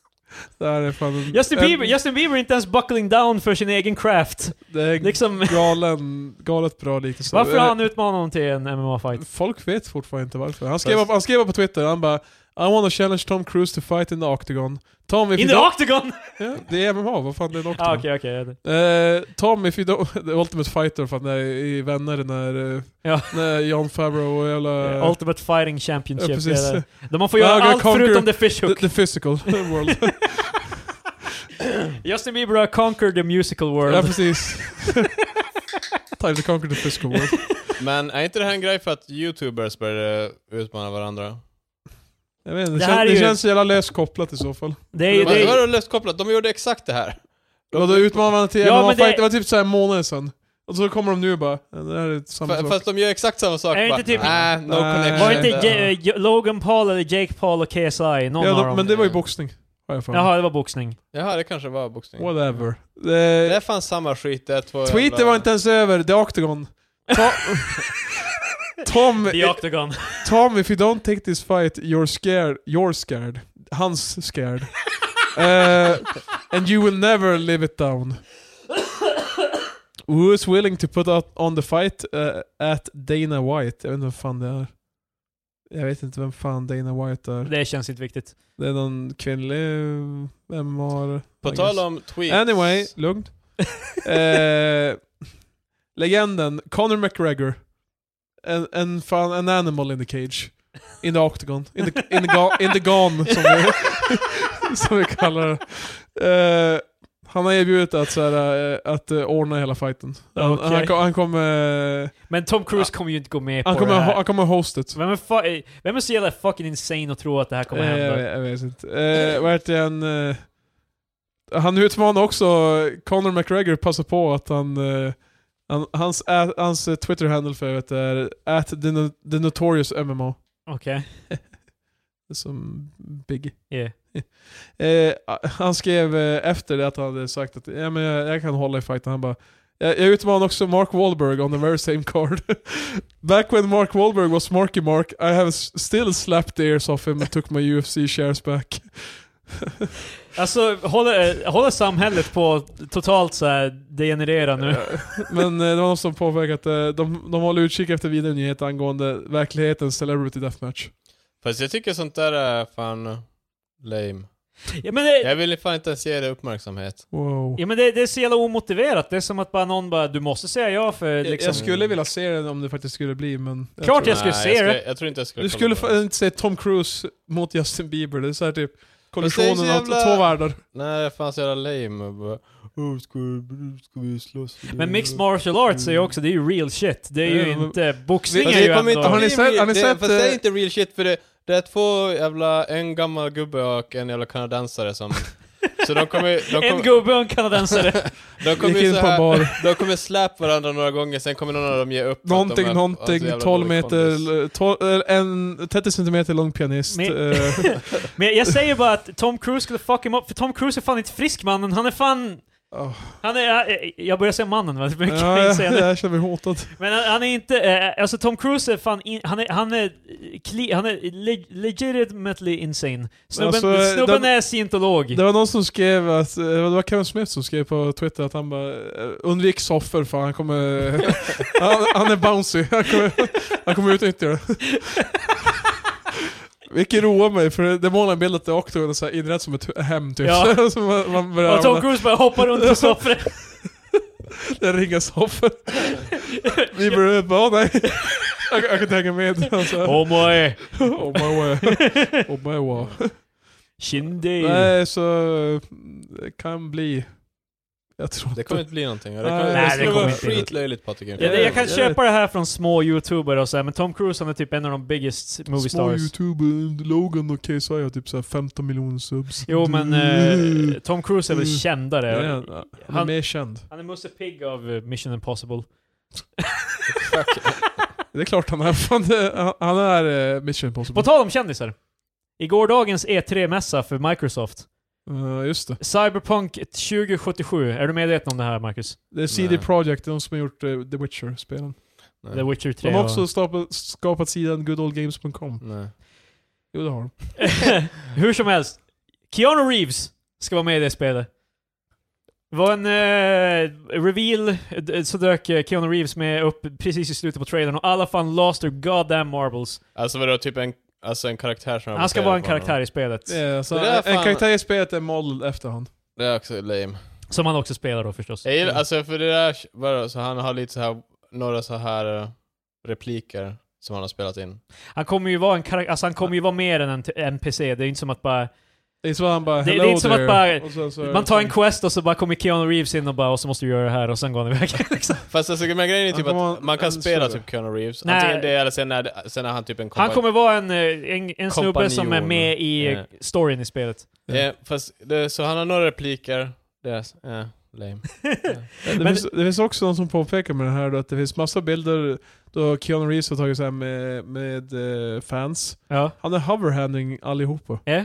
Speaker 2: Det här är fan en,
Speaker 1: Justin Bieber,
Speaker 2: en,
Speaker 1: Justin Bieber är inte ens buckling down för sin egen craft.
Speaker 2: Det är
Speaker 1: Liksom,
Speaker 2: galen, galet bra liknelse.
Speaker 1: varför har
Speaker 2: Eh,
Speaker 1: han utmanat honom till en MMA-fight?
Speaker 2: Folk vet fortfarande inte varför. Han skrev,
Speaker 3: Fast-
Speaker 2: upp, han skrev upp på Twitter, han bara I wanna challenge Tom Cruise to fight in the octagon. Tom if
Speaker 1: In
Speaker 2: you
Speaker 1: the
Speaker 2: don't... (laughs)
Speaker 1: octagon!
Speaker 2: Ja, det är MMA, vad fan det är en octagon?
Speaker 1: Ah, okej, okej. Okay,
Speaker 2: Eh, Tom if you don't... (laughs) The Ultimate Fighter fan, det är i Vänner när, eh,
Speaker 1: Ja.
Speaker 2: när John Favreau och jävla...
Speaker 1: Ultimate Fighting Championship.
Speaker 2: Ja, precis.
Speaker 1: är det. Där man får
Speaker 2: Ja,
Speaker 1: göra
Speaker 2: jag kan
Speaker 1: allt
Speaker 2: conquer-
Speaker 1: förutom the fishhook.
Speaker 2: the, the physical (laughs) world.
Speaker 1: Justin Bieber har conquered the musical
Speaker 2: ja,
Speaker 1: world.
Speaker 2: precis. (laughs) Time to conquer the physical world.
Speaker 3: Men är inte det här en grej för att youtubers började utmana varandra?
Speaker 2: Jag vet,
Speaker 1: Det
Speaker 2: inte, det,
Speaker 1: här
Speaker 2: kän,
Speaker 1: är
Speaker 2: det
Speaker 1: ju-
Speaker 2: känns så jävla löst kopplat i så fall.
Speaker 1: Det är ju...
Speaker 3: Vad
Speaker 1: Det
Speaker 3: vad
Speaker 1: är,
Speaker 3: har du löst kopplat? De gjorde exakt det här.
Speaker 2: Och då utmanade man till
Speaker 1: Ja,
Speaker 2: MMA
Speaker 1: men
Speaker 2: fight,
Speaker 1: det-
Speaker 2: det... var typ såhär en månad sedan. Och så kommer de nu och bara, "Ja, det här är samma
Speaker 3: F-
Speaker 2: sak.
Speaker 3: fast de gör exakt samma sak
Speaker 1: Är det
Speaker 3: bara.
Speaker 1: inte typ-
Speaker 3: Nej, no
Speaker 2: Nej.
Speaker 3: connection.
Speaker 1: var inte
Speaker 2: Ja.
Speaker 1: J- eh, J- Logan Paul eller Jake Paul och KSI? Någon
Speaker 2: eh, ja,
Speaker 1: av
Speaker 2: de,
Speaker 1: dem?
Speaker 2: men det var ju boxning. Har jag för mig.
Speaker 1: Jaha, det var boxning.
Speaker 3: Jaha, det kanske var boxning.
Speaker 2: Whatever.
Speaker 3: Det är
Speaker 2: Det,
Speaker 3: fan samma skit, det är två
Speaker 2: tweeten
Speaker 3: jävla-
Speaker 2: var inte ens över, the octagon. (laughs) Ta- Tom,
Speaker 1: The Octagon.
Speaker 2: Tom, if you don't take this fight, you're scared. You're scared. Hans scared. Eh, and you will never live it down. Who is willing to put out on the fight eh, at Dana White? Jag vet inte vem fan det är. Jag vet inte vem fan Dana White är.
Speaker 1: Det känns inte viktigt.
Speaker 2: Det är någon kvinnlig MMA...
Speaker 3: På tal om tweets.
Speaker 2: Anyway, lugnt. Eh, legenden Conor McGregor. En, en, fan, an animal in the cage. In the octagon. In the, in the, ga, in the gone,
Speaker 1: (laughs)
Speaker 2: som vi, som vi kallar det. Eh, han har erbjudit att, så här, eh, att eh, ordna hela fighten. Han,
Speaker 1: Okej.
Speaker 2: han, kom- han kommer... eh,
Speaker 1: Men Tom Cruise kommer ju inte gå med på det
Speaker 2: Han kommer,
Speaker 1: här.
Speaker 2: han kommer hosta it.
Speaker 1: Vem är, fa- eh, vem är så jävla fucking insane och tror att det här kommer
Speaker 2: Eh,
Speaker 1: hända?
Speaker 2: Jag, vet- jag vet inte. Eh, vad heter han? Eh, han utmanar också Conor McGregor, passar på att han, eh, Han, hans ä- hans eh, Twitter-handle för övrigt är at the, no- the notorious MMO.
Speaker 1: Okej.
Speaker 2: Som Big.
Speaker 1: Yeah.
Speaker 2: Eh, han skrev eh, efter det att han hade sagt att ja, men jag, jag kan hålla i fighten. Han bara jag, jag utmanar också Mark Wahlberg on the very same card. (laughs) Back when Mark Wahlberg was Marky Mark, I have s- still slapped the ears off him and took my UFC shares back.
Speaker 1: Alltså, håller, håller samhället på att totalt så här degenerera nu?
Speaker 2: Eh, (laughs) Men eh, det var någon som påpekade att eh, de, de håller utkik efter vidare nyheter angående verklighetens Celebrity Deathmatch.
Speaker 3: Fast jag tycker sånt där är fan lame.
Speaker 1: Ja men, det,
Speaker 3: Jag vill fan inte ens ge det uppmärksamhet.
Speaker 2: Wow.
Speaker 1: ja, men det, det är så jävla omotiverat. Det är som att bara någon bara 'Du måste säga ja' för
Speaker 2: Jag,
Speaker 1: liksom...
Speaker 2: jag skulle vilja se den om det faktiskt skulle bli, men... jag
Speaker 1: Klart
Speaker 2: tror-
Speaker 1: jag skulle se
Speaker 3: jag,
Speaker 1: det.
Speaker 3: jag tror inte jag skulle
Speaker 2: Du
Speaker 3: kolla
Speaker 2: skulle
Speaker 3: på
Speaker 2: fan
Speaker 3: det.
Speaker 2: inte säga Tom Cruise mot Justin Bieber, det är såhär typ
Speaker 3: Men det är
Speaker 2: kollisionen
Speaker 3: så
Speaker 2: av
Speaker 3: jävla-
Speaker 2: två världar.
Speaker 3: Nej, det är fan så jävla lame. och bara, "Åh, ska, vi- ska vi slåss? för det?"
Speaker 1: Men mixed martial arts är ju också, det är ju real shit. Det är ju
Speaker 2: Ja, men-
Speaker 1: inte... Boxning
Speaker 3: Fast
Speaker 1: är ju
Speaker 3: det kommer
Speaker 1: ändå...
Speaker 3: inte
Speaker 2: Har ni
Speaker 3: bli
Speaker 2: sett- har ni
Speaker 3: real- det-
Speaker 2: sett,
Speaker 3: Fast det är
Speaker 2: eh,
Speaker 3: inte real shit för det, det är två jävla, en gammal gubbe och en jävla kanadensare
Speaker 1: (laughs)
Speaker 3: som... så de kommer de
Speaker 1: En
Speaker 3: kommer,
Speaker 1: gubbe och en kanadensare.
Speaker 3: de kommer
Speaker 2: Gick
Speaker 3: ju
Speaker 2: in
Speaker 3: så
Speaker 2: på en
Speaker 3: här,
Speaker 2: bar.
Speaker 3: de kommer släpa varandra några gånger, sen kommer någon av dem ge upp. för att de
Speaker 2: Någonting,
Speaker 3: är- har så
Speaker 2: någonting,
Speaker 3: jävla
Speaker 2: 12
Speaker 3: dålig
Speaker 2: meter, eh,
Speaker 3: kondis.
Speaker 2: 12, eh, en 30 centimeter lång pianist.
Speaker 1: Men-
Speaker 2: eh,
Speaker 1: Men jag säger bara att Tom Cruise skulle fuck him up, för Tom Cruise är fan inte frisk mannen, han är fan...
Speaker 2: ah.
Speaker 1: Han är... jag- Jag börjar säga mannen väldigt mycket,
Speaker 2: (laughs) ja,
Speaker 1: jag säga
Speaker 2: jag,
Speaker 1: nu.
Speaker 2: jag känner mig hotad.
Speaker 1: Men han, han är inte... Eh, alltså Tom Cruise är fan... In, han är... Han är, cle- han är leg, legitimately insane. Snubben,
Speaker 2: Alltså, eh,
Speaker 1: snubben
Speaker 2: den-
Speaker 1: är scientolog.
Speaker 2: Det var någon som skrev att, eh, det var Kevin Smith som skrev på Twitter att han bara eh, undvik soffor för han kommer, (laughs) han, han är bouncy, (laughs) han kommer, han kommer utnyttja det. (laughs) Vilket roar mig för det målar en bild att det är Octagon är så här inrett som ett hu- hem typ. (laughs)
Speaker 1: Ja.
Speaker 2: Så man, man börjar
Speaker 1: och Tom
Speaker 2: använda
Speaker 1: Cruise bara hoppar runt på soffan.
Speaker 2: den ringa soffor. Vi börjar bara, åh nej. (laughs) Jag, jag kan inte hänga med. Han så här,
Speaker 1: Oh (laughs) my!
Speaker 2: alltså. (laughs) Oh my way. Oh my way.
Speaker 1: Shindale.
Speaker 2: Nej så, eh, det kan bli. Jag tror
Speaker 3: Det
Speaker 2: inte-
Speaker 3: kommer inte bli någonting. Det
Speaker 2: Nej, det
Speaker 3: kommer, skulle
Speaker 1: kommer
Speaker 3: vara
Speaker 1: inte bli något.
Speaker 3: skitlöjligt Patrik
Speaker 1: Ja, det, jag kan
Speaker 2: jag
Speaker 1: köpa det här från små youtubers och så här, men Tom Cruise han är typ en av de biggest movie
Speaker 2: Små
Speaker 1: stars.
Speaker 2: youtube, Logan och KSI har typ så här 15 miljoner subs.
Speaker 1: Jo men eh, Tom Cruise är väl
Speaker 2: Mm.
Speaker 1: kändare.
Speaker 2: Ja, ja, ja. han är
Speaker 1: Han-
Speaker 2: mer känd.
Speaker 1: Han är Musse Pigg av eh, Mission Impossible.
Speaker 2: Det är klart han är. (laughs) Fan, det, han är eh, Mission Impossible.
Speaker 1: (laughs) På tal om kändisar. I gårdagens E3-mässa för Microsoft.
Speaker 2: Eh, just det.
Speaker 1: Cyberpunk 2077. Är du medveten om det här Marcus?
Speaker 2: Det är CD
Speaker 3: Nej.
Speaker 2: Projekt, de som har gjort eh, The Witcher-spelen.
Speaker 3: Nej.
Speaker 1: The Witcher 3.
Speaker 2: De har
Speaker 1: och-
Speaker 2: också skapat, skapat sidan goodoldgames.com.
Speaker 3: Nej.
Speaker 2: Jo det har de.
Speaker 1: (laughs) Hur som helst. Keanu Reeves ska vara med i det spelet. Det var en eh, reveal, eh, så dök eh, Keanu Reeves med upp precis i slutet på trailern och alla fan lost their goddamn marbles.
Speaker 3: Alltså vadå, typ en, alltså en karaktär som jag
Speaker 1: Han ska
Speaker 3: baserar
Speaker 1: vara en
Speaker 3: på
Speaker 1: karaktär
Speaker 3: honom.
Speaker 1: i spelet.
Speaker 2: Eh, så
Speaker 3: Det där är
Speaker 2: en
Speaker 3: fan-
Speaker 2: karaktär i spelet är modelled efter han.
Speaker 3: Det är också lame.
Speaker 1: Som han också spelar då förstås.
Speaker 3: Jag
Speaker 2: Mm.
Speaker 3: gillar, alltså för det där, vadå, så han har lite så här, några så här eh, repliker som han har spelat in.
Speaker 1: Han kommer ju vara en karak- alltså han kommer ju vara mer än en t- NPC. Det är inte som att bara...
Speaker 2: Det är så han bara
Speaker 1: Det- det är
Speaker 2: hello
Speaker 1: inte som att
Speaker 2: there.
Speaker 1: bara-
Speaker 2: Och sen så är det
Speaker 1: Man tar en
Speaker 2: liksom-
Speaker 1: quest och så bara kommer Keanu Reeves in och bara och så måste du göra det här och sen går han iväg. (laughs) liksom.
Speaker 3: Fast alltså, men grejen är
Speaker 2: Han
Speaker 3: typ
Speaker 2: kommer
Speaker 3: att
Speaker 2: vara
Speaker 3: man kan
Speaker 2: en
Speaker 3: spela
Speaker 2: större.
Speaker 3: typ Keanu Reeves.
Speaker 1: Nej.
Speaker 3: Antingen det eller sen är, det- sen är han typ en
Speaker 1: Han
Speaker 3: kompan-
Speaker 1: kommer vara en, eh, en, en snubbe som är
Speaker 3: Kompanjon.
Speaker 1: med i eh,
Speaker 3: Ja.
Speaker 1: storyn i spelet.
Speaker 3: eh, Fast det, så han har några repliker. Det är, eh,
Speaker 2: (laughs)
Speaker 3: lame.
Speaker 2: Det,
Speaker 1: Men-
Speaker 2: finns, det finns också någon som påpekar med det här då, att det finns massa bilder då Keanu Reeves har tagit så här med, med eh, fans.
Speaker 1: Ja.
Speaker 2: Han är hoverhanding allihopa.
Speaker 1: Ja.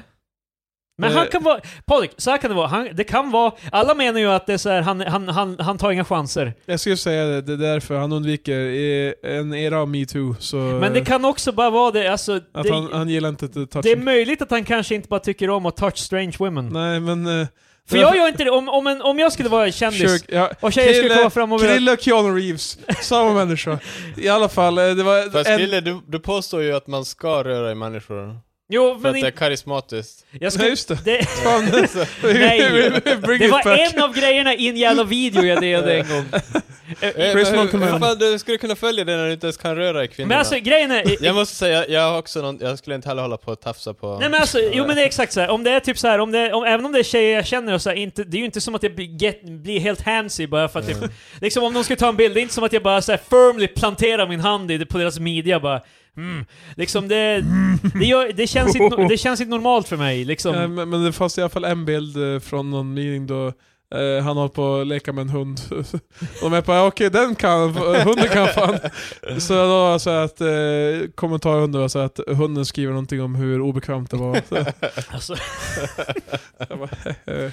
Speaker 1: Men
Speaker 2: Eh.
Speaker 1: han kan vara... Patrik, så här kan det vara. Han, det kan vara... Alla menar ju att det är så här, han, han, han, han tar inga chanser.
Speaker 2: Jag skulle säga det, det är därför han undviker eh, en era av metoo. Så
Speaker 1: Men det kan också bara vara det, alltså...
Speaker 2: att
Speaker 1: det,
Speaker 2: Eh. han, han gillar inte att toucha.
Speaker 1: det är möjligt att han kanske inte bara tycker om att touch strange women.
Speaker 2: Nej men... eh,
Speaker 1: För jag gör inte det. Om, om, en, om jag skulle vara kändis
Speaker 2: Försök, ja,
Speaker 1: och tjejer skulle
Speaker 2: Krille-
Speaker 1: komma fram och vilja...
Speaker 2: Krille och Keanu Reeves, samma människa. I alla fall, eh, det var
Speaker 3: Fast
Speaker 2: en...
Speaker 3: Krille, du, du påstår ju att man ska röra i människor.
Speaker 1: Jo,
Speaker 3: För att
Speaker 1: men
Speaker 3: det är
Speaker 1: inte...
Speaker 3: karismatiskt.
Speaker 1: Jag
Speaker 2: Nej
Speaker 1: skulle...
Speaker 2: just det.
Speaker 1: Det,
Speaker 2: (laughs) Fan, alltså.
Speaker 1: (laughs)
Speaker 2: (laughs)
Speaker 1: Nej.
Speaker 2: Bring
Speaker 1: det
Speaker 2: it
Speaker 1: var
Speaker 2: back.
Speaker 1: en av grejerna i en jävla video jag delade en
Speaker 2: (laughs)
Speaker 1: gång.
Speaker 3: Eh,
Speaker 2: Chris
Speaker 3: men hur-
Speaker 2: Monk-
Speaker 3: hur fan, Du skulle kunna följa det när du inte ens kan röra i kvinnorna.
Speaker 1: Men alltså grejen är...
Speaker 3: Jag måste säga, jag har också någon, jag skulle inte heller hålla på och tafsa på...
Speaker 1: Nej men alltså, jo men det är exakt så här. om det är typ så här, om det är, om, även om det är tjejer jag känner och så här, inte, det är ju inte som att jag blir get, blir helt handsy bara för att typ, liksom om någon ska ta en bild, det är inte som att jag bara så här firmly planterar min hand i, på deras midja bara mm. Liksom det, det, gör, det, känns inte, no- det känns inte normalt för mig liksom.
Speaker 2: Ja, men, men det fanns i alla fall en bild eh, från någon meeting då Eh, han håller på att leka med en hund. (laughs) De är bara, okej den kan, hunden kan fan. Så då sa jag att, eh, kommentarhunden var så att hunden skriver någonting om hur obekvämt
Speaker 1: (laughs)
Speaker 2: det var. Så,
Speaker 1: Alltså,
Speaker 2: jag bara, eh,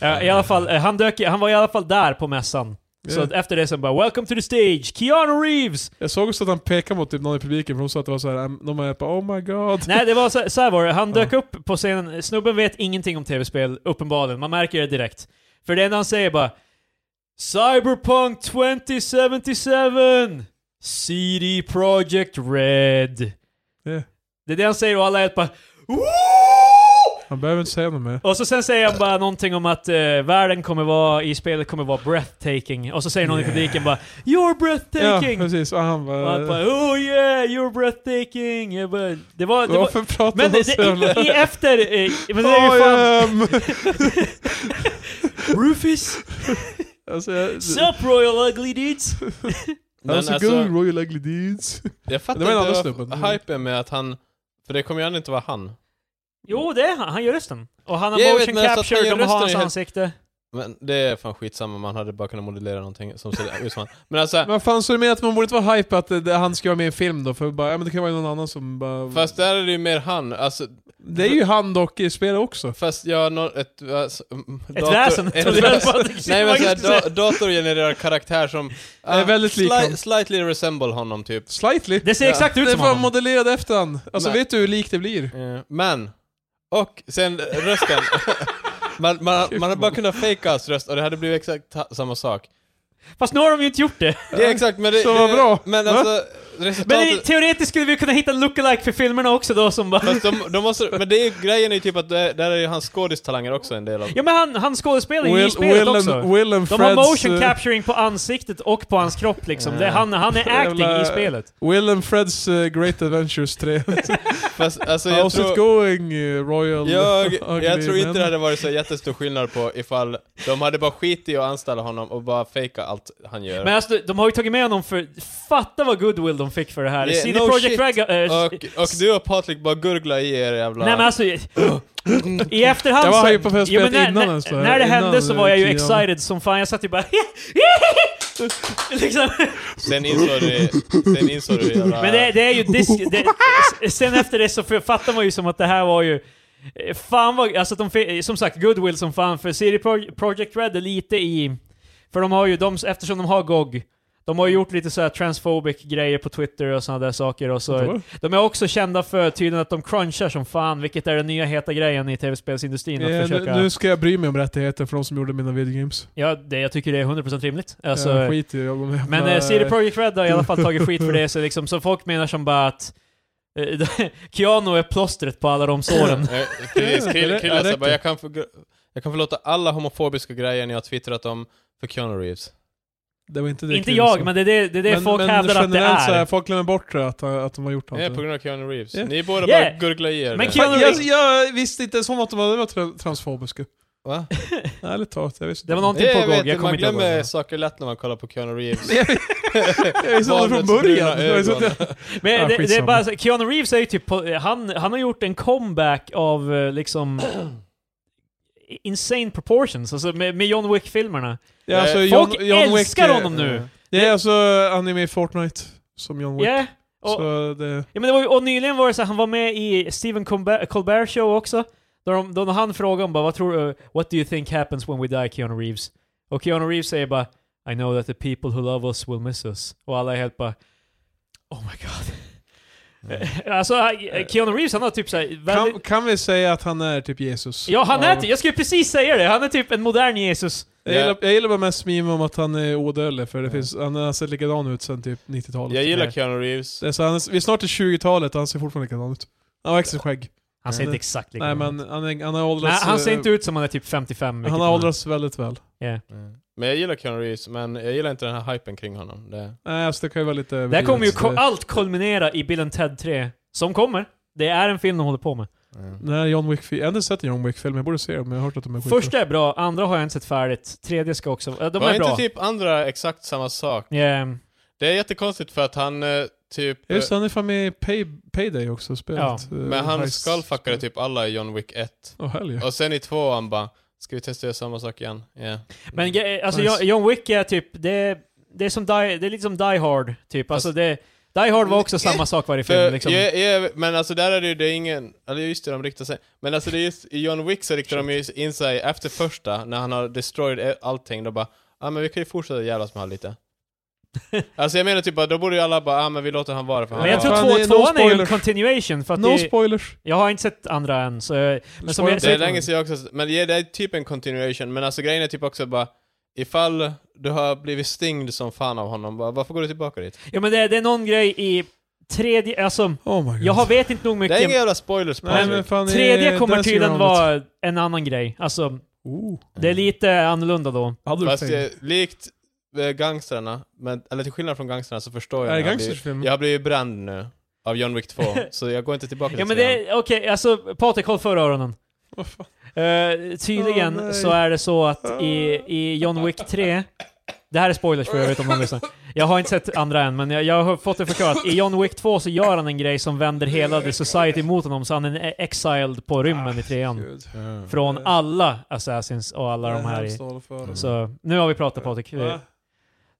Speaker 1: ja, I alla fall, eh, han, dök, i- han var i alla fall där på mässan. Så
Speaker 2: Ja.
Speaker 1: att efter det sen bara 'Welcome to the stage, Keanu Reeves!'
Speaker 2: jag såg också att han pekade mot typ någon i publiken, för de sa att det var så här, de är bara, oh my god.
Speaker 1: (laughs) Nej, det var så, så här var det. Han dök upp på scenen. Snubben vet ingenting om tv-spel, uppenbarligen. Man märker det direkt. För det enda han säger bara Cyberpunk 2077! CD Projekt Red.
Speaker 2: Ja.
Speaker 1: Det är det han säger och alla är bara Woo!
Speaker 2: Han behöver inte säga något mer.
Speaker 1: Och så sen säger han bara någonting om att eh, världen kommer vara, i spelet kommer vara breathtaking. Och så säger någon i publiken bara You're breathtaking!
Speaker 2: Ja, precis. Och han
Speaker 1: och han bara
Speaker 2: bara...
Speaker 1: Oh yeah, you're breathtaking! Jag bara, det var... Det var
Speaker 2: Varför pratar
Speaker 1: men
Speaker 2: han
Speaker 1: det,
Speaker 2: så jävla... (laughs)
Speaker 1: det, i, i efter... eh, Men det är ju fan...
Speaker 2: I am... (laughs)
Speaker 1: Rufus?
Speaker 2: Alltså, jag,
Speaker 1: Sup Royal Ugly
Speaker 2: (laughs)
Speaker 1: Dudes?
Speaker 2: I'm
Speaker 3: Men
Speaker 2: so
Speaker 3: alltså-
Speaker 2: good, royal ugly deeds.
Speaker 3: Jag fattar
Speaker 2: Det var en annan
Speaker 3: inte
Speaker 2: snubbe.
Speaker 3: vad hypen med att han... För det kommer ju ändå inte vara han.
Speaker 1: Jo, det är han. Han gör rösten. Och han har
Speaker 3: Jag
Speaker 1: motion
Speaker 3: vet, men så att han
Speaker 1: capture,
Speaker 3: gör
Speaker 1: de har
Speaker 3: rösten
Speaker 1: hans
Speaker 3: är helt-
Speaker 1: ansikte.
Speaker 3: Men det är fan skitsamma, man hade bara kunnat modellera någonting som ser (laughs) ut som han. Men alltså,
Speaker 2: Men fan, så du menar att man borde inte vara hype att eh, det, han ska vara med i en film då? För bara, ja men det kan vara någon annan som bara...
Speaker 3: fast där är det ju mer han. Alltså,
Speaker 2: det är ju han dock i spelet också.
Speaker 3: fast jag har nå- ett... Alltså,
Speaker 1: Ett
Speaker 3: (laughs)
Speaker 1: väsen.
Speaker 3: Ett
Speaker 1: (laughs) trodde jag
Speaker 3: väsen.
Speaker 1: bara att det-
Speaker 2: (laughs)
Speaker 3: Nej men
Speaker 1: vad jag skulle
Speaker 3: såhär, da-
Speaker 1: säga.
Speaker 3: dator genererar karaktär som...
Speaker 2: är
Speaker 3: ah,
Speaker 2: väldigt lik honom.
Speaker 3: Slightly resemble honom typ.
Speaker 2: Slightly.
Speaker 1: Det ser exakt ut
Speaker 2: Det är
Speaker 1: som
Speaker 2: fan
Speaker 1: honom.
Speaker 2: modellerad efter han. Alltså
Speaker 3: Nej.
Speaker 2: vet du hur likt det blir?
Speaker 3: Eh, Men, och sen rösten. (laughs) man, man, man hade bara kunnat fejka hans röst och det hade blivit exakt ta- samma sak.
Speaker 1: Fast nu har de ju inte gjort det.
Speaker 3: Det är exakt, men det...
Speaker 2: Så vad bra.
Speaker 3: Men
Speaker 2: Va?
Speaker 3: alltså,
Speaker 1: Men i-
Speaker 3: resultatet...
Speaker 1: teoretiskt skulle vi kunna hitta en lookalike för filmerna också då som bara...
Speaker 3: Fast de, de måste, men det är, ju- grejen är ju typ att det, där är ju hans skådistalanger också en del av.
Speaker 1: Ja men han, han skådespelar ju i spelet
Speaker 2: Will,
Speaker 1: också.
Speaker 2: and, Will and
Speaker 1: de har
Speaker 2: Freds...
Speaker 1: motion
Speaker 2: eh,
Speaker 1: capturing på ansiktet och på hans kropp liksom. Det, han, han är acting
Speaker 2: Jävla-
Speaker 1: i spelet.
Speaker 2: Will and Freds eh, Great Adventures 3.
Speaker 3: Fast, alltså, jag,
Speaker 2: How's it
Speaker 3: tror,
Speaker 2: going, eh,
Speaker 1: (laughs)
Speaker 2: Royal
Speaker 3: jag,
Speaker 2: (laughs) ugly
Speaker 3: jag tror inte
Speaker 2: man?
Speaker 3: det hade varit så jättestor skillnad på ifall de hade bara skit i att anställa honom och bara fejka allt han gör.
Speaker 1: Men alltså, de har ju tagit med honom för... Fatta vad goodwill de fick för det här.
Speaker 3: Yeah,
Speaker 1: CD
Speaker 3: no
Speaker 1: Projekt
Speaker 3: shit.
Speaker 1: Red... eh,
Speaker 3: och, och du och Patrik bara gurgla i er jävla...
Speaker 1: Nej men alltså, i- i efterhand
Speaker 2: Jag var hype på
Speaker 1: så...
Speaker 2: spelet
Speaker 1: Jo, men när,
Speaker 2: innan
Speaker 1: när,
Speaker 2: ens det här.
Speaker 1: när det
Speaker 2: Innan
Speaker 1: hände så var jag ju
Speaker 2: tian.
Speaker 1: excited som fan, jag satt ju bara (laughs) liksom.
Speaker 3: Sen insåg du... Sen insåg du jävla...
Speaker 1: Men det, det är ju disk... Det, s- sen efter det så för- fattar man ju som att det här var ju... eh, Fan vad... Alltså de, fi- som sagt, goodwill som fan, för CD Pro- Projekt Red är lite i... För de har ju, de, eftersom de har GOG, de har ju gjort lite så här transphobic grejer på Twitter och sådana där saker och så... De är också kända för tydligen att de crunchar som fan, vilket är den nya heta grejen i tv-spelsindustrin. Att
Speaker 2: Eh,
Speaker 1: försöka...
Speaker 2: nu, nu ska jag bry mig om rättigheter för de som gjorde mina videogames.
Speaker 1: Ja, det, jag tycker det är 100% rimligt. Alltså,
Speaker 2: jag skiter i om jag
Speaker 1: men eh, CD Projekt Red har i alla fall tagit skit för
Speaker 2: (laughs)
Speaker 1: det, så, liksom, så folk menar som bara att eh, (laughs) Keanu är plåstret på alla de såren.
Speaker 3: Eh, Precis,
Speaker 2: Ja,
Speaker 3: Krill-
Speaker 2: det
Speaker 3: Krille sa
Speaker 2: räcker.
Speaker 3: bara jag kan, för, jag kan förlåta alla homofobiska grejer ni har twittrat om för Keanu Reeves.
Speaker 2: Det var inte (laughs) det
Speaker 1: Inte
Speaker 2: kul,
Speaker 1: jag,
Speaker 2: så.
Speaker 1: men det är det, det, är det
Speaker 2: Men-
Speaker 1: folk
Speaker 2: men
Speaker 1: hävdar att det
Speaker 2: generellt Så här,
Speaker 1: är.
Speaker 2: folk glömmer bort det, att, att de har gjort allt
Speaker 3: Nej,
Speaker 2: det.
Speaker 3: på grund av Keanu Reeves.
Speaker 2: Ja.
Speaker 3: Ni båda
Speaker 1: Yeah.
Speaker 3: bara gurgla i er.
Speaker 1: Men
Speaker 3: det.
Speaker 1: Keanu-
Speaker 2: Fan, jag, jag visste inte ens om att de hade varit tra- transfobiska.
Speaker 3: Va?
Speaker 2: Ärligt talat, jag visste
Speaker 1: Det var någonting
Speaker 3: Nej,
Speaker 1: på
Speaker 3: jag
Speaker 1: GOG,
Speaker 3: vet,
Speaker 1: jag kommer
Speaker 3: Man
Speaker 1: inte ihåg. vad det
Speaker 3: glömmer
Speaker 1: var.
Speaker 3: saker lätt när man kollar på Keanu
Speaker 1: (laughs)
Speaker 3: Reeves.
Speaker 2: Jag visste det från
Speaker 3: Barnets bruna
Speaker 2: början. Det var så att jag-
Speaker 3: ögon.
Speaker 1: Men
Speaker 2: Ja,
Speaker 1: det, det är
Speaker 2: skitsamma.
Speaker 1: bara, så- Keanu Reeves är ju typ, på, eh, han, han har gjort en comeback av eh,
Speaker 2: (clears throat)
Speaker 1: liksom insane proportions, alltså med, med John Wick-filmerna.
Speaker 2: Ja, alltså,
Speaker 3: Folk
Speaker 2: John- John Wick,
Speaker 1: Eh, älskar
Speaker 2: eh,
Speaker 1: honom nu.
Speaker 2: eh, Det
Speaker 1: Det-
Speaker 2: är alltså, han är med i Fortnite, som John Wick.
Speaker 1: Yeah. Och,
Speaker 2: Så det...
Speaker 1: Ja, men det var, ju- och nyligen var det så här, han var med i Stephen Colbert, Colbert show också. Då, de, då han frågade om bara, vad tror du, what do you think happens when we die Keanu Reeves? Och Keanu Reeves säger bara, I know that the people who love us will miss us. Och alla är helt bara, oh my god. (laughs) alltså, eh, Keanu Reeves han har typ såhär,
Speaker 2: Kan,
Speaker 1: väldigt...
Speaker 2: Mm. kan vi säga att han är typ Jesus?
Speaker 1: Ja, han är
Speaker 2: Av-
Speaker 1: typ, jag skulle precis säga det, han är typ en modern Jesus.
Speaker 2: Jag gillar, jag gillar bara mest meme om att han är odödlig, för det finns, han har sett likadan ut sen typ 90-talet.
Speaker 3: Jag gillar Keanu Reeves.
Speaker 2: Det är så han, är- vi är snart i 20-talet och han ser fortfarande likadan ut. Han har extra skägg.
Speaker 1: Han ser
Speaker 2: Mm.
Speaker 1: inte exakt
Speaker 2: Nej
Speaker 1: likadan
Speaker 2: men
Speaker 1: ut.
Speaker 2: han, är, han har åldrats...
Speaker 1: Nej, han ser
Speaker 2: eh,
Speaker 1: inte ut som han är typ 55. vilket
Speaker 2: Han har åldrats väldigt väl.
Speaker 3: Mm. Men jag gillar Keanu Reeves, men jag gillar inte den här hypen kring honom. Det,
Speaker 2: Nej alltså det kan ju vara lite...
Speaker 1: Där kommer ju
Speaker 2: överdrivet,
Speaker 1: ko-
Speaker 2: eh.
Speaker 1: allt kulminera i Bill and Ted 3, som kommer. Det är en film de håller på med.
Speaker 2: Nej, John Wick... Jag har inte sett en John Wick-film, jag borde se dem, men jag har hört att de är skitbra.
Speaker 1: Första är bra, andra har jag inte sett färdigt. Tredje ska också... eh, De
Speaker 3: var
Speaker 1: är bra.
Speaker 3: inte typ andra exakt samma sak?
Speaker 1: Ehm,
Speaker 3: Det är jättekonstigt för att han eh, typ...
Speaker 2: Just det, han är fan med i pay, Payday också, spelet.
Speaker 1: Ja,
Speaker 2: eh,
Speaker 3: Men han
Speaker 2: heist-
Speaker 3: skullfuckade typ alla i John Wick 1.
Speaker 2: Åh helg.
Speaker 3: Och sen i tvåan bara Ska vi testa att göra samma sak igen? Ja.
Speaker 1: Men
Speaker 3: Mm.
Speaker 1: ge- alltså,
Speaker 2: Nice.
Speaker 1: John- John Wick är typ, det, det, är som die, det är lite som Die Hard, typ. Alltså
Speaker 3: Fast-
Speaker 1: det, Die Hard var också samma sak varje film,
Speaker 3: För-
Speaker 1: liksom.
Speaker 3: Eh, ja, ja, men alltså där är det ju det är ingen, eller just det, de riktar sig. Men alltså det är just, i John Wick så riktar de ju in sig efter första, när han har destroyed e- allting, då bara ja ah, men vi kan ju fortsätta jävlas med han
Speaker 1: (laughs)
Speaker 3: lite. alltså jag menar typ bara, då borde ju alla bara ja ah, men vi låter han vara för han
Speaker 1: Men jag
Speaker 3: var-
Speaker 1: tror
Speaker 2: Fan,
Speaker 1: två,
Speaker 2: det är no
Speaker 1: tvåan är ju en
Speaker 2: spoilers.
Speaker 1: continuation, för att
Speaker 2: No
Speaker 1: det,
Speaker 2: spoilers.
Speaker 1: jag har inte sett andra än, så... eh, Men som jag,
Speaker 3: Det är
Speaker 1: sett-
Speaker 3: länge sedan jag också, men ja, det är typ en continuation, men alltså grejen är typ också bara Ifall du har blivit stingd som fan av honom, bara, varför går du tillbaka dit?
Speaker 1: ja, men det, det är någon grej i tredje, alltså...
Speaker 2: Oh my god.
Speaker 1: Jag har vet inte nog
Speaker 3: Det är
Speaker 1: mycket.
Speaker 3: inga jävla spoilers på
Speaker 2: Nej, men fan,
Speaker 1: Tredje
Speaker 2: i
Speaker 1: kommer
Speaker 2: Dancing
Speaker 1: tydligen
Speaker 2: Around
Speaker 1: vara en annan grej. Alltså,
Speaker 2: it. Oh,
Speaker 1: det är lite annorlunda då.
Speaker 2: other
Speaker 3: Fast
Speaker 2: thing.
Speaker 3: eh, likt eh, gangstrarna, men, eller till skillnad från gangstrarna så förstår jag
Speaker 2: är det
Speaker 3: när jag blir,
Speaker 2: gangstersfilm?
Speaker 3: jag blir ju bränd nu av
Speaker 2: (laughs)
Speaker 3: John Wick 2, så jag går inte tillbaka
Speaker 1: Ja men
Speaker 3: trean.
Speaker 1: det, okej, alltså Patrik håll för öronen.
Speaker 2: Vad fan?
Speaker 1: Eh, tydligen
Speaker 2: Åh, nej.
Speaker 1: så är det så att i, i John Wick 3, det här är spoilers för jag vet om någon lyssnar. Jag har inte sett andra än, men jag, jag har fått det förklarat. I John Wick 2 så gör han en grej som vänder hela The Society mot honom, så han är exiled på
Speaker 2: Ah,
Speaker 1: rymmen i trean.
Speaker 2: Gud.
Speaker 3: Mm.
Speaker 1: Från alla Assassins och alla de
Speaker 2: Det
Speaker 1: här. I. Mm.
Speaker 2: hemskt att hålla för oss.
Speaker 1: Så nu har vi pratat Patrik.
Speaker 2: Va?
Speaker 1: Det,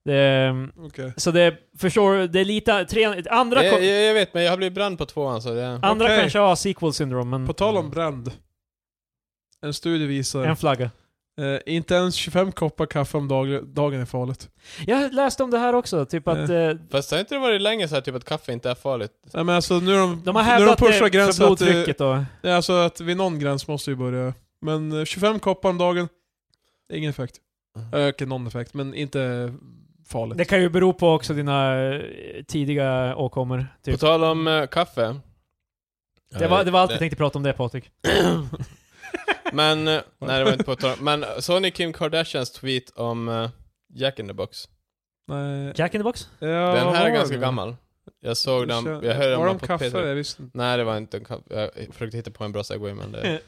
Speaker 1: det, ehm,
Speaker 2: Okej.
Speaker 1: så det, förstår du, det är lite, trean, andra,
Speaker 3: jag,
Speaker 1: ko-
Speaker 3: jag, jag vet, men jag har blivit bränd på tvåan så det...
Speaker 1: andra
Speaker 2: Okej.
Speaker 1: kanske har sequel syndrome, men
Speaker 2: På tal om brand. En studie visar
Speaker 1: en flagga.
Speaker 2: eh, inte ens 25 koppar kaffe om dag, dagen är farligt.
Speaker 1: Jag läste om det här också, typ att
Speaker 2: Ja.
Speaker 1: eh,
Speaker 3: Fast har inte det varit länge så här typ att kaffe inte är farligt?
Speaker 2: Nej, men alltså, nu är de,
Speaker 1: De har
Speaker 2: nu är de
Speaker 1: hävdat det
Speaker 2: pushar
Speaker 1: för
Speaker 2: gränsen att, det-
Speaker 1: blodtrycket då.
Speaker 2: det är alltså att vid någon gräns måste vi börja. Men eh, 25 koppar om dagen, ingen effekt.
Speaker 3: Mm.
Speaker 2: Ökar någon effekt, men inte farligt.
Speaker 1: Det kan ju bero på också dina eh, tidiga åkommor.
Speaker 3: På
Speaker 1: Typ.
Speaker 3: tal om eh, kaffe.
Speaker 1: Det var, det var allt jag tänkte prata om det Patrik.
Speaker 3: (clears throat) Men, eh, nej det var inte på tal Men eh, såg ni Kim Kardashians tweet om eh, Jack in the box?
Speaker 2: Nej.
Speaker 1: Jack in the box?
Speaker 2: Ja,
Speaker 3: Den
Speaker 2: vad
Speaker 3: här
Speaker 2: var
Speaker 3: är ganska
Speaker 2: det?
Speaker 3: gammal. Jag såg den, jag hörde
Speaker 2: Var
Speaker 3: den
Speaker 2: de
Speaker 3: på
Speaker 2: kaffe?
Speaker 3: Twitter.
Speaker 2: Jag visste inte.
Speaker 3: Nej det var inte en kaffe, jag försökte hitta på en bra segway men det...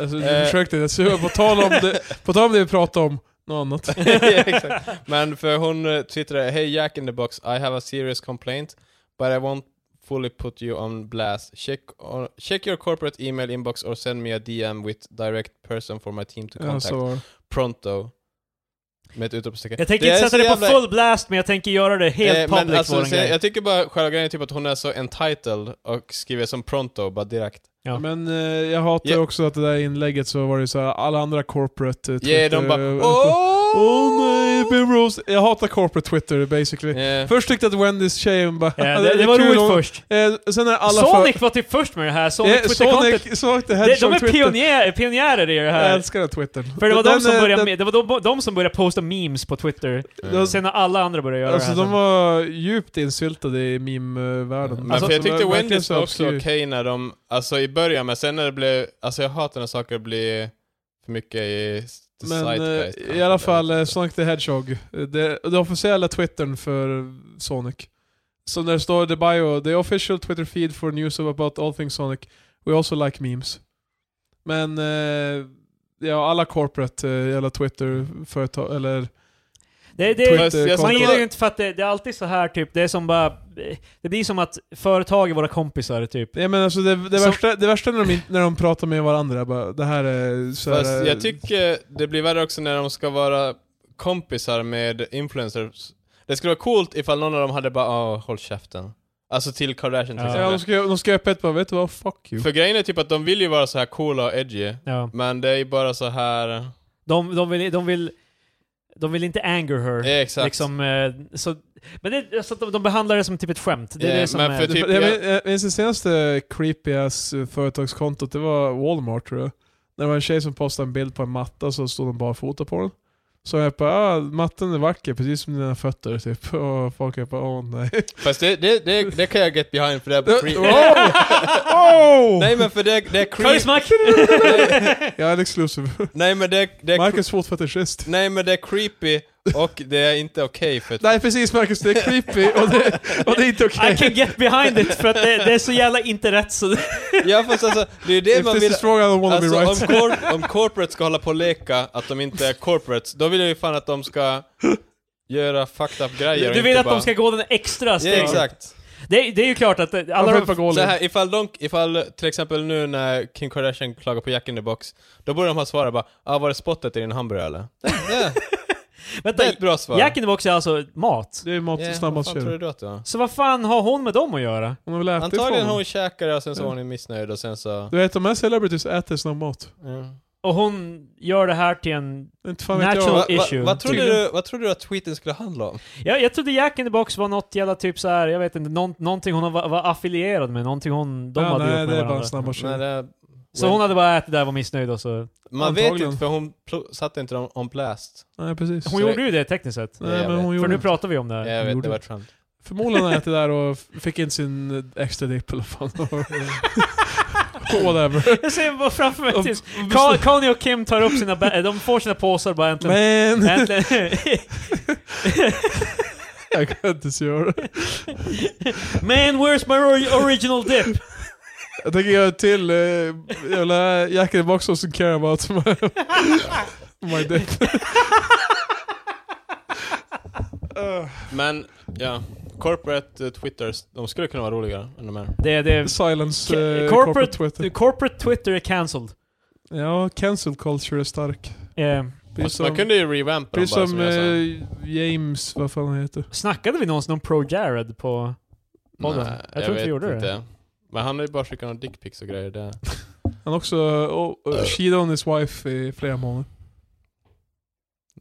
Speaker 2: Alltså, du
Speaker 3: Eh.
Speaker 2: försökte. Jag ser- På tal om det, på tal om det vi pratade om, något annat.
Speaker 3: (laughs) (laughs) Ja, exakt. Men för hon eh, twittrade Hey Jack in the box, I have a serious complaint but I won't fully put you on blast. Check, or, check your corporate email inbox or send me a DM with direct person for my team to
Speaker 2: Ja,
Speaker 3: contact.
Speaker 2: så var det.
Speaker 3: Pronto. Med ett utropstecken.
Speaker 1: Jag tänker
Speaker 3: Det
Speaker 1: inte
Speaker 3: är
Speaker 1: sätta
Speaker 3: så
Speaker 1: det på
Speaker 3: jävla-
Speaker 1: full blast, men jag tänker göra det helt
Speaker 3: Eh,
Speaker 1: public
Speaker 3: men alltså,
Speaker 1: våran
Speaker 3: så
Speaker 1: grej.
Speaker 3: jag, jag tycker bara själva grejen är typ att hon är så entitled och skriver som pronto bara direkt.
Speaker 1: Ja.
Speaker 2: Men eh, jag hatar ju
Speaker 3: Ja.
Speaker 2: också att det där inlägget så var det så här, alla andra corporate eh,
Speaker 3: Ja, yeah, de bara
Speaker 2: Åh
Speaker 3: Åh
Speaker 2: nej, Bill Rose. Jag hatar corporate Twitter basically. (laughs)
Speaker 3: Yeah.
Speaker 2: Först tyckte jag att Wendys tjej bara...
Speaker 1: Ja, det, det var
Speaker 2: kul
Speaker 1: roligt
Speaker 2: om-
Speaker 1: först.
Speaker 2: Eh, sen är alla
Speaker 1: Sonic var typ först med det här,
Speaker 2: för...
Speaker 1: Sonic
Speaker 2: Eh,
Speaker 1: Twitter-kontot.
Speaker 2: Sonic, Sonic the
Speaker 1: De, de
Speaker 2: Hedgehog
Speaker 1: är
Speaker 2: Twitter.
Speaker 1: pionjär, pionjärer i det
Speaker 2: Jag
Speaker 1: här.
Speaker 2: älskar den Twittern.
Speaker 1: För det var,
Speaker 2: Den
Speaker 1: de som,
Speaker 2: är-
Speaker 1: började
Speaker 2: den-
Speaker 1: med, det var de, de som började posta memes på Twitter.
Speaker 3: Mm.
Speaker 1: Sen har alla andra börjat göra
Speaker 2: Alltså
Speaker 1: det här.
Speaker 2: de var djupt insyltade i meme-världen.
Speaker 3: Men
Speaker 2: alltså,
Speaker 3: för jag
Speaker 2: de
Speaker 3: tyckte
Speaker 2: var verkligen
Speaker 3: Wendy's
Speaker 2: så
Speaker 3: var också okej
Speaker 2: obskyr.
Speaker 3: när de, alltså i början, men sen när det blev, alltså jag hatar när saker blir för mycket i
Speaker 2: Men
Speaker 3: zeitgeist,
Speaker 2: eh, i
Speaker 3: kanske.
Speaker 2: alla fall, eh, Sonic the Hedgehog. eh, Det, det officiella twittern för Sonic. Så när det står the bio, the official twitter feed for news about all things Sonic. We also like memes. Men eh, ja, alla corporate eh, jävla twitter-företag, eller...
Speaker 1: Det, det,
Speaker 2: Twitter-
Speaker 3: Fast jag
Speaker 1: Man
Speaker 3: ska-
Speaker 1: gillar ju inte för att det, det är alltid så här typ, det är som bara... Det blir som att företag är våra kompisar typ.
Speaker 2: Ja, men alltså det, det,
Speaker 1: Som-
Speaker 2: värsta, det värsta när de, in- när de pratar med varandra, jag bara, det här är så här,
Speaker 3: Fast
Speaker 2: eh,
Speaker 3: jag tycker det blir värre också när de ska vara kompisar med influencers. Det skulle vara coolt ifall någon av dem hade bara "Ah, håll käften. Alltså till Kardashian till
Speaker 1: Ja.
Speaker 2: eh, Ja, de
Speaker 3: exempel.
Speaker 2: ska, de ska öppet bara, vet du vad? Fuck you.
Speaker 3: För grejen är typ att de vill ju vara så här coola och edgy,
Speaker 1: Ja.
Speaker 3: men det är ju bara så här...
Speaker 1: De, de, vill, de, vill, de vill inte anger her.
Speaker 3: Ja, eh, exakt.
Speaker 1: Liksom, eh, så, men det, så att de, de behandlar det som typ ett skämt. Det är
Speaker 3: Eh,
Speaker 1: det som
Speaker 3: men
Speaker 1: är,
Speaker 3: för
Speaker 2: Det-
Speaker 3: typ-
Speaker 2: jag,
Speaker 3: jag-
Speaker 2: min- jag minns det senaste creepy ass eh, företagskontot, det var Walmart tror jag. När det var en tjej som postade en bild på en matta så stod hon barfota på den. Så jag bara, ah, mattan är vacker precis som dina fötter typ. (laughs) Och folk jag bara, åh nej.
Speaker 3: Fast det, det, det, det kan jag get behind för det
Speaker 2: (laughs)
Speaker 3: är creep.
Speaker 2: oh! oh!
Speaker 3: Nej men för det, det är creep.
Speaker 1: Karismack!
Speaker 2: Jag är en exclusive.
Speaker 3: Nej men det, det är
Speaker 2: Marcus fotfetischist.
Speaker 3: Nej men det är creepy och det är inte okej för
Speaker 2: Nej precis Marcus, det är creepy och det, och det är inte okej.
Speaker 1: I can get behind it för att det, det är så jävla inte rätt så...
Speaker 3: Ja fast alltså, det är ju det
Speaker 2: If
Speaker 3: man
Speaker 2: this
Speaker 3: vill...
Speaker 2: is wrong I don't wanna
Speaker 3: Alltså
Speaker 2: be right.
Speaker 3: om, cor- om corporate ska hålla på och leka att de inte är corporates, då vill jag ju fan att de ska göra fucked up grejer och
Speaker 1: Du vill
Speaker 3: inte
Speaker 1: att
Speaker 3: bara...
Speaker 1: de ska gå den extra
Speaker 3: Ja
Speaker 1: steg.
Speaker 3: exakt.
Speaker 1: Det, är- det är ju klart att eh, alla
Speaker 2: Alla
Speaker 1: de...
Speaker 2: på
Speaker 3: Så
Speaker 2: golvet.
Speaker 3: här, ifall, de, ifall till exempel nu när Kim Kardashian klagar på Jack in the box, då borde de ha svarat bara ah, var det spottet i din hamburgare eller? Ja, det
Speaker 1: Vänta,
Speaker 3: är ett bra svar.
Speaker 1: Jack in the box är alltså mat.
Speaker 2: Det är mat
Speaker 3: Ja,
Speaker 2: yeah,
Speaker 3: vad fan tror
Speaker 2: snabbmatskedja.
Speaker 3: du att det var?
Speaker 1: Så vad fan har hon med dem att göra?
Speaker 2: Hon har väl ätit
Speaker 3: Antagligen
Speaker 2: från-
Speaker 3: hon käkade och sen så var hon missnöjd och sen så...
Speaker 2: Du vet, de här celebrities äter snabbmat.
Speaker 3: Ja.
Speaker 1: Och hon gör det här till en...
Speaker 2: Inte fan vet
Speaker 1: Natural
Speaker 2: jag.
Speaker 3: Va, va,
Speaker 1: issue.
Speaker 3: vad, trodde
Speaker 2: Tydligen.
Speaker 3: du, vad trodde du att tweeten skulle handla om?
Speaker 1: Jag, jag trodde Jack in the box var något jävla typ så här, jag vet inte, någon, någonting hon var, var affilierad med, någonting hon, de
Speaker 2: Ja,
Speaker 1: hade
Speaker 2: nej,
Speaker 1: gjort
Speaker 2: det
Speaker 1: med
Speaker 2: är bara
Speaker 1: varandra.
Speaker 3: Nej,
Speaker 2: snabbmatskedja.
Speaker 3: det,
Speaker 1: Så hon hade bara ätit där och var missnöjd och så...
Speaker 3: man vet ju
Speaker 2: Antagligen.
Speaker 3: inte för hon pl- satte inte dem on blast.
Speaker 2: Nej, precis.
Speaker 1: Hon
Speaker 3: Så-
Speaker 1: gjorde ju det tekniskt sett.
Speaker 3: Ja, jag
Speaker 2: Nej, men hon
Speaker 3: vet.
Speaker 1: För
Speaker 2: gjorde
Speaker 1: nu
Speaker 2: inte.
Speaker 1: pratar vi om det här.
Speaker 3: jag vet,
Speaker 2: gjorde
Speaker 3: det var
Speaker 2: det.
Speaker 3: Trump.
Speaker 2: Förmodligen äter där och fick inte sin extra dipp eller fan. (laughs) Whatever.
Speaker 1: (laughs) Jag ser bara framför mig
Speaker 2: Och-
Speaker 1: tills Ka- Kanye och Kim tar upp sina
Speaker 2: (laughs)
Speaker 1: ba- de får sina påsar bara äntligen.
Speaker 2: Men...
Speaker 1: äntligen. (laughs)
Speaker 2: jag (laughs) kan inte ens göra det.
Speaker 1: Man, where's my ori- original dip?
Speaker 2: Jag tänker göra till eh, jävla Jack in the Box som care about my, Oh my dick.
Speaker 3: Men, ja. Corporate eh, Twitters, de skulle kunna vara roligare än de här.
Speaker 1: Det, det,
Speaker 2: Silence eh,
Speaker 1: Ca-
Speaker 2: corporate,
Speaker 1: corporate-
Speaker 2: (laughs) Twitter.
Speaker 1: corporate Twitter är cancelled.
Speaker 2: Ja, cancel culture är stark.
Speaker 1: Eh,
Speaker 2: Precis
Speaker 3: man
Speaker 2: som,
Speaker 3: kunde ju revampa dem
Speaker 2: precis
Speaker 3: bara
Speaker 2: som,
Speaker 3: som jag sa.
Speaker 2: eh, James, vad fan han heter.
Speaker 1: snackade vi någonsin om Pro Jared på... podden. Jag tror inte vi
Speaker 3: vet
Speaker 1: gjorde det.
Speaker 3: Men han har ju bara skickat några dickpics och grejer där.
Speaker 2: Han också oh, oh, cheated on his wife i flera månader.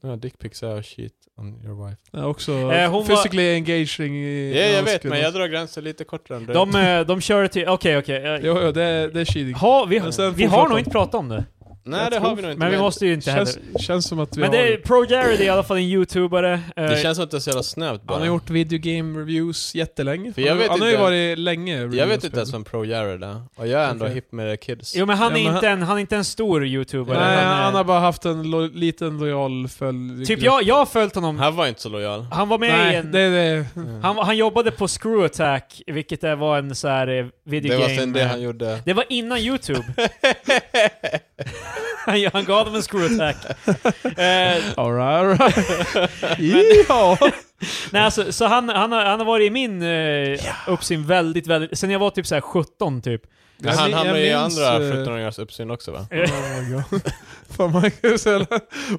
Speaker 3: Ja, dickpics are shit on your wife.
Speaker 2: Ja, också
Speaker 1: Eh, hon var-
Speaker 2: physically engaging i...
Speaker 3: Ja, jag
Speaker 2: hans
Speaker 3: vet,
Speaker 2: kvinna.
Speaker 3: men jag drar gränsen lite kortare än du.
Speaker 1: De, eh, de kör till... Okej, okej. eh,
Speaker 2: Jo, jo, det, är- det är cheating.
Speaker 1: ha, vi,
Speaker 2: Men sen
Speaker 1: vi har
Speaker 2: fortsätter.
Speaker 1: nog inte pratat om det.
Speaker 3: Nej,
Speaker 2: jag
Speaker 3: det har
Speaker 2: tror-
Speaker 3: vi nog inte.
Speaker 1: Men vi
Speaker 3: med.
Speaker 1: måste ju inte
Speaker 2: Känns,
Speaker 1: heller...
Speaker 2: känns som att vi
Speaker 1: Men
Speaker 2: har...
Speaker 1: det är, Pro Jared är i alla fall en YouTubare. eh,
Speaker 3: Det känns som att det är så jävla snävt bara.
Speaker 2: Han har gjort videogame reviews jättelänge.
Speaker 3: För jag
Speaker 2: han
Speaker 3: vet
Speaker 2: han har ju
Speaker 3: inte-
Speaker 2: varit länge
Speaker 3: jag vet
Speaker 2: reviews-
Speaker 3: inte ens vem Pro Jared är. Och jag är ändå
Speaker 2: Okej.
Speaker 3: hipp med det kids.
Speaker 1: Jo men han,
Speaker 2: Ja,
Speaker 1: är
Speaker 2: men
Speaker 1: inte en, han är inte en stor YouTuber.
Speaker 2: Nej,
Speaker 1: han är,
Speaker 2: han har bara haft en lo liten lojal följd.
Speaker 1: Typ jag, jag har följt honom.
Speaker 3: Han var inte så lojal.
Speaker 1: Han var med i
Speaker 2: Nej,
Speaker 1: en...
Speaker 2: det är det.
Speaker 1: Han, han jobbade på Screw Attack, vilket det var en så här eh,
Speaker 3: Det
Speaker 1: videogame...
Speaker 3: var sen det han gjorde.
Speaker 1: Det var innan YouTube.
Speaker 2: (laughs)
Speaker 1: (laughs) han, han gav dem en Screw Attack.
Speaker 2: (laughs)
Speaker 1: Eh,
Speaker 2: Alright, alright. Yeehaw!
Speaker 1: nej alltså, så han, han, har, han har varit i min eh, uppsyn väldigt, väldigt... Sen jag var typ så här 17 typ.
Speaker 3: Men han
Speaker 2: min-
Speaker 3: hamnade ju i
Speaker 2: minns,
Speaker 3: andra
Speaker 1: (laughs)
Speaker 2: eh,
Speaker 3: 17-åringars uppsyn också va?
Speaker 2: Oh my god. Fan Marcus, eller?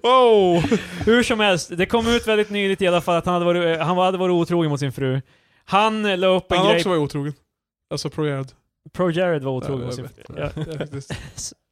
Speaker 2: Wow!
Speaker 1: Hur som helst, det kom ut väldigt nyligt i alla fall att han hade varit, eh, han hade varit otrogen mot sin fru. Han eh, la upp en
Speaker 2: Han har
Speaker 1: grej...
Speaker 2: också varit otrogen. Alltså progerad.
Speaker 1: Pro Jared var
Speaker 2: Ja,
Speaker 1: otrogen
Speaker 2: jag
Speaker 1: mot sin
Speaker 2: vet.
Speaker 1: fru. Ja.
Speaker 2: (laughs) Det är faktiskt-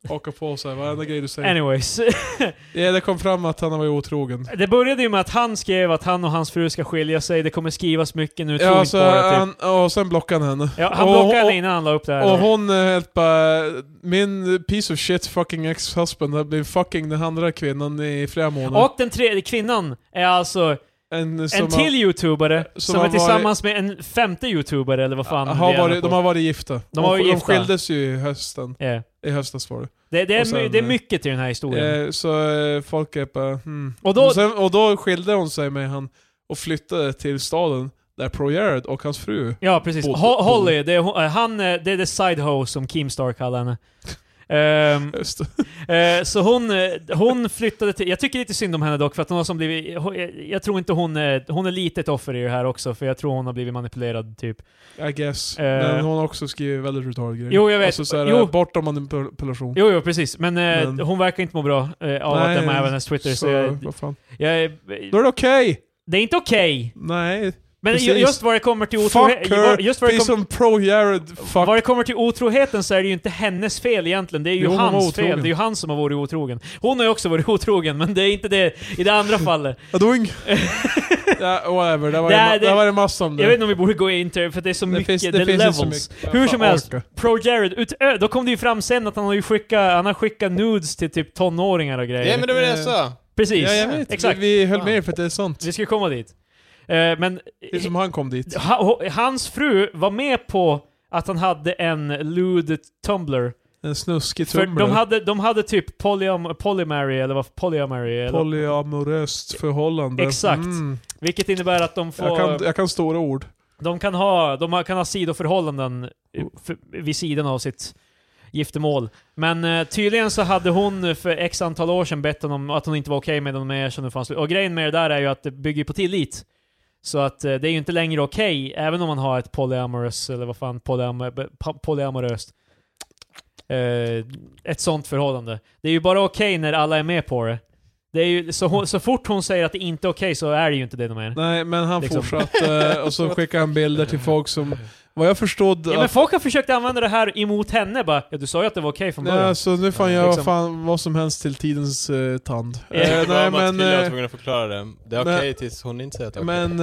Speaker 2: Haka på sig varenda grej du säger.
Speaker 1: Anyways. (laughs)
Speaker 2: Ja, det kom fram att han har varit otrogen.
Speaker 1: Det började ju med att han skrev att han och hans fru ska skilja sig, det kommer skrivas mycket nu,
Speaker 2: Ja,
Speaker 1: tror
Speaker 2: alltså,
Speaker 1: inte på det. Typ.
Speaker 2: han, och sen blockade han henne.
Speaker 1: Ja, han
Speaker 2: Och-
Speaker 1: blockade
Speaker 2: och-
Speaker 1: henne innan han la upp det här.
Speaker 2: Och hon är helt bara, min piece of shit fucking ex-husband har blivit fucking den andra kvinnan i flera månader.
Speaker 1: Och den tredje kvinnan är alltså
Speaker 2: en
Speaker 1: en till youtubare
Speaker 2: som
Speaker 1: som,
Speaker 2: har
Speaker 1: är
Speaker 2: varit-
Speaker 1: tillsammans med en femte youtubare eller vad fan
Speaker 2: har, har
Speaker 1: vi är
Speaker 2: varit,
Speaker 1: på.
Speaker 2: de har varit gifta.
Speaker 1: De har varit
Speaker 2: de
Speaker 1: gifta.
Speaker 2: skildes ju i hösten.
Speaker 1: Ja.
Speaker 2: I höstas var det.
Speaker 1: Det, det, är,
Speaker 2: Och sen,
Speaker 1: my- det är
Speaker 2: eh,
Speaker 1: mycket till den här historien.
Speaker 2: Eh, så eh, folk är bara hmm.
Speaker 1: Oh, Och då-
Speaker 2: och, sen, och då skilde hon sig med han och flyttade till staden där Pro Jared och hans fru.
Speaker 1: ja, precis.
Speaker 2: Bo-
Speaker 1: Ho- Holly, det är, hon- eh, han, eh, det är the side host som Keemstar kallar henne. Ehm,
Speaker 2: Just det.
Speaker 1: Eh, så hon, eh, hon flyttade till... Jag tycker lite synd om henne dock, för att hon har som blivit... hon- eh, Jag tror inte hon... eh, Hon är lite ett offer i det här också, för jag tror hon har blivit manipulerad typ.
Speaker 2: I guess.
Speaker 1: Eh.
Speaker 2: Men hon har också skrivit väldigt retard grejer.
Speaker 1: Jo, jag vet.
Speaker 2: Alltså, så här,
Speaker 1: Jo.
Speaker 2: Bortom manipulation.
Speaker 1: Jo, jo precis. Men, eh,
Speaker 2: Men-
Speaker 1: hon verkar inte må bra eh, av
Speaker 2: Nej,
Speaker 1: att döma även hennes Twitter, så,
Speaker 2: så
Speaker 1: jag,
Speaker 2: vad fan.
Speaker 1: jag, är-
Speaker 2: Då är det okej!
Speaker 1: Det är inte okej!
Speaker 2: Nej.
Speaker 1: Men ju-
Speaker 2: Precis.
Speaker 1: just vad det kommer till otrohet...
Speaker 2: Fuck her!
Speaker 1: Just vad det,
Speaker 2: Precis
Speaker 1: kom,
Speaker 2: som Pro Jared, fuck.
Speaker 1: vad det kommer till otroheten så är det ju inte hennes fel egentligen. Det är ju
Speaker 2: Jo, hon var
Speaker 1: hans fel.
Speaker 2: otrogen.
Speaker 1: Det är ju han som har varit otrogen. Hon har ju också varit (laughs) otrogen, men det är inte det i det
Speaker 2: (laughs)
Speaker 1: andra fallet.
Speaker 2: Ja, det
Speaker 1: (laughs)
Speaker 2: var ing... ja, whatever, det var
Speaker 1: Det
Speaker 2: det,
Speaker 1: är-
Speaker 2: ma-
Speaker 1: det-
Speaker 2: där var det massor om det.
Speaker 1: Jag vet inte om vi borde gå in till det, för det är så mycket, det, är
Speaker 2: ju så
Speaker 1: levels.
Speaker 2: mycket.
Speaker 1: Hur
Speaker 2: Jag
Speaker 1: som
Speaker 2: fan
Speaker 1: helst,
Speaker 2: orkar.
Speaker 1: Pro Jared, utö- då kom det ju fram sen att han har ju skickat, han har skickat nudes till typ tonåringar och grejer.
Speaker 3: Ja men det var det jag
Speaker 2: eh,
Speaker 3: sa!
Speaker 1: Precis,
Speaker 2: Ja, jag vet.
Speaker 1: exakt.
Speaker 2: Vi, vi höll
Speaker 3: Fan.
Speaker 2: med för att det är sant.
Speaker 1: Vi ska komma dit. Eh, men
Speaker 2: Det är som han kom dit.
Speaker 1: ha- hans fru var med på att han hade en lewd Tumblr.
Speaker 2: En snuskig
Speaker 1: För
Speaker 2: tumlare.
Speaker 1: de hade, de hade typ polyam, polymary, eller vad polyamory, eller,
Speaker 2: Polyamoröst förhållande.
Speaker 1: Exakt.
Speaker 2: Mm.
Speaker 1: vilket innebär att de får...
Speaker 2: Jag, kan, jag kan stora ord.
Speaker 1: De kan ha, de kan ha sidoförhållanden eh, för, vid sidan av sitt giftermål. Men eh, tydligen så hade hon för x antal år sedan bett honom att hon inte var okej med honom med erkännande fanns. Och grejen med det där är ju att det bygger på tillit. Så att eh, det är ju inte längre okej, även om man har ett polyamorous, eller vad fan, polyam- eh, pa- polyamoröst. Eh, ett sånt förhållande. Det är ju bara okej när alla är med på det. det är ju, så, hon, så fort hon säger att det inte är okej så är det ju inte det de är.
Speaker 2: Nej, men han
Speaker 1: Liksom.
Speaker 2: fortsatte eh, och så skickade han bilder till folk som, vad jag förstod...
Speaker 1: Ja, men
Speaker 2: att-
Speaker 1: folk har försökt använda det här emot henne bara. Ja, du sa ju att det var okej från början.
Speaker 2: Nej, så nu får han
Speaker 1: Ja,
Speaker 2: göra
Speaker 1: liksom.
Speaker 2: fan vad som helst till tidens eh, tand.
Speaker 1: (laughs) Ja.
Speaker 2: Eh, nej,
Speaker 3: Mats
Speaker 2: men...
Speaker 3: Kille var
Speaker 2: Eh,
Speaker 3: tvungen att förklara det. Det är okej
Speaker 2: men-
Speaker 3: tills hon inte säger att det är okej.
Speaker 2: men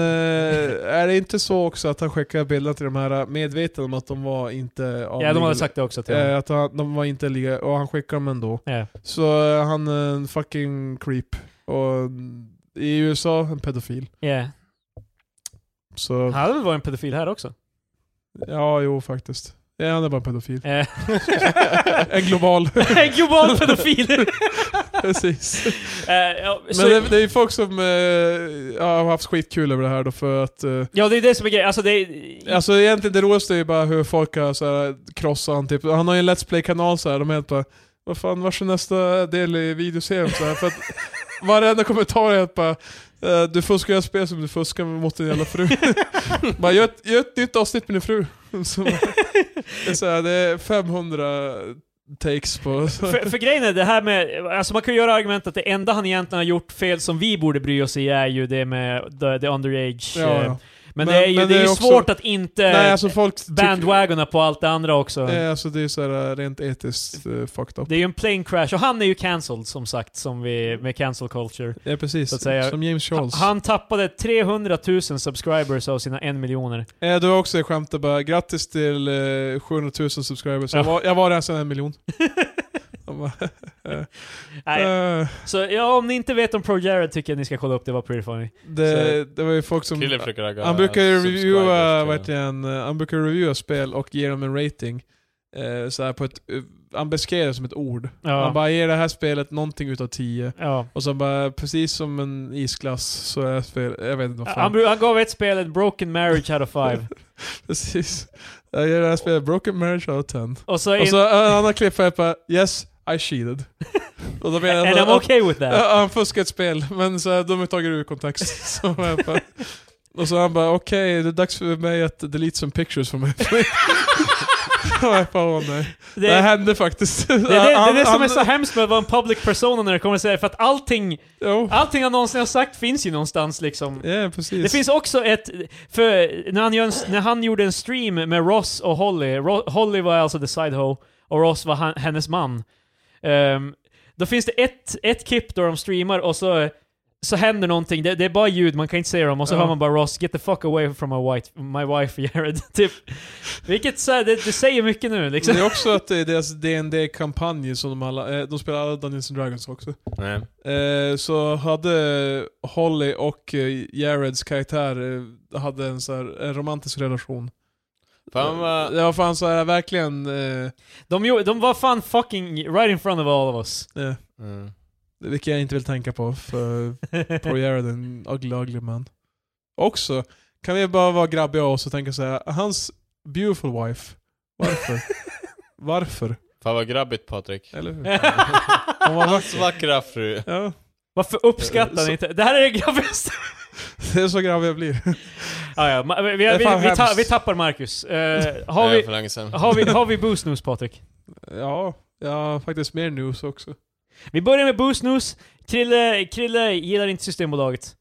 Speaker 2: eh, är det inte så också att han skickade bilder till de här eh, medvetna om att de var inte
Speaker 1: ja, de
Speaker 2: avlidna?
Speaker 1: hade sagt det också till honom.
Speaker 2: Eh, att han, de var inte liga, och han skickade dem ändå.
Speaker 1: Ja.
Speaker 2: Så eh, han är en fucking creep. Och mm, i USA, en pedofil.
Speaker 1: Ja.
Speaker 2: Så,
Speaker 1: Han hade väl varit en pedofil här också?
Speaker 2: ja, jo faktiskt. Ja, han är bara en pedofil. (laughs)
Speaker 1: Eh.
Speaker 2: En global.
Speaker 1: (laughs)
Speaker 2: (laughs)
Speaker 1: En global pedofil!
Speaker 2: Precis.
Speaker 1: Eh, ja,
Speaker 2: Men
Speaker 1: så-
Speaker 2: det, det är ju folk som eh, ja, har haft skitkul över det här då för att... Eh,
Speaker 1: Ja, det är det som är grejen. Alltså det är...
Speaker 2: alltså egentligen det roligaste är ju bara hur folk har så här, krossat han typ. Han har ju en Let's Play-kanal så här. de är helt bara Vad fan, vars är nästa del i videoserien? Så
Speaker 1: (laughs)
Speaker 2: här, för att varenda kommentar är helt bara eh, Du fuskar jag spel som du fuskar mot din jävla fru. (laughs) bara, gör, ett, gör ett nytt avsnitt med din fru. (laughs) så, bara- det, är så här, det är 500 takes på...
Speaker 1: för, för grejen är det här med... Alltså man kan ju göra argumentet att det enda han egentligen har gjort fel som vi borde bry oss i är ju det med the, the underage.
Speaker 2: Ja, ja.
Speaker 1: eh, Men,
Speaker 2: Men-
Speaker 1: det är ju,
Speaker 2: men
Speaker 1: det är
Speaker 2: det
Speaker 1: ju
Speaker 2: är också-
Speaker 1: svårt att inte
Speaker 2: Nej alltså folk tycker-
Speaker 1: bandwagona på allt det andra också.
Speaker 2: Eh, alltså det är så här, eh, rent etiskt eh, fucked up.
Speaker 1: Det är ju en plane crash, och han är ju cancelled som sagt, som vi, med cancel culture.
Speaker 2: Ja precis,
Speaker 1: Så att säga-
Speaker 2: som James Charles.
Speaker 1: Ha- Han tappade 300 000 subscribers av sina en
Speaker 2: (laughs)
Speaker 1: miljoner.
Speaker 2: Eh, du har också skämtat bara, grattis till eh, 700 000 subscribers. Jag,
Speaker 1: Ja.
Speaker 2: var, jag var där sedan
Speaker 1: (laughs)
Speaker 2: en miljon. De bara,
Speaker 1: Nej,
Speaker 2: (laughs) eh,
Speaker 1: så ja, om ni inte vet om Pro Jared tycker jag ni ska kolla upp det, var pretty funny.
Speaker 2: det, det var ju folk som...
Speaker 3: Kille försöker ragga
Speaker 2: Han brukar ju
Speaker 3: subscribers
Speaker 2: reviewa,
Speaker 3: till-
Speaker 2: vad heter det, en, eh, han brukar reviewa spel och ge dem en rating. Eh, så här på ett, eh, han beskrev det som ett ord.
Speaker 1: Ja.
Speaker 2: Han bara ger det här spelet någonting utav 10.
Speaker 1: Ja.
Speaker 2: Och så bara, precis som en isglass så är spel, jag vet inte vad fan.
Speaker 1: Han, bru- han gav ett spel ett broken marriage out of
Speaker 2: (laughs)
Speaker 1: five.
Speaker 2: Precis. Jag gör det här spelet Broken Marriage Out of 10.
Speaker 1: Och så, in,
Speaker 2: Och så eh, en annan klipp här bara Yes,
Speaker 1: (laughs)
Speaker 2: I cheated. Och då menar
Speaker 1: and
Speaker 2: jag
Speaker 1: I'm
Speaker 2: att
Speaker 1: okay with that.
Speaker 2: alltså- ja, han fuskar ett spel, men så här, de har tagit det ur kontext. (laughs) Så jag bara, och så han bara okej, det är dags för mig att delete some pictures from my play. (laughs) Och jag bara åh nej.
Speaker 1: Det,
Speaker 2: Det,
Speaker 1: är-
Speaker 2: hände faktiskt.
Speaker 1: det, är det, det är det som är så hemskt med att vara en public persona när det kommer att säga, för att allting,
Speaker 2: Jo,
Speaker 1: allting han någonsin har sagt finns ju någonstans liksom.
Speaker 2: ja precis.
Speaker 1: Det finns också ett, för när han, gör en, när han gjorde en stream med Ross och Holly, Ro, Holly var alltså the sidehoe och Ross var han, hennes man. Ehm, då finns det ett, ett klipp där de streamar och så, så händer någonting, det, det är bara ljud, man kan inte se dem, och så
Speaker 2: Ja.
Speaker 1: hör man bara Ross 'Get the fuck away from my, white, my wife (laughs) Jared' typ. Vilket så här, det, det säger mycket nu liksom.
Speaker 2: Det är också att det är deras dd kampanj som de alla, eh, de spelar alla Dungeons and Dragons också.
Speaker 3: Nej.
Speaker 2: Eh, så hade Holly och eh, Jareds karaktär eh, hade en, så här, en romantisk relation. Eh,
Speaker 3: Fan vad...
Speaker 2: Ja fan så här, verkligen... Eh,
Speaker 1: De, gjorde- de var fan fucking right in front of all of us.
Speaker 2: eh,
Speaker 3: Mm.
Speaker 2: vilket jag inte vill tänka på för
Speaker 3: (laughs)
Speaker 2: Paul Jared är en ugly, ugly man. Också, kan vi bara vara grabbiga av oss och tänka så här, hans beautiful wife,
Speaker 3: (laughs)
Speaker 2: varför? varför?
Speaker 3: Fan vad grabbigt Patrik.
Speaker 2: Eller
Speaker 3: (laughs)
Speaker 2: hur? Hon var
Speaker 3: Hans
Speaker 2: vacker.
Speaker 3: vackra fru.
Speaker 2: Ja,
Speaker 1: (laughs) Varför uppskattar ni inte? Det här är det grabbigaste
Speaker 2: det är så grabbig jag blir.
Speaker 1: Ah, ja, ma- vi, vi,
Speaker 2: är
Speaker 1: vi,
Speaker 2: fan
Speaker 1: vi, ta,
Speaker 2: hemskt.
Speaker 1: vi tappar Marcus. Eh, har,
Speaker 3: (laughs) det är
Speaker 1: vi,
Speaker 3: för länge sedan.
Speaker 1: har, vi, har vi Boost News, Patrik?
Speaker 2: Ja, jag har faktiskt mer news också.
Speaker 1: Vi börjar med Boost News. Krille, Krille gillar inte Systembolaget.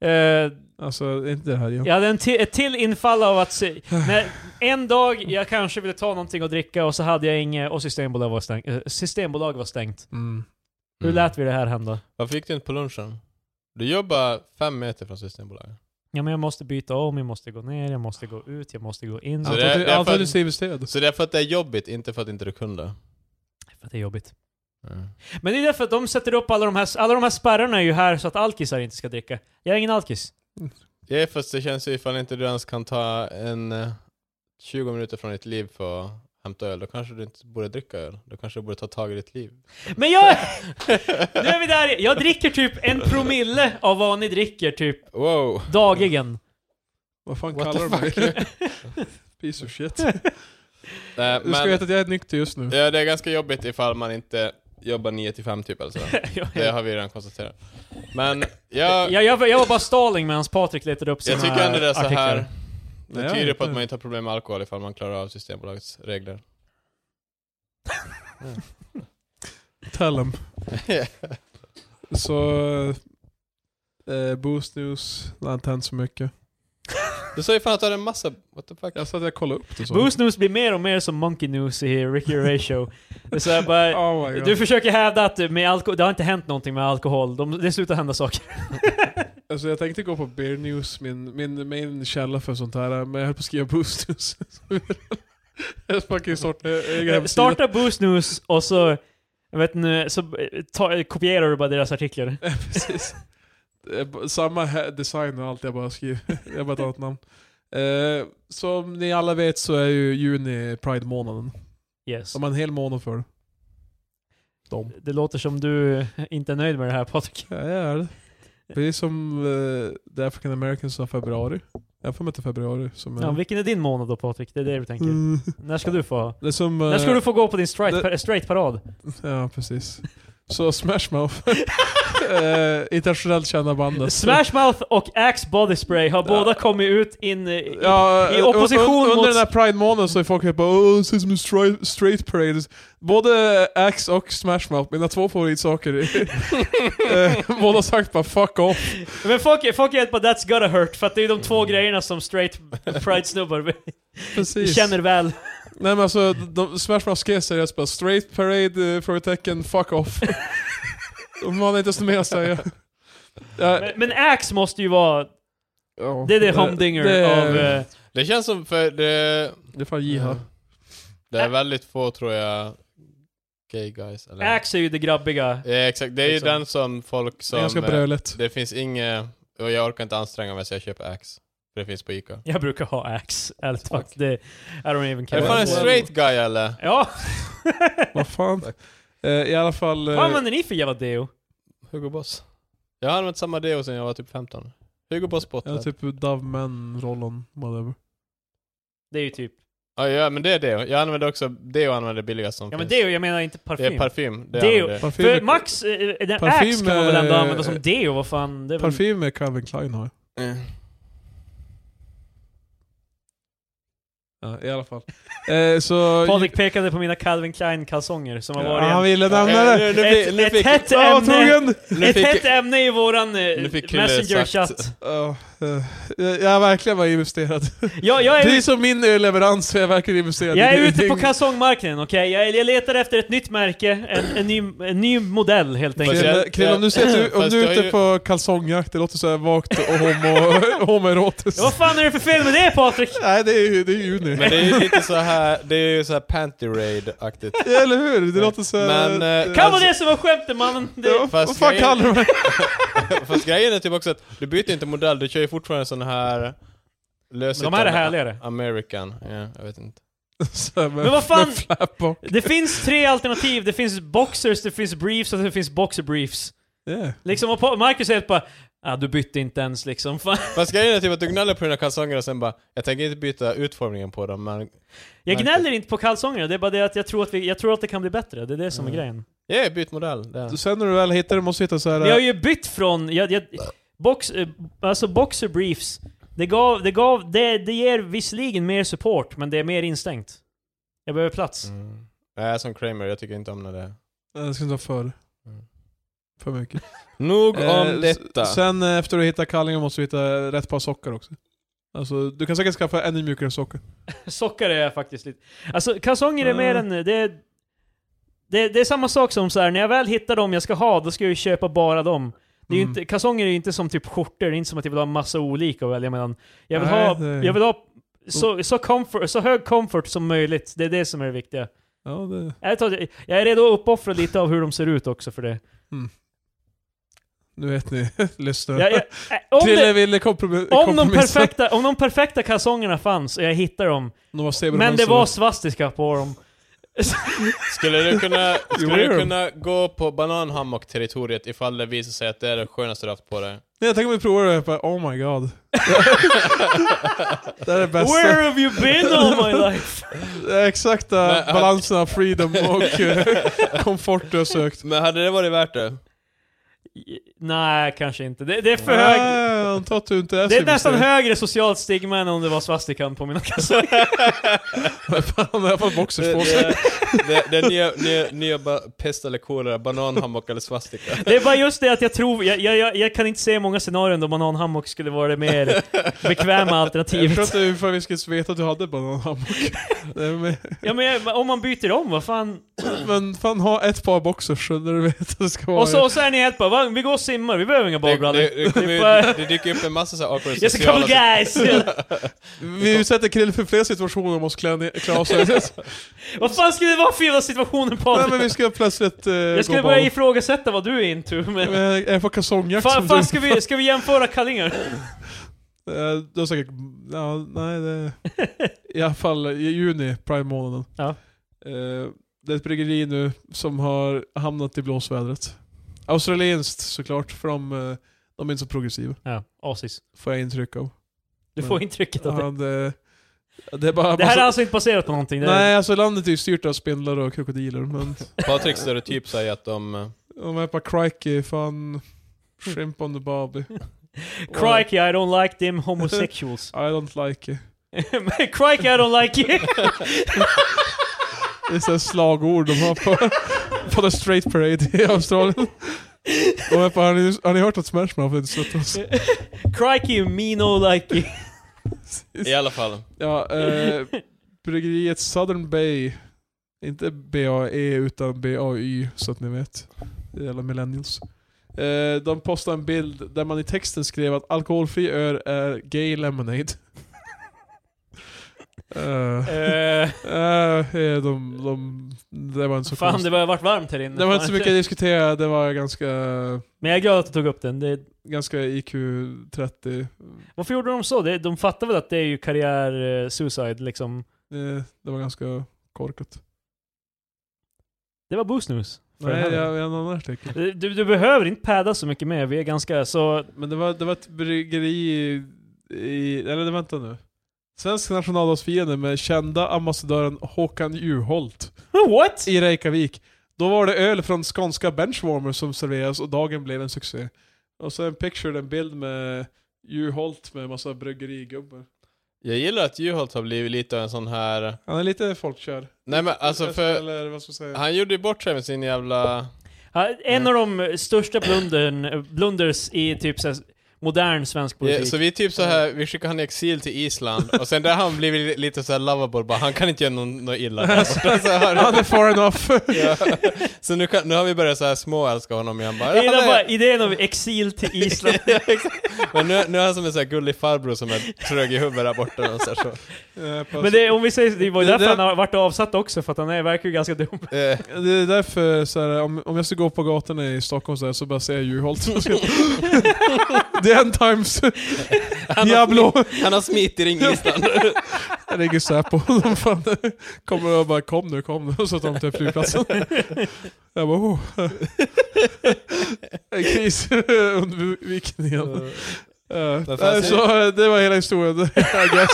Speaker 1: Eh,
Speaker 2: Alltså, inte det här igen.
Speaker 1: jag hade en ti- ett till infall av att se, när, en dag jag kanske ville ta någonting att dricka och så hade jag inget och Systembolaget var stängt. eh, Systembolag var stängt.
Speaker 2: Mm.
Speaker 1: Hur
Speaker 3: Mm.
Speaker 1: lät vi det här hända?
Speaker 3: Varför gick du inte på lunchen? Du jobbar fem meter från Systembolaget.
Speaker 1: Ja men jag måste byta om, jag måste gå ner, jag måste gå ut, jag måste gå in.
Speaker 3: Så
Speaker 1: För
Speaker 3: det är-
Speaker 2: Allt-
Speaker 3: det är
Speaker 2: Allt
Speaker 3: för-
Speaker 2: har du skrivit stöd.
Speaker 3: Så det är för att det är jobbigt, inte för att inte du kunde. Mm.
Speaker 1: att det är jobbigt. Men det är därför att de sätter upp alla de här, alla de här spärrarna är ju här så att alkisar inte ska dricka. Jag är ingen alkis.
Speaker 3: Ja, fast det känns ju ifall inte du ens kan ta en eh, 20 minuter från ditt liv för att hämta öl, då kanske du inte borde dricka öl. Då kanske du borde ta tag i ditt liv.
Speaker 1: Men jag... (laughs) Nu är vi där Jag dricker typ en promille av vad ni dricker typ
Speaker 3: Wow!
Speaker 1: dagligen.
Speaker 2: Vad fan
Speaker 3: What
Speaker 2: kallar du
Speaker 3: the
Speaker 2: mig?
Speaker 3: (laughs) fuck?
Speaker 2: Piece (laughs) of shit.
Speaker 3: Nej,
Speaker 2: Du ska
Speaker 3: Eh, men,
Speaker 2: veta att jag är nykter just nu.
Speaker 3: ja, det är ganska jobbigt ifall man inte jobbar 9 till 5 typ
Speaker 1: (laughs)
Speaker 3: eller så.
Speaker 1: jag,
Speaker 3: Det har vi redan konstaterat. Men jag,
Speaker 1: jag, jag, jag var bara stalling medan Patrik letade upp sina
Speaker 3: jag tycker ändå det är så
Speaker 1: artiklar.
Speaker 3: här.
Speaker 2: Nej,
Speaker 3: Det
Speaker 2: jag
Speaker 3: tyder
Speaker 2: vet
Speaker 3: på att
Speaker 2: inte.
Speaker 3: man inte har problem med alkohol ifall man klarar av Systembolagets regler. (laughs)
Speaker 2: Tell 'em. Så... Eh, Boost News, det har inte hänt så mycket.
Speaker 3: Du sa ju fan att du hade en massa... What the fuck?
Speaker 2: Jag sa att jag kollade upp det så.
Speaker 1: Boost News blir mer och mer som Monkey News i Ricky Ratio. det är så här bara,
Speaker 2: Oh my God.
Speaker 1: du försöker hävda att med alko- det har inte hänt någonting med alkohol. De, det slutar hända saker.
Speaker 2: Alltså (laughs) jag tänkte gå på Beer News, min, min main källa för sånt här, men jag höll på att skriva Boost News. (laughs) jag ska (laughs) fucking starta egen hemsida.
Speaker 1: Eh, Starta Boost News och så, jag vet inte, så eh, ta, kopierar du bara deras artiklar.
Speaker 2: (laughs) Ja, Precis. Det är b- Samma he- design och allt, jag bara skriver. (laughs) jag bara tar ett namn. Eh, som ni alla vet så är ju juni Pride-månaden.
Speaker 1: Yes.
Speaker 2: De har en hel månad för det. De.
Speaker 1: Det låter som du inte är nöjd med det här Patrik.
Speaker 2: Ja, jag är det. Precis som eh, The African Americans har februari. Jag får mig inte februari som är...
Speaker 1: Ja, vilken är din månad då Patrik? Det är det du tänker.
Speaker 2: Mm.
Speaker 1: När ska du få?
Speaker 2: Det är som... eh,
Speaker 1: När ska du få gå på din straight,
Speaker 2: det-
Speaker 1: straight parad?
Speaker 2: Ja, precis. Så Smash
Speaker 1: (laughs)
Speaker 2: Mouth. eh, internationellt kända bandet.
Speaker 1: Smash Mouth och Axe Body Spray har båda kommit ut in... i-
Speaker 2: Ja,
Speaker 1: I opposition
Speaker 2: un- un-
Speaker 1: mot-
Speaker 2: Under den här Pride-månaden så är folk helt bara Åh, det ser ut som en stri- straight parade. Både Axe och Smash Mouth, mina två favoritsaker.
Speaker 1: (laughs)
Speaker 2: (laughs) Eh, Båda har sagt bara 'fuck off'
Speaker 1: Men folk, folk är helt bara 'That's gotta hurt' för att det är de
Speaker 3: Mm.
Speaker 1: två grejerna som straight pride-snubbar
Speaker 2: Precis.
Speaker 1: känner väl.
Speaker 2: Nej men alltså, de, Smash Mouth skrev seriöst bara 'straight parade? eh, Frågetecken, fuck
Speaker 3: (laughs)
Speaker 2: off' Man har inte ens mer att säga. Ja,
Speaker 1: Men, men Axe måste ju vara...
Speaker 2: ja.
Speaker 1: Det är det humdinger
Speaker 2: det-
Speaker 1: av... eh,
Speaker 3: Det känns som för det... Mm.
Speaker 2: Det är fan jiha.
Speaker 3: Det är väldigt få tror jag... Gay guys eller...
Speaker 1: Axe är ju det grabbiga.
Speaker 3: Ja, exakt. Det är ju
Speaker 1: Exakt.
Speaker 3: den som folk
Speaker 2: Liksom. Det
Speaker 3: som...
Speaker 2: är ganska
Speaker 3: eh,
Speaker 2: bröligt.
Speaker 3: Det finns inget... Och jag orkar inte anstränga mig så jag köper Axe. För det finns på Ica.
Speaker 1: Jag brukar ha Axe, ärligt
Speaker 3: Tack.
Speaker 1: talat. Det- I don't even
Speaker 3: Är
Speaker 1: care.
Speaker 3: det fan en straight guy eller?
Speaker 1: Ja!
Speaker 2: Vad
Speaker 3: (laughs)
Speaker 2: fan. Eh, I alla fall... eh,
Speaker 1: Vad använder ni för jävla deo?
Speaker 3: Hugo Boss. Jag har använt samma deo sen jag var typ 15. Hugo Boss bottlar.
Speaker 2: Ja, typ Dove Man, Rollon, whatever.
Speaker 1: Det är ju typ...
Speaker 3: Ja, ja, men det är deo. Jag använder också deo använder billigast som
Speaker 1: Ja men
Speaker 3: finns.
Speaker 1: deo, jag menar inte
Speaker 3: Det är
Speaker 1: parfym.
Speaker 3: parfym. Det
Speaker 1: Deo.
Speaker 3: använder jag.
Speaker 2: Parfym,
Speaker 1: För Max, eh, den
Speaker 2: Parfym
Speaker 1: Axe kan man väl ändå
Speaker 2: är-
Speaker 1: använda som deo? Vad fan? Det är väl...
Speaker 2: parfym är Calvin Klein har jag.
Speaker 3: Mm.
Speaker 2: Ja, i alla fall. eh, så...
Speaker 1: Patrik pekade på mina Calvin Klein-kalsonger som har
Speaker 2: Ja,
Speaker 1: varit
Speaker 2: han
Speaker 1: en-
Speaker 2: ville nämna det.
Speaker 3: Ja, nu- nu fick- nu
Speaker 1: Ett- ett
Speaker 3: fick-
Speaker 1: hett
Speaker 2: Ja, vad
Speaker 1: ämne.
Speaker 2: trogen!
Speaker 3: nu
Speaker 1: Ett
Speaker 3: fick-
Speaker 1: hett ämne i våran eh,
Speaker 3: Nu fick Krille
Speaker 1: Messenger-chatt.
Speaker 3: sagt-
Speaker 2: Ja, eh, jag jag har verkligen varit investerad.
Speaker 1: Jag, jag,
Speaker 2: Det är
Speaker 1: är,
Speaker 2: som min ölleverans, jag är verkligen investerad.
Speaker 1: jag
Speaker 2: i
Speaker 1: är ute på
Speaker 2: ingenting.
Speaker 1: kalsongmarknaden, okej? Jag, jag letar efter ett nytt märke, en, en, ny, en ny modell helt
Speaker 3: Fast
Speaker 1: enkelt.
Speaker 3: jag-
Speaker 2: Krille, Krille, om du säger att du, om
Speaker 3: Fast
Speaker 2: du
Speaker 3: jag
Speaker 2: är
Speaker 3: har
Speaker 2: ute
Speaker 3: ju-
Speaker 2: på kalsongjakt, det låter så här vagt och homo, (laughs) homoerotiskt.
Speaker 1: Ja, vad fan är det för fel med det Patrik?
Speaker 2: Nej, det är ju det är juni.
Speaker 3: Men det är ju lite så här, det är ju så här panty raid-aktigt.
Speaker 2: Ja, Eller hur? Det låter så här...
Speaker 3: Men, eh,
Speaker 1: Kan vara
Speaker 3: Alltså-
Speaker 1: det som var skämtet mannen!
Speaker 2: Ja,
Speaker 1: Det,
Speaker 2: Vad
Speaker 3: Fast
Speaker 2: fan
Speaker 3: grejen-
Speaker 2: kallar du mig?
Speaker 3: Fast grejen är typ också att du byter inte modell, du kör ju fortfarande sån här...
Speaker 1: men
Speaker 3: Lösigt
Speaker 1: de här är härligare.
Speaker 3: American, ja, jag vet inte.
Speaker 2: Så här med-
Speaker 1: Men vad fan-
Speaker 2: Med flap och...
Speaker 1: Det finns tre alternativ. Det finns boxers, det finns briefs och det finns boxer briefs.
Speaker 2: Yeah.
Speaker 1: Liksom, och Pa- Marcus är helt bara ah, du bytte inte ens liksom. (laughs) Fan.
Speaker 3: Fast grejen är typ att du gnäller på dina kalsonger och sen bara, jag tänker inte byta utformningen på dem men...
Speaker 1: Jag
Speaker 3: Marcus.
Speaker 1: gnäller inte på kalsongerna, det är bara det att jag tror att, vi, jag tror att det kan bli bättre. Det är det som är
Speaker 3: Mm.
Speaker 1: grejen.
Speaker 3: Ja, yeah, byt modell. Där.
Speaker 2: Så Sen när du väl hittar det måste du hitta så här.
Speaker 1: Men jag har ju bytt från... Jag, jag, box, eh, alltså boxer briefs, det, gav, det, gav, det, det ger visserligen mer support, men det är mer instängt. Jag behöver plats.
Speaker 3: Mm. Nej, som Kramer, jag tycker inte om när det är.
Speaker 2: Jag ska inte ha för. För mycket.
Speaker 3: Nog om
Speaker 2: Eh, s-
Speaker 3: detta.
Speaker 2: Sen eh, efter du hittar kallingar måste du hitta rätt par sockor också. Alltså, du kan säkert skaffa ännu mjukare sockor.
Speaker 1: Sockar är jag faktiskt lite... Alltså kalsonger är
Speaker 2: Mm.
Speaker 1: mer än... Det är, det, det är samma sak som så här. när jag väl hittar dem jag ska ha, då ska jag ju köpa bara dem. Det är ju
Speaker 2: Mm.
Speaker 1: inte, kalsonger är ju inte som typ skjortor, det är inte som att jag vill ha massa olika att välja mellan. Jag vill
Speaker 2: Nej,
Speaker 1: ha,
Speaker 2: det- Oh.
Speaker 1: jag vill ha så, så, comfort, så hög comfort som möjligt, det är det som är det viktiga.
Speaker 2: Ja, det...
Speaker 1: Jag, tar, jag är redo att uppoffra lite av hur de ser ut också för det.
Speaker 2: Nu vet ni, (laughs) lyssnare.
Speaker 1: Jag, jag, äh, om,
Speaker 2: Krille
Speaker 1: det
Speaker 2: ville komprom-
Speaker 1: om, de
Speaker 2: kompromissa.
Speaker 1: perfekta, om de perfekta kalsongerna fanns och jag hittade dem,
Speaker 2: Några
Speaker 1: men det var svastika på dem.
Speaker 3: Skulle du kunna,
Speaker 2: det
Speaker 3: skulle
Speaker 2: gör
Speaker 3: du
Speaker 2: de.
Speaker 3: kunna gå på bananhammock-territoriet ifall det visar sig att det är det skönaste du haft på dig?
Speaker 2: Nej, jag tänker om vi provar det och jag bara, oh my
Speaker 1: (laughs)
Speaker 2: god. det här är det bästa.
Speaker 1: Where have you been all my
Speaker 2: (laughs)
Speaker 1: life?
Speaker 2: Det är exakta
Speaker 3: Men, äh,
Speaker 2: balansen av freedom
Speaker 3: (laughs)
Speaker 2: och eh, komfort du har sökt.
Speaker 3: Men hade det varit värt det?
Speaker 1: Nej, kanske inte. Det, det är för hög...
Speaker 2: Nej, jag antar att du inte är
Speaker 1: Det är
Speaker 2: civiliserad.
Speaker 1: nästan
Speaker 2: (laughs)
Speaker 1: högre socialt stigma än om det var svastikan på mina kassar.
Speaker 2: Fan, jag har fått boxers på sig.
Speaker 3: det, det, det är nya, nya, nya ba- pest eller kolera, bananhammock eller svastika.
Speaker 1: Det är bara just det att jag tror, jag, jag, jag, jag kan inte se många scenarion då bananhammock skulle vara det mer bekväma
Speaker 2: Jag tror
Speaker 1: alternativet.
Speaker 2: inte hur fan vi skulle veta att du
Speaker 1: (laughs)
Speaker 2: hade bananhammock. Nej, men-
Speaker 1: Ja men jag- om man byter om, vad fan?
Speaker 2: Men fan ha ett par boxers så där du vet att det ska vara
Speaker 1: Och så, och så är ni helt bara, "Va? vi går och simmar, vi behöver inga
Speaker 3: Det,
Speaker 1: badbrallor.
Speaker 3: det, det, kommer ju- det dyker upp en massa så här awkward
Speaker 1: Just a couple
Speaker 3: situationer.
Speaker 1: guys!
Speaker 2: Vi utsätter Krill för fler situationer om oss klä, ner- klä av sig.
Speaker 1: (laughs) vad fan skulle det vara för jävla situationer på?
Speaker 2: Nej men vi ska plötsligt eh,
Speaker 1: jag skulle
Speaker 2: gå
Speaker 1: börja
Speaker 2: ball.
Speaker 1: ifrågasätta vad du är into, men...
Speaker 2: Men Är det på kalsongjakt
Speaker 1: Fan,
Speaker 2: som
Speaker 1: fan
Speaker 2: du...
Speaker 1: ska, vi, ska vi jämföra kallingar?
Speaker 2: Eh, Du har säkert... Ja, nej det... I alla fall i juni, prime-månaden.
Speaker 1: Ja.
Speaker 2: Eh, Det är ett bryggeri nu som har hamnat i blåsvädret. Australienskt såklart, för de, eh, de är inte så progressiva.
Speaker 1: Ja, asis.
Speaker 2: Får jag intryck av.
Speaker 1: Du får intrycket att det...
Speaker 2: Ja, det, det är bara...
Speaker 1: Det här är
Speaker 2: massa-
Speaker 1: alltså inte baserat på någonting? Det är-
Speaker 2: Nej, alltså landet är ju styrt av spindlar och
Speaker 1: (laughs)
Speaker 2: krokodiler, men...
Speaker 3: Patrik stereotyp säger att de... eh,
Speaker 2: De är bara crikey, fan... Shrimp on the barbie.
Speaker 1: Crikey, I don't like them
Speaker 2: (laughs)
Speaker 1: homosexuals.
Speaker 2: I don't like it.
Speaker 1: (laughs) Crikey, I don't like you!
Speaker 2: Det är sådana slagord de har på, på The Straight Parade i Australien. De är bara, har, ni, har ni hört att Smash Mouth inte sett oss?
Speaker 1: Crikey, me no likey.
Speaker 3: I alla fall.
Speaker 2: Ja, eh, bryggeriet Southern Bay. Inte BAE utan BAY, så att ni vet. Jävla millennials. Eh, de postade en bild där man i texten skrev att alkoholfri öl är gay lemonade. Eh,
Speaker 1: Eh,
Speaker 2: eh, de, de, det var inte
Speaker 1: (laughs)
Speaker 2: så
Speaker 1: fan,
Speaker 2: konstigt.
Speaker 1: det börjar varit varmt här inne.
Speaker 2: Det var inte så
Speaker 1: Fan.
Speaker 2: mycket att diskutera, det var ganska,
Speaker 1: (laughs) Men jag är glad att du tog upp den. Det,
Speaker 2: ganska IQ 30.
Speaker 1: varför gjorde de så? Det, de fattar väl att det är ju karriär-suicide liksom.
Speaker 2: Det, Eh, det var ganska korkat.
Speaker 1: Det var boosnus. För
Speaker 2: Nej,
Speaker 1: helvete.
Speaker 2: jag, jag har en annan artikel.
Speaker 1: Du, Eh, du behöver inte padda så mycket mer, vi är ganska så...
Speaker 2: Men det var, det var ett bryggeri i, i eller nej, vänta nu. Svensk nationaldagsfiende med kända ambassadören Håkan Juholt
Speaker 1: What?
Speaker 2: i Reykjavik. Då var det öl från skånska benchwarmers som serveras och dagen blev en succé. Och så en picture, en bild med Juholt med massa bryggerigubbar.
Speaker 3: Jag gillar att Juholt har blivit lite av en sån här...
Speaker 2: Han är lite folkkär.
Speaker 3: Nej men alltså för... Ah.
Speaker 2: Eller vad ska jag säga?
Speaker 3: Han gjorde ju bort sig med sin jävla...
Speaker 1: Ja, En av de största blundern, blunders i typ så här modern svensk politik.
Speaker 3: Ja, så vi är typ så här, vi skickar han i exil till Island och sen där har han blivit lite så här lovable bara, han kan inte göra någon- något illa. där borta, så, här.
Speaker 2: Han är far enough.
Speaker 3: (laughs) Ja. så nu, kan, nu har vi börjat så här småälska honom igen bara.
Speaker 1: Jag
Speaker 3: "Han
Speaker 1: gillar
Speaker 3: är-"
Speaker 1: bara idén om exil till Island. (laughs)
Speaker 3: Ja, exakt. Men nu, nu är han som en så här gullig farbror som är trög i huvudet där borta. Och så här, så.
Speaker 2: Eh,
Speaker 1: Men det, om vi säger, det var ju
Speaker 2: Det-
Speaker 1: därför
Speaker 2: det-
Speaker 1: han har varit avsatt också, för att han är, verkar ju ganska dum.
Speaker 3: Eh,
Speaker 2: det är därför så här, om, om jag ska gå på gatorna i Stockholm så, här, så bara säger jag Juholt. (laughs) Det är en times.
Speaker 3: han, har,
Speaker 2: Diablo.
Speaker 3: han har smitit ring i Island.
Speaker 2: Jag ringer Säpo. (laughs) De fan kommer och bara kom nu, kom nu. Och så tar de till flygplatsen. Jag bara oh. En kris (laughs) under viken igen. Eh,
Speaker 3: fan,
Speaker 2: Så eh, det var hela historien. (laughs) I guess.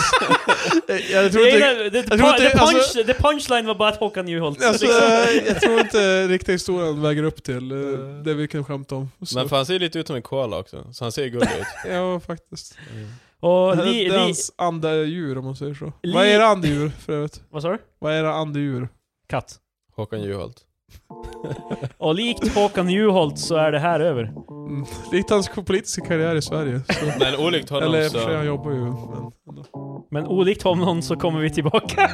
Speaker 2: Jag tror
Speaker 1: Det,
Speaker 2: inte...
Speaker 1: det, det,
Speaker 2: jag tror inte-
Speaker 1: the, punch,
Speaker 2: alltså-
Speaker 1: the punchline var bara att Håkan Juholt. (laughs)
Speaker 2: Alltså,
Speaker 1: liksom.
Speaker 2: eh, jag tror inte riktigt historien väger upp till eh, det vi kan skämta om. Så,
Speaker 3: Men för han ser ju lite ut som en koala också, så han ser ju gullig ut.
Speaker 2: Ja, faktiskt.
Speaker 1: Och
Speaker 2: det,
Speaker 1: li,
Speaker 2: det är
Speaker 1: li,
Speaker 2: hans andedjur om man säger så.
Speaker 1: Li-
Speaker 2: Vad är era andedjur för övrigt?
Speaker 1: vad sa du?
Speaker 2: Vad är era andedjur?
Speaker 1: Katt.
Speaker 3: Håkan Juholt.
Speaker 1: Och likt Håkan Juholt så är det här över.
Speaker 2: Mm. Likt hans politiska karriär i Sverige. Så.
Speaker 3: Men olikt honom
Speaker 2: Eller i och för sig,
Speaker 3: så...
Speaker 2: han jobbar ju. Men, ändå.
Speaker 1: Men olikt honom så kommer vi tillbaka.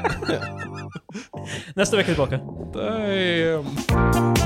Speaker 1: Nästa vecka tillbaka.
Speaker 2: Damn.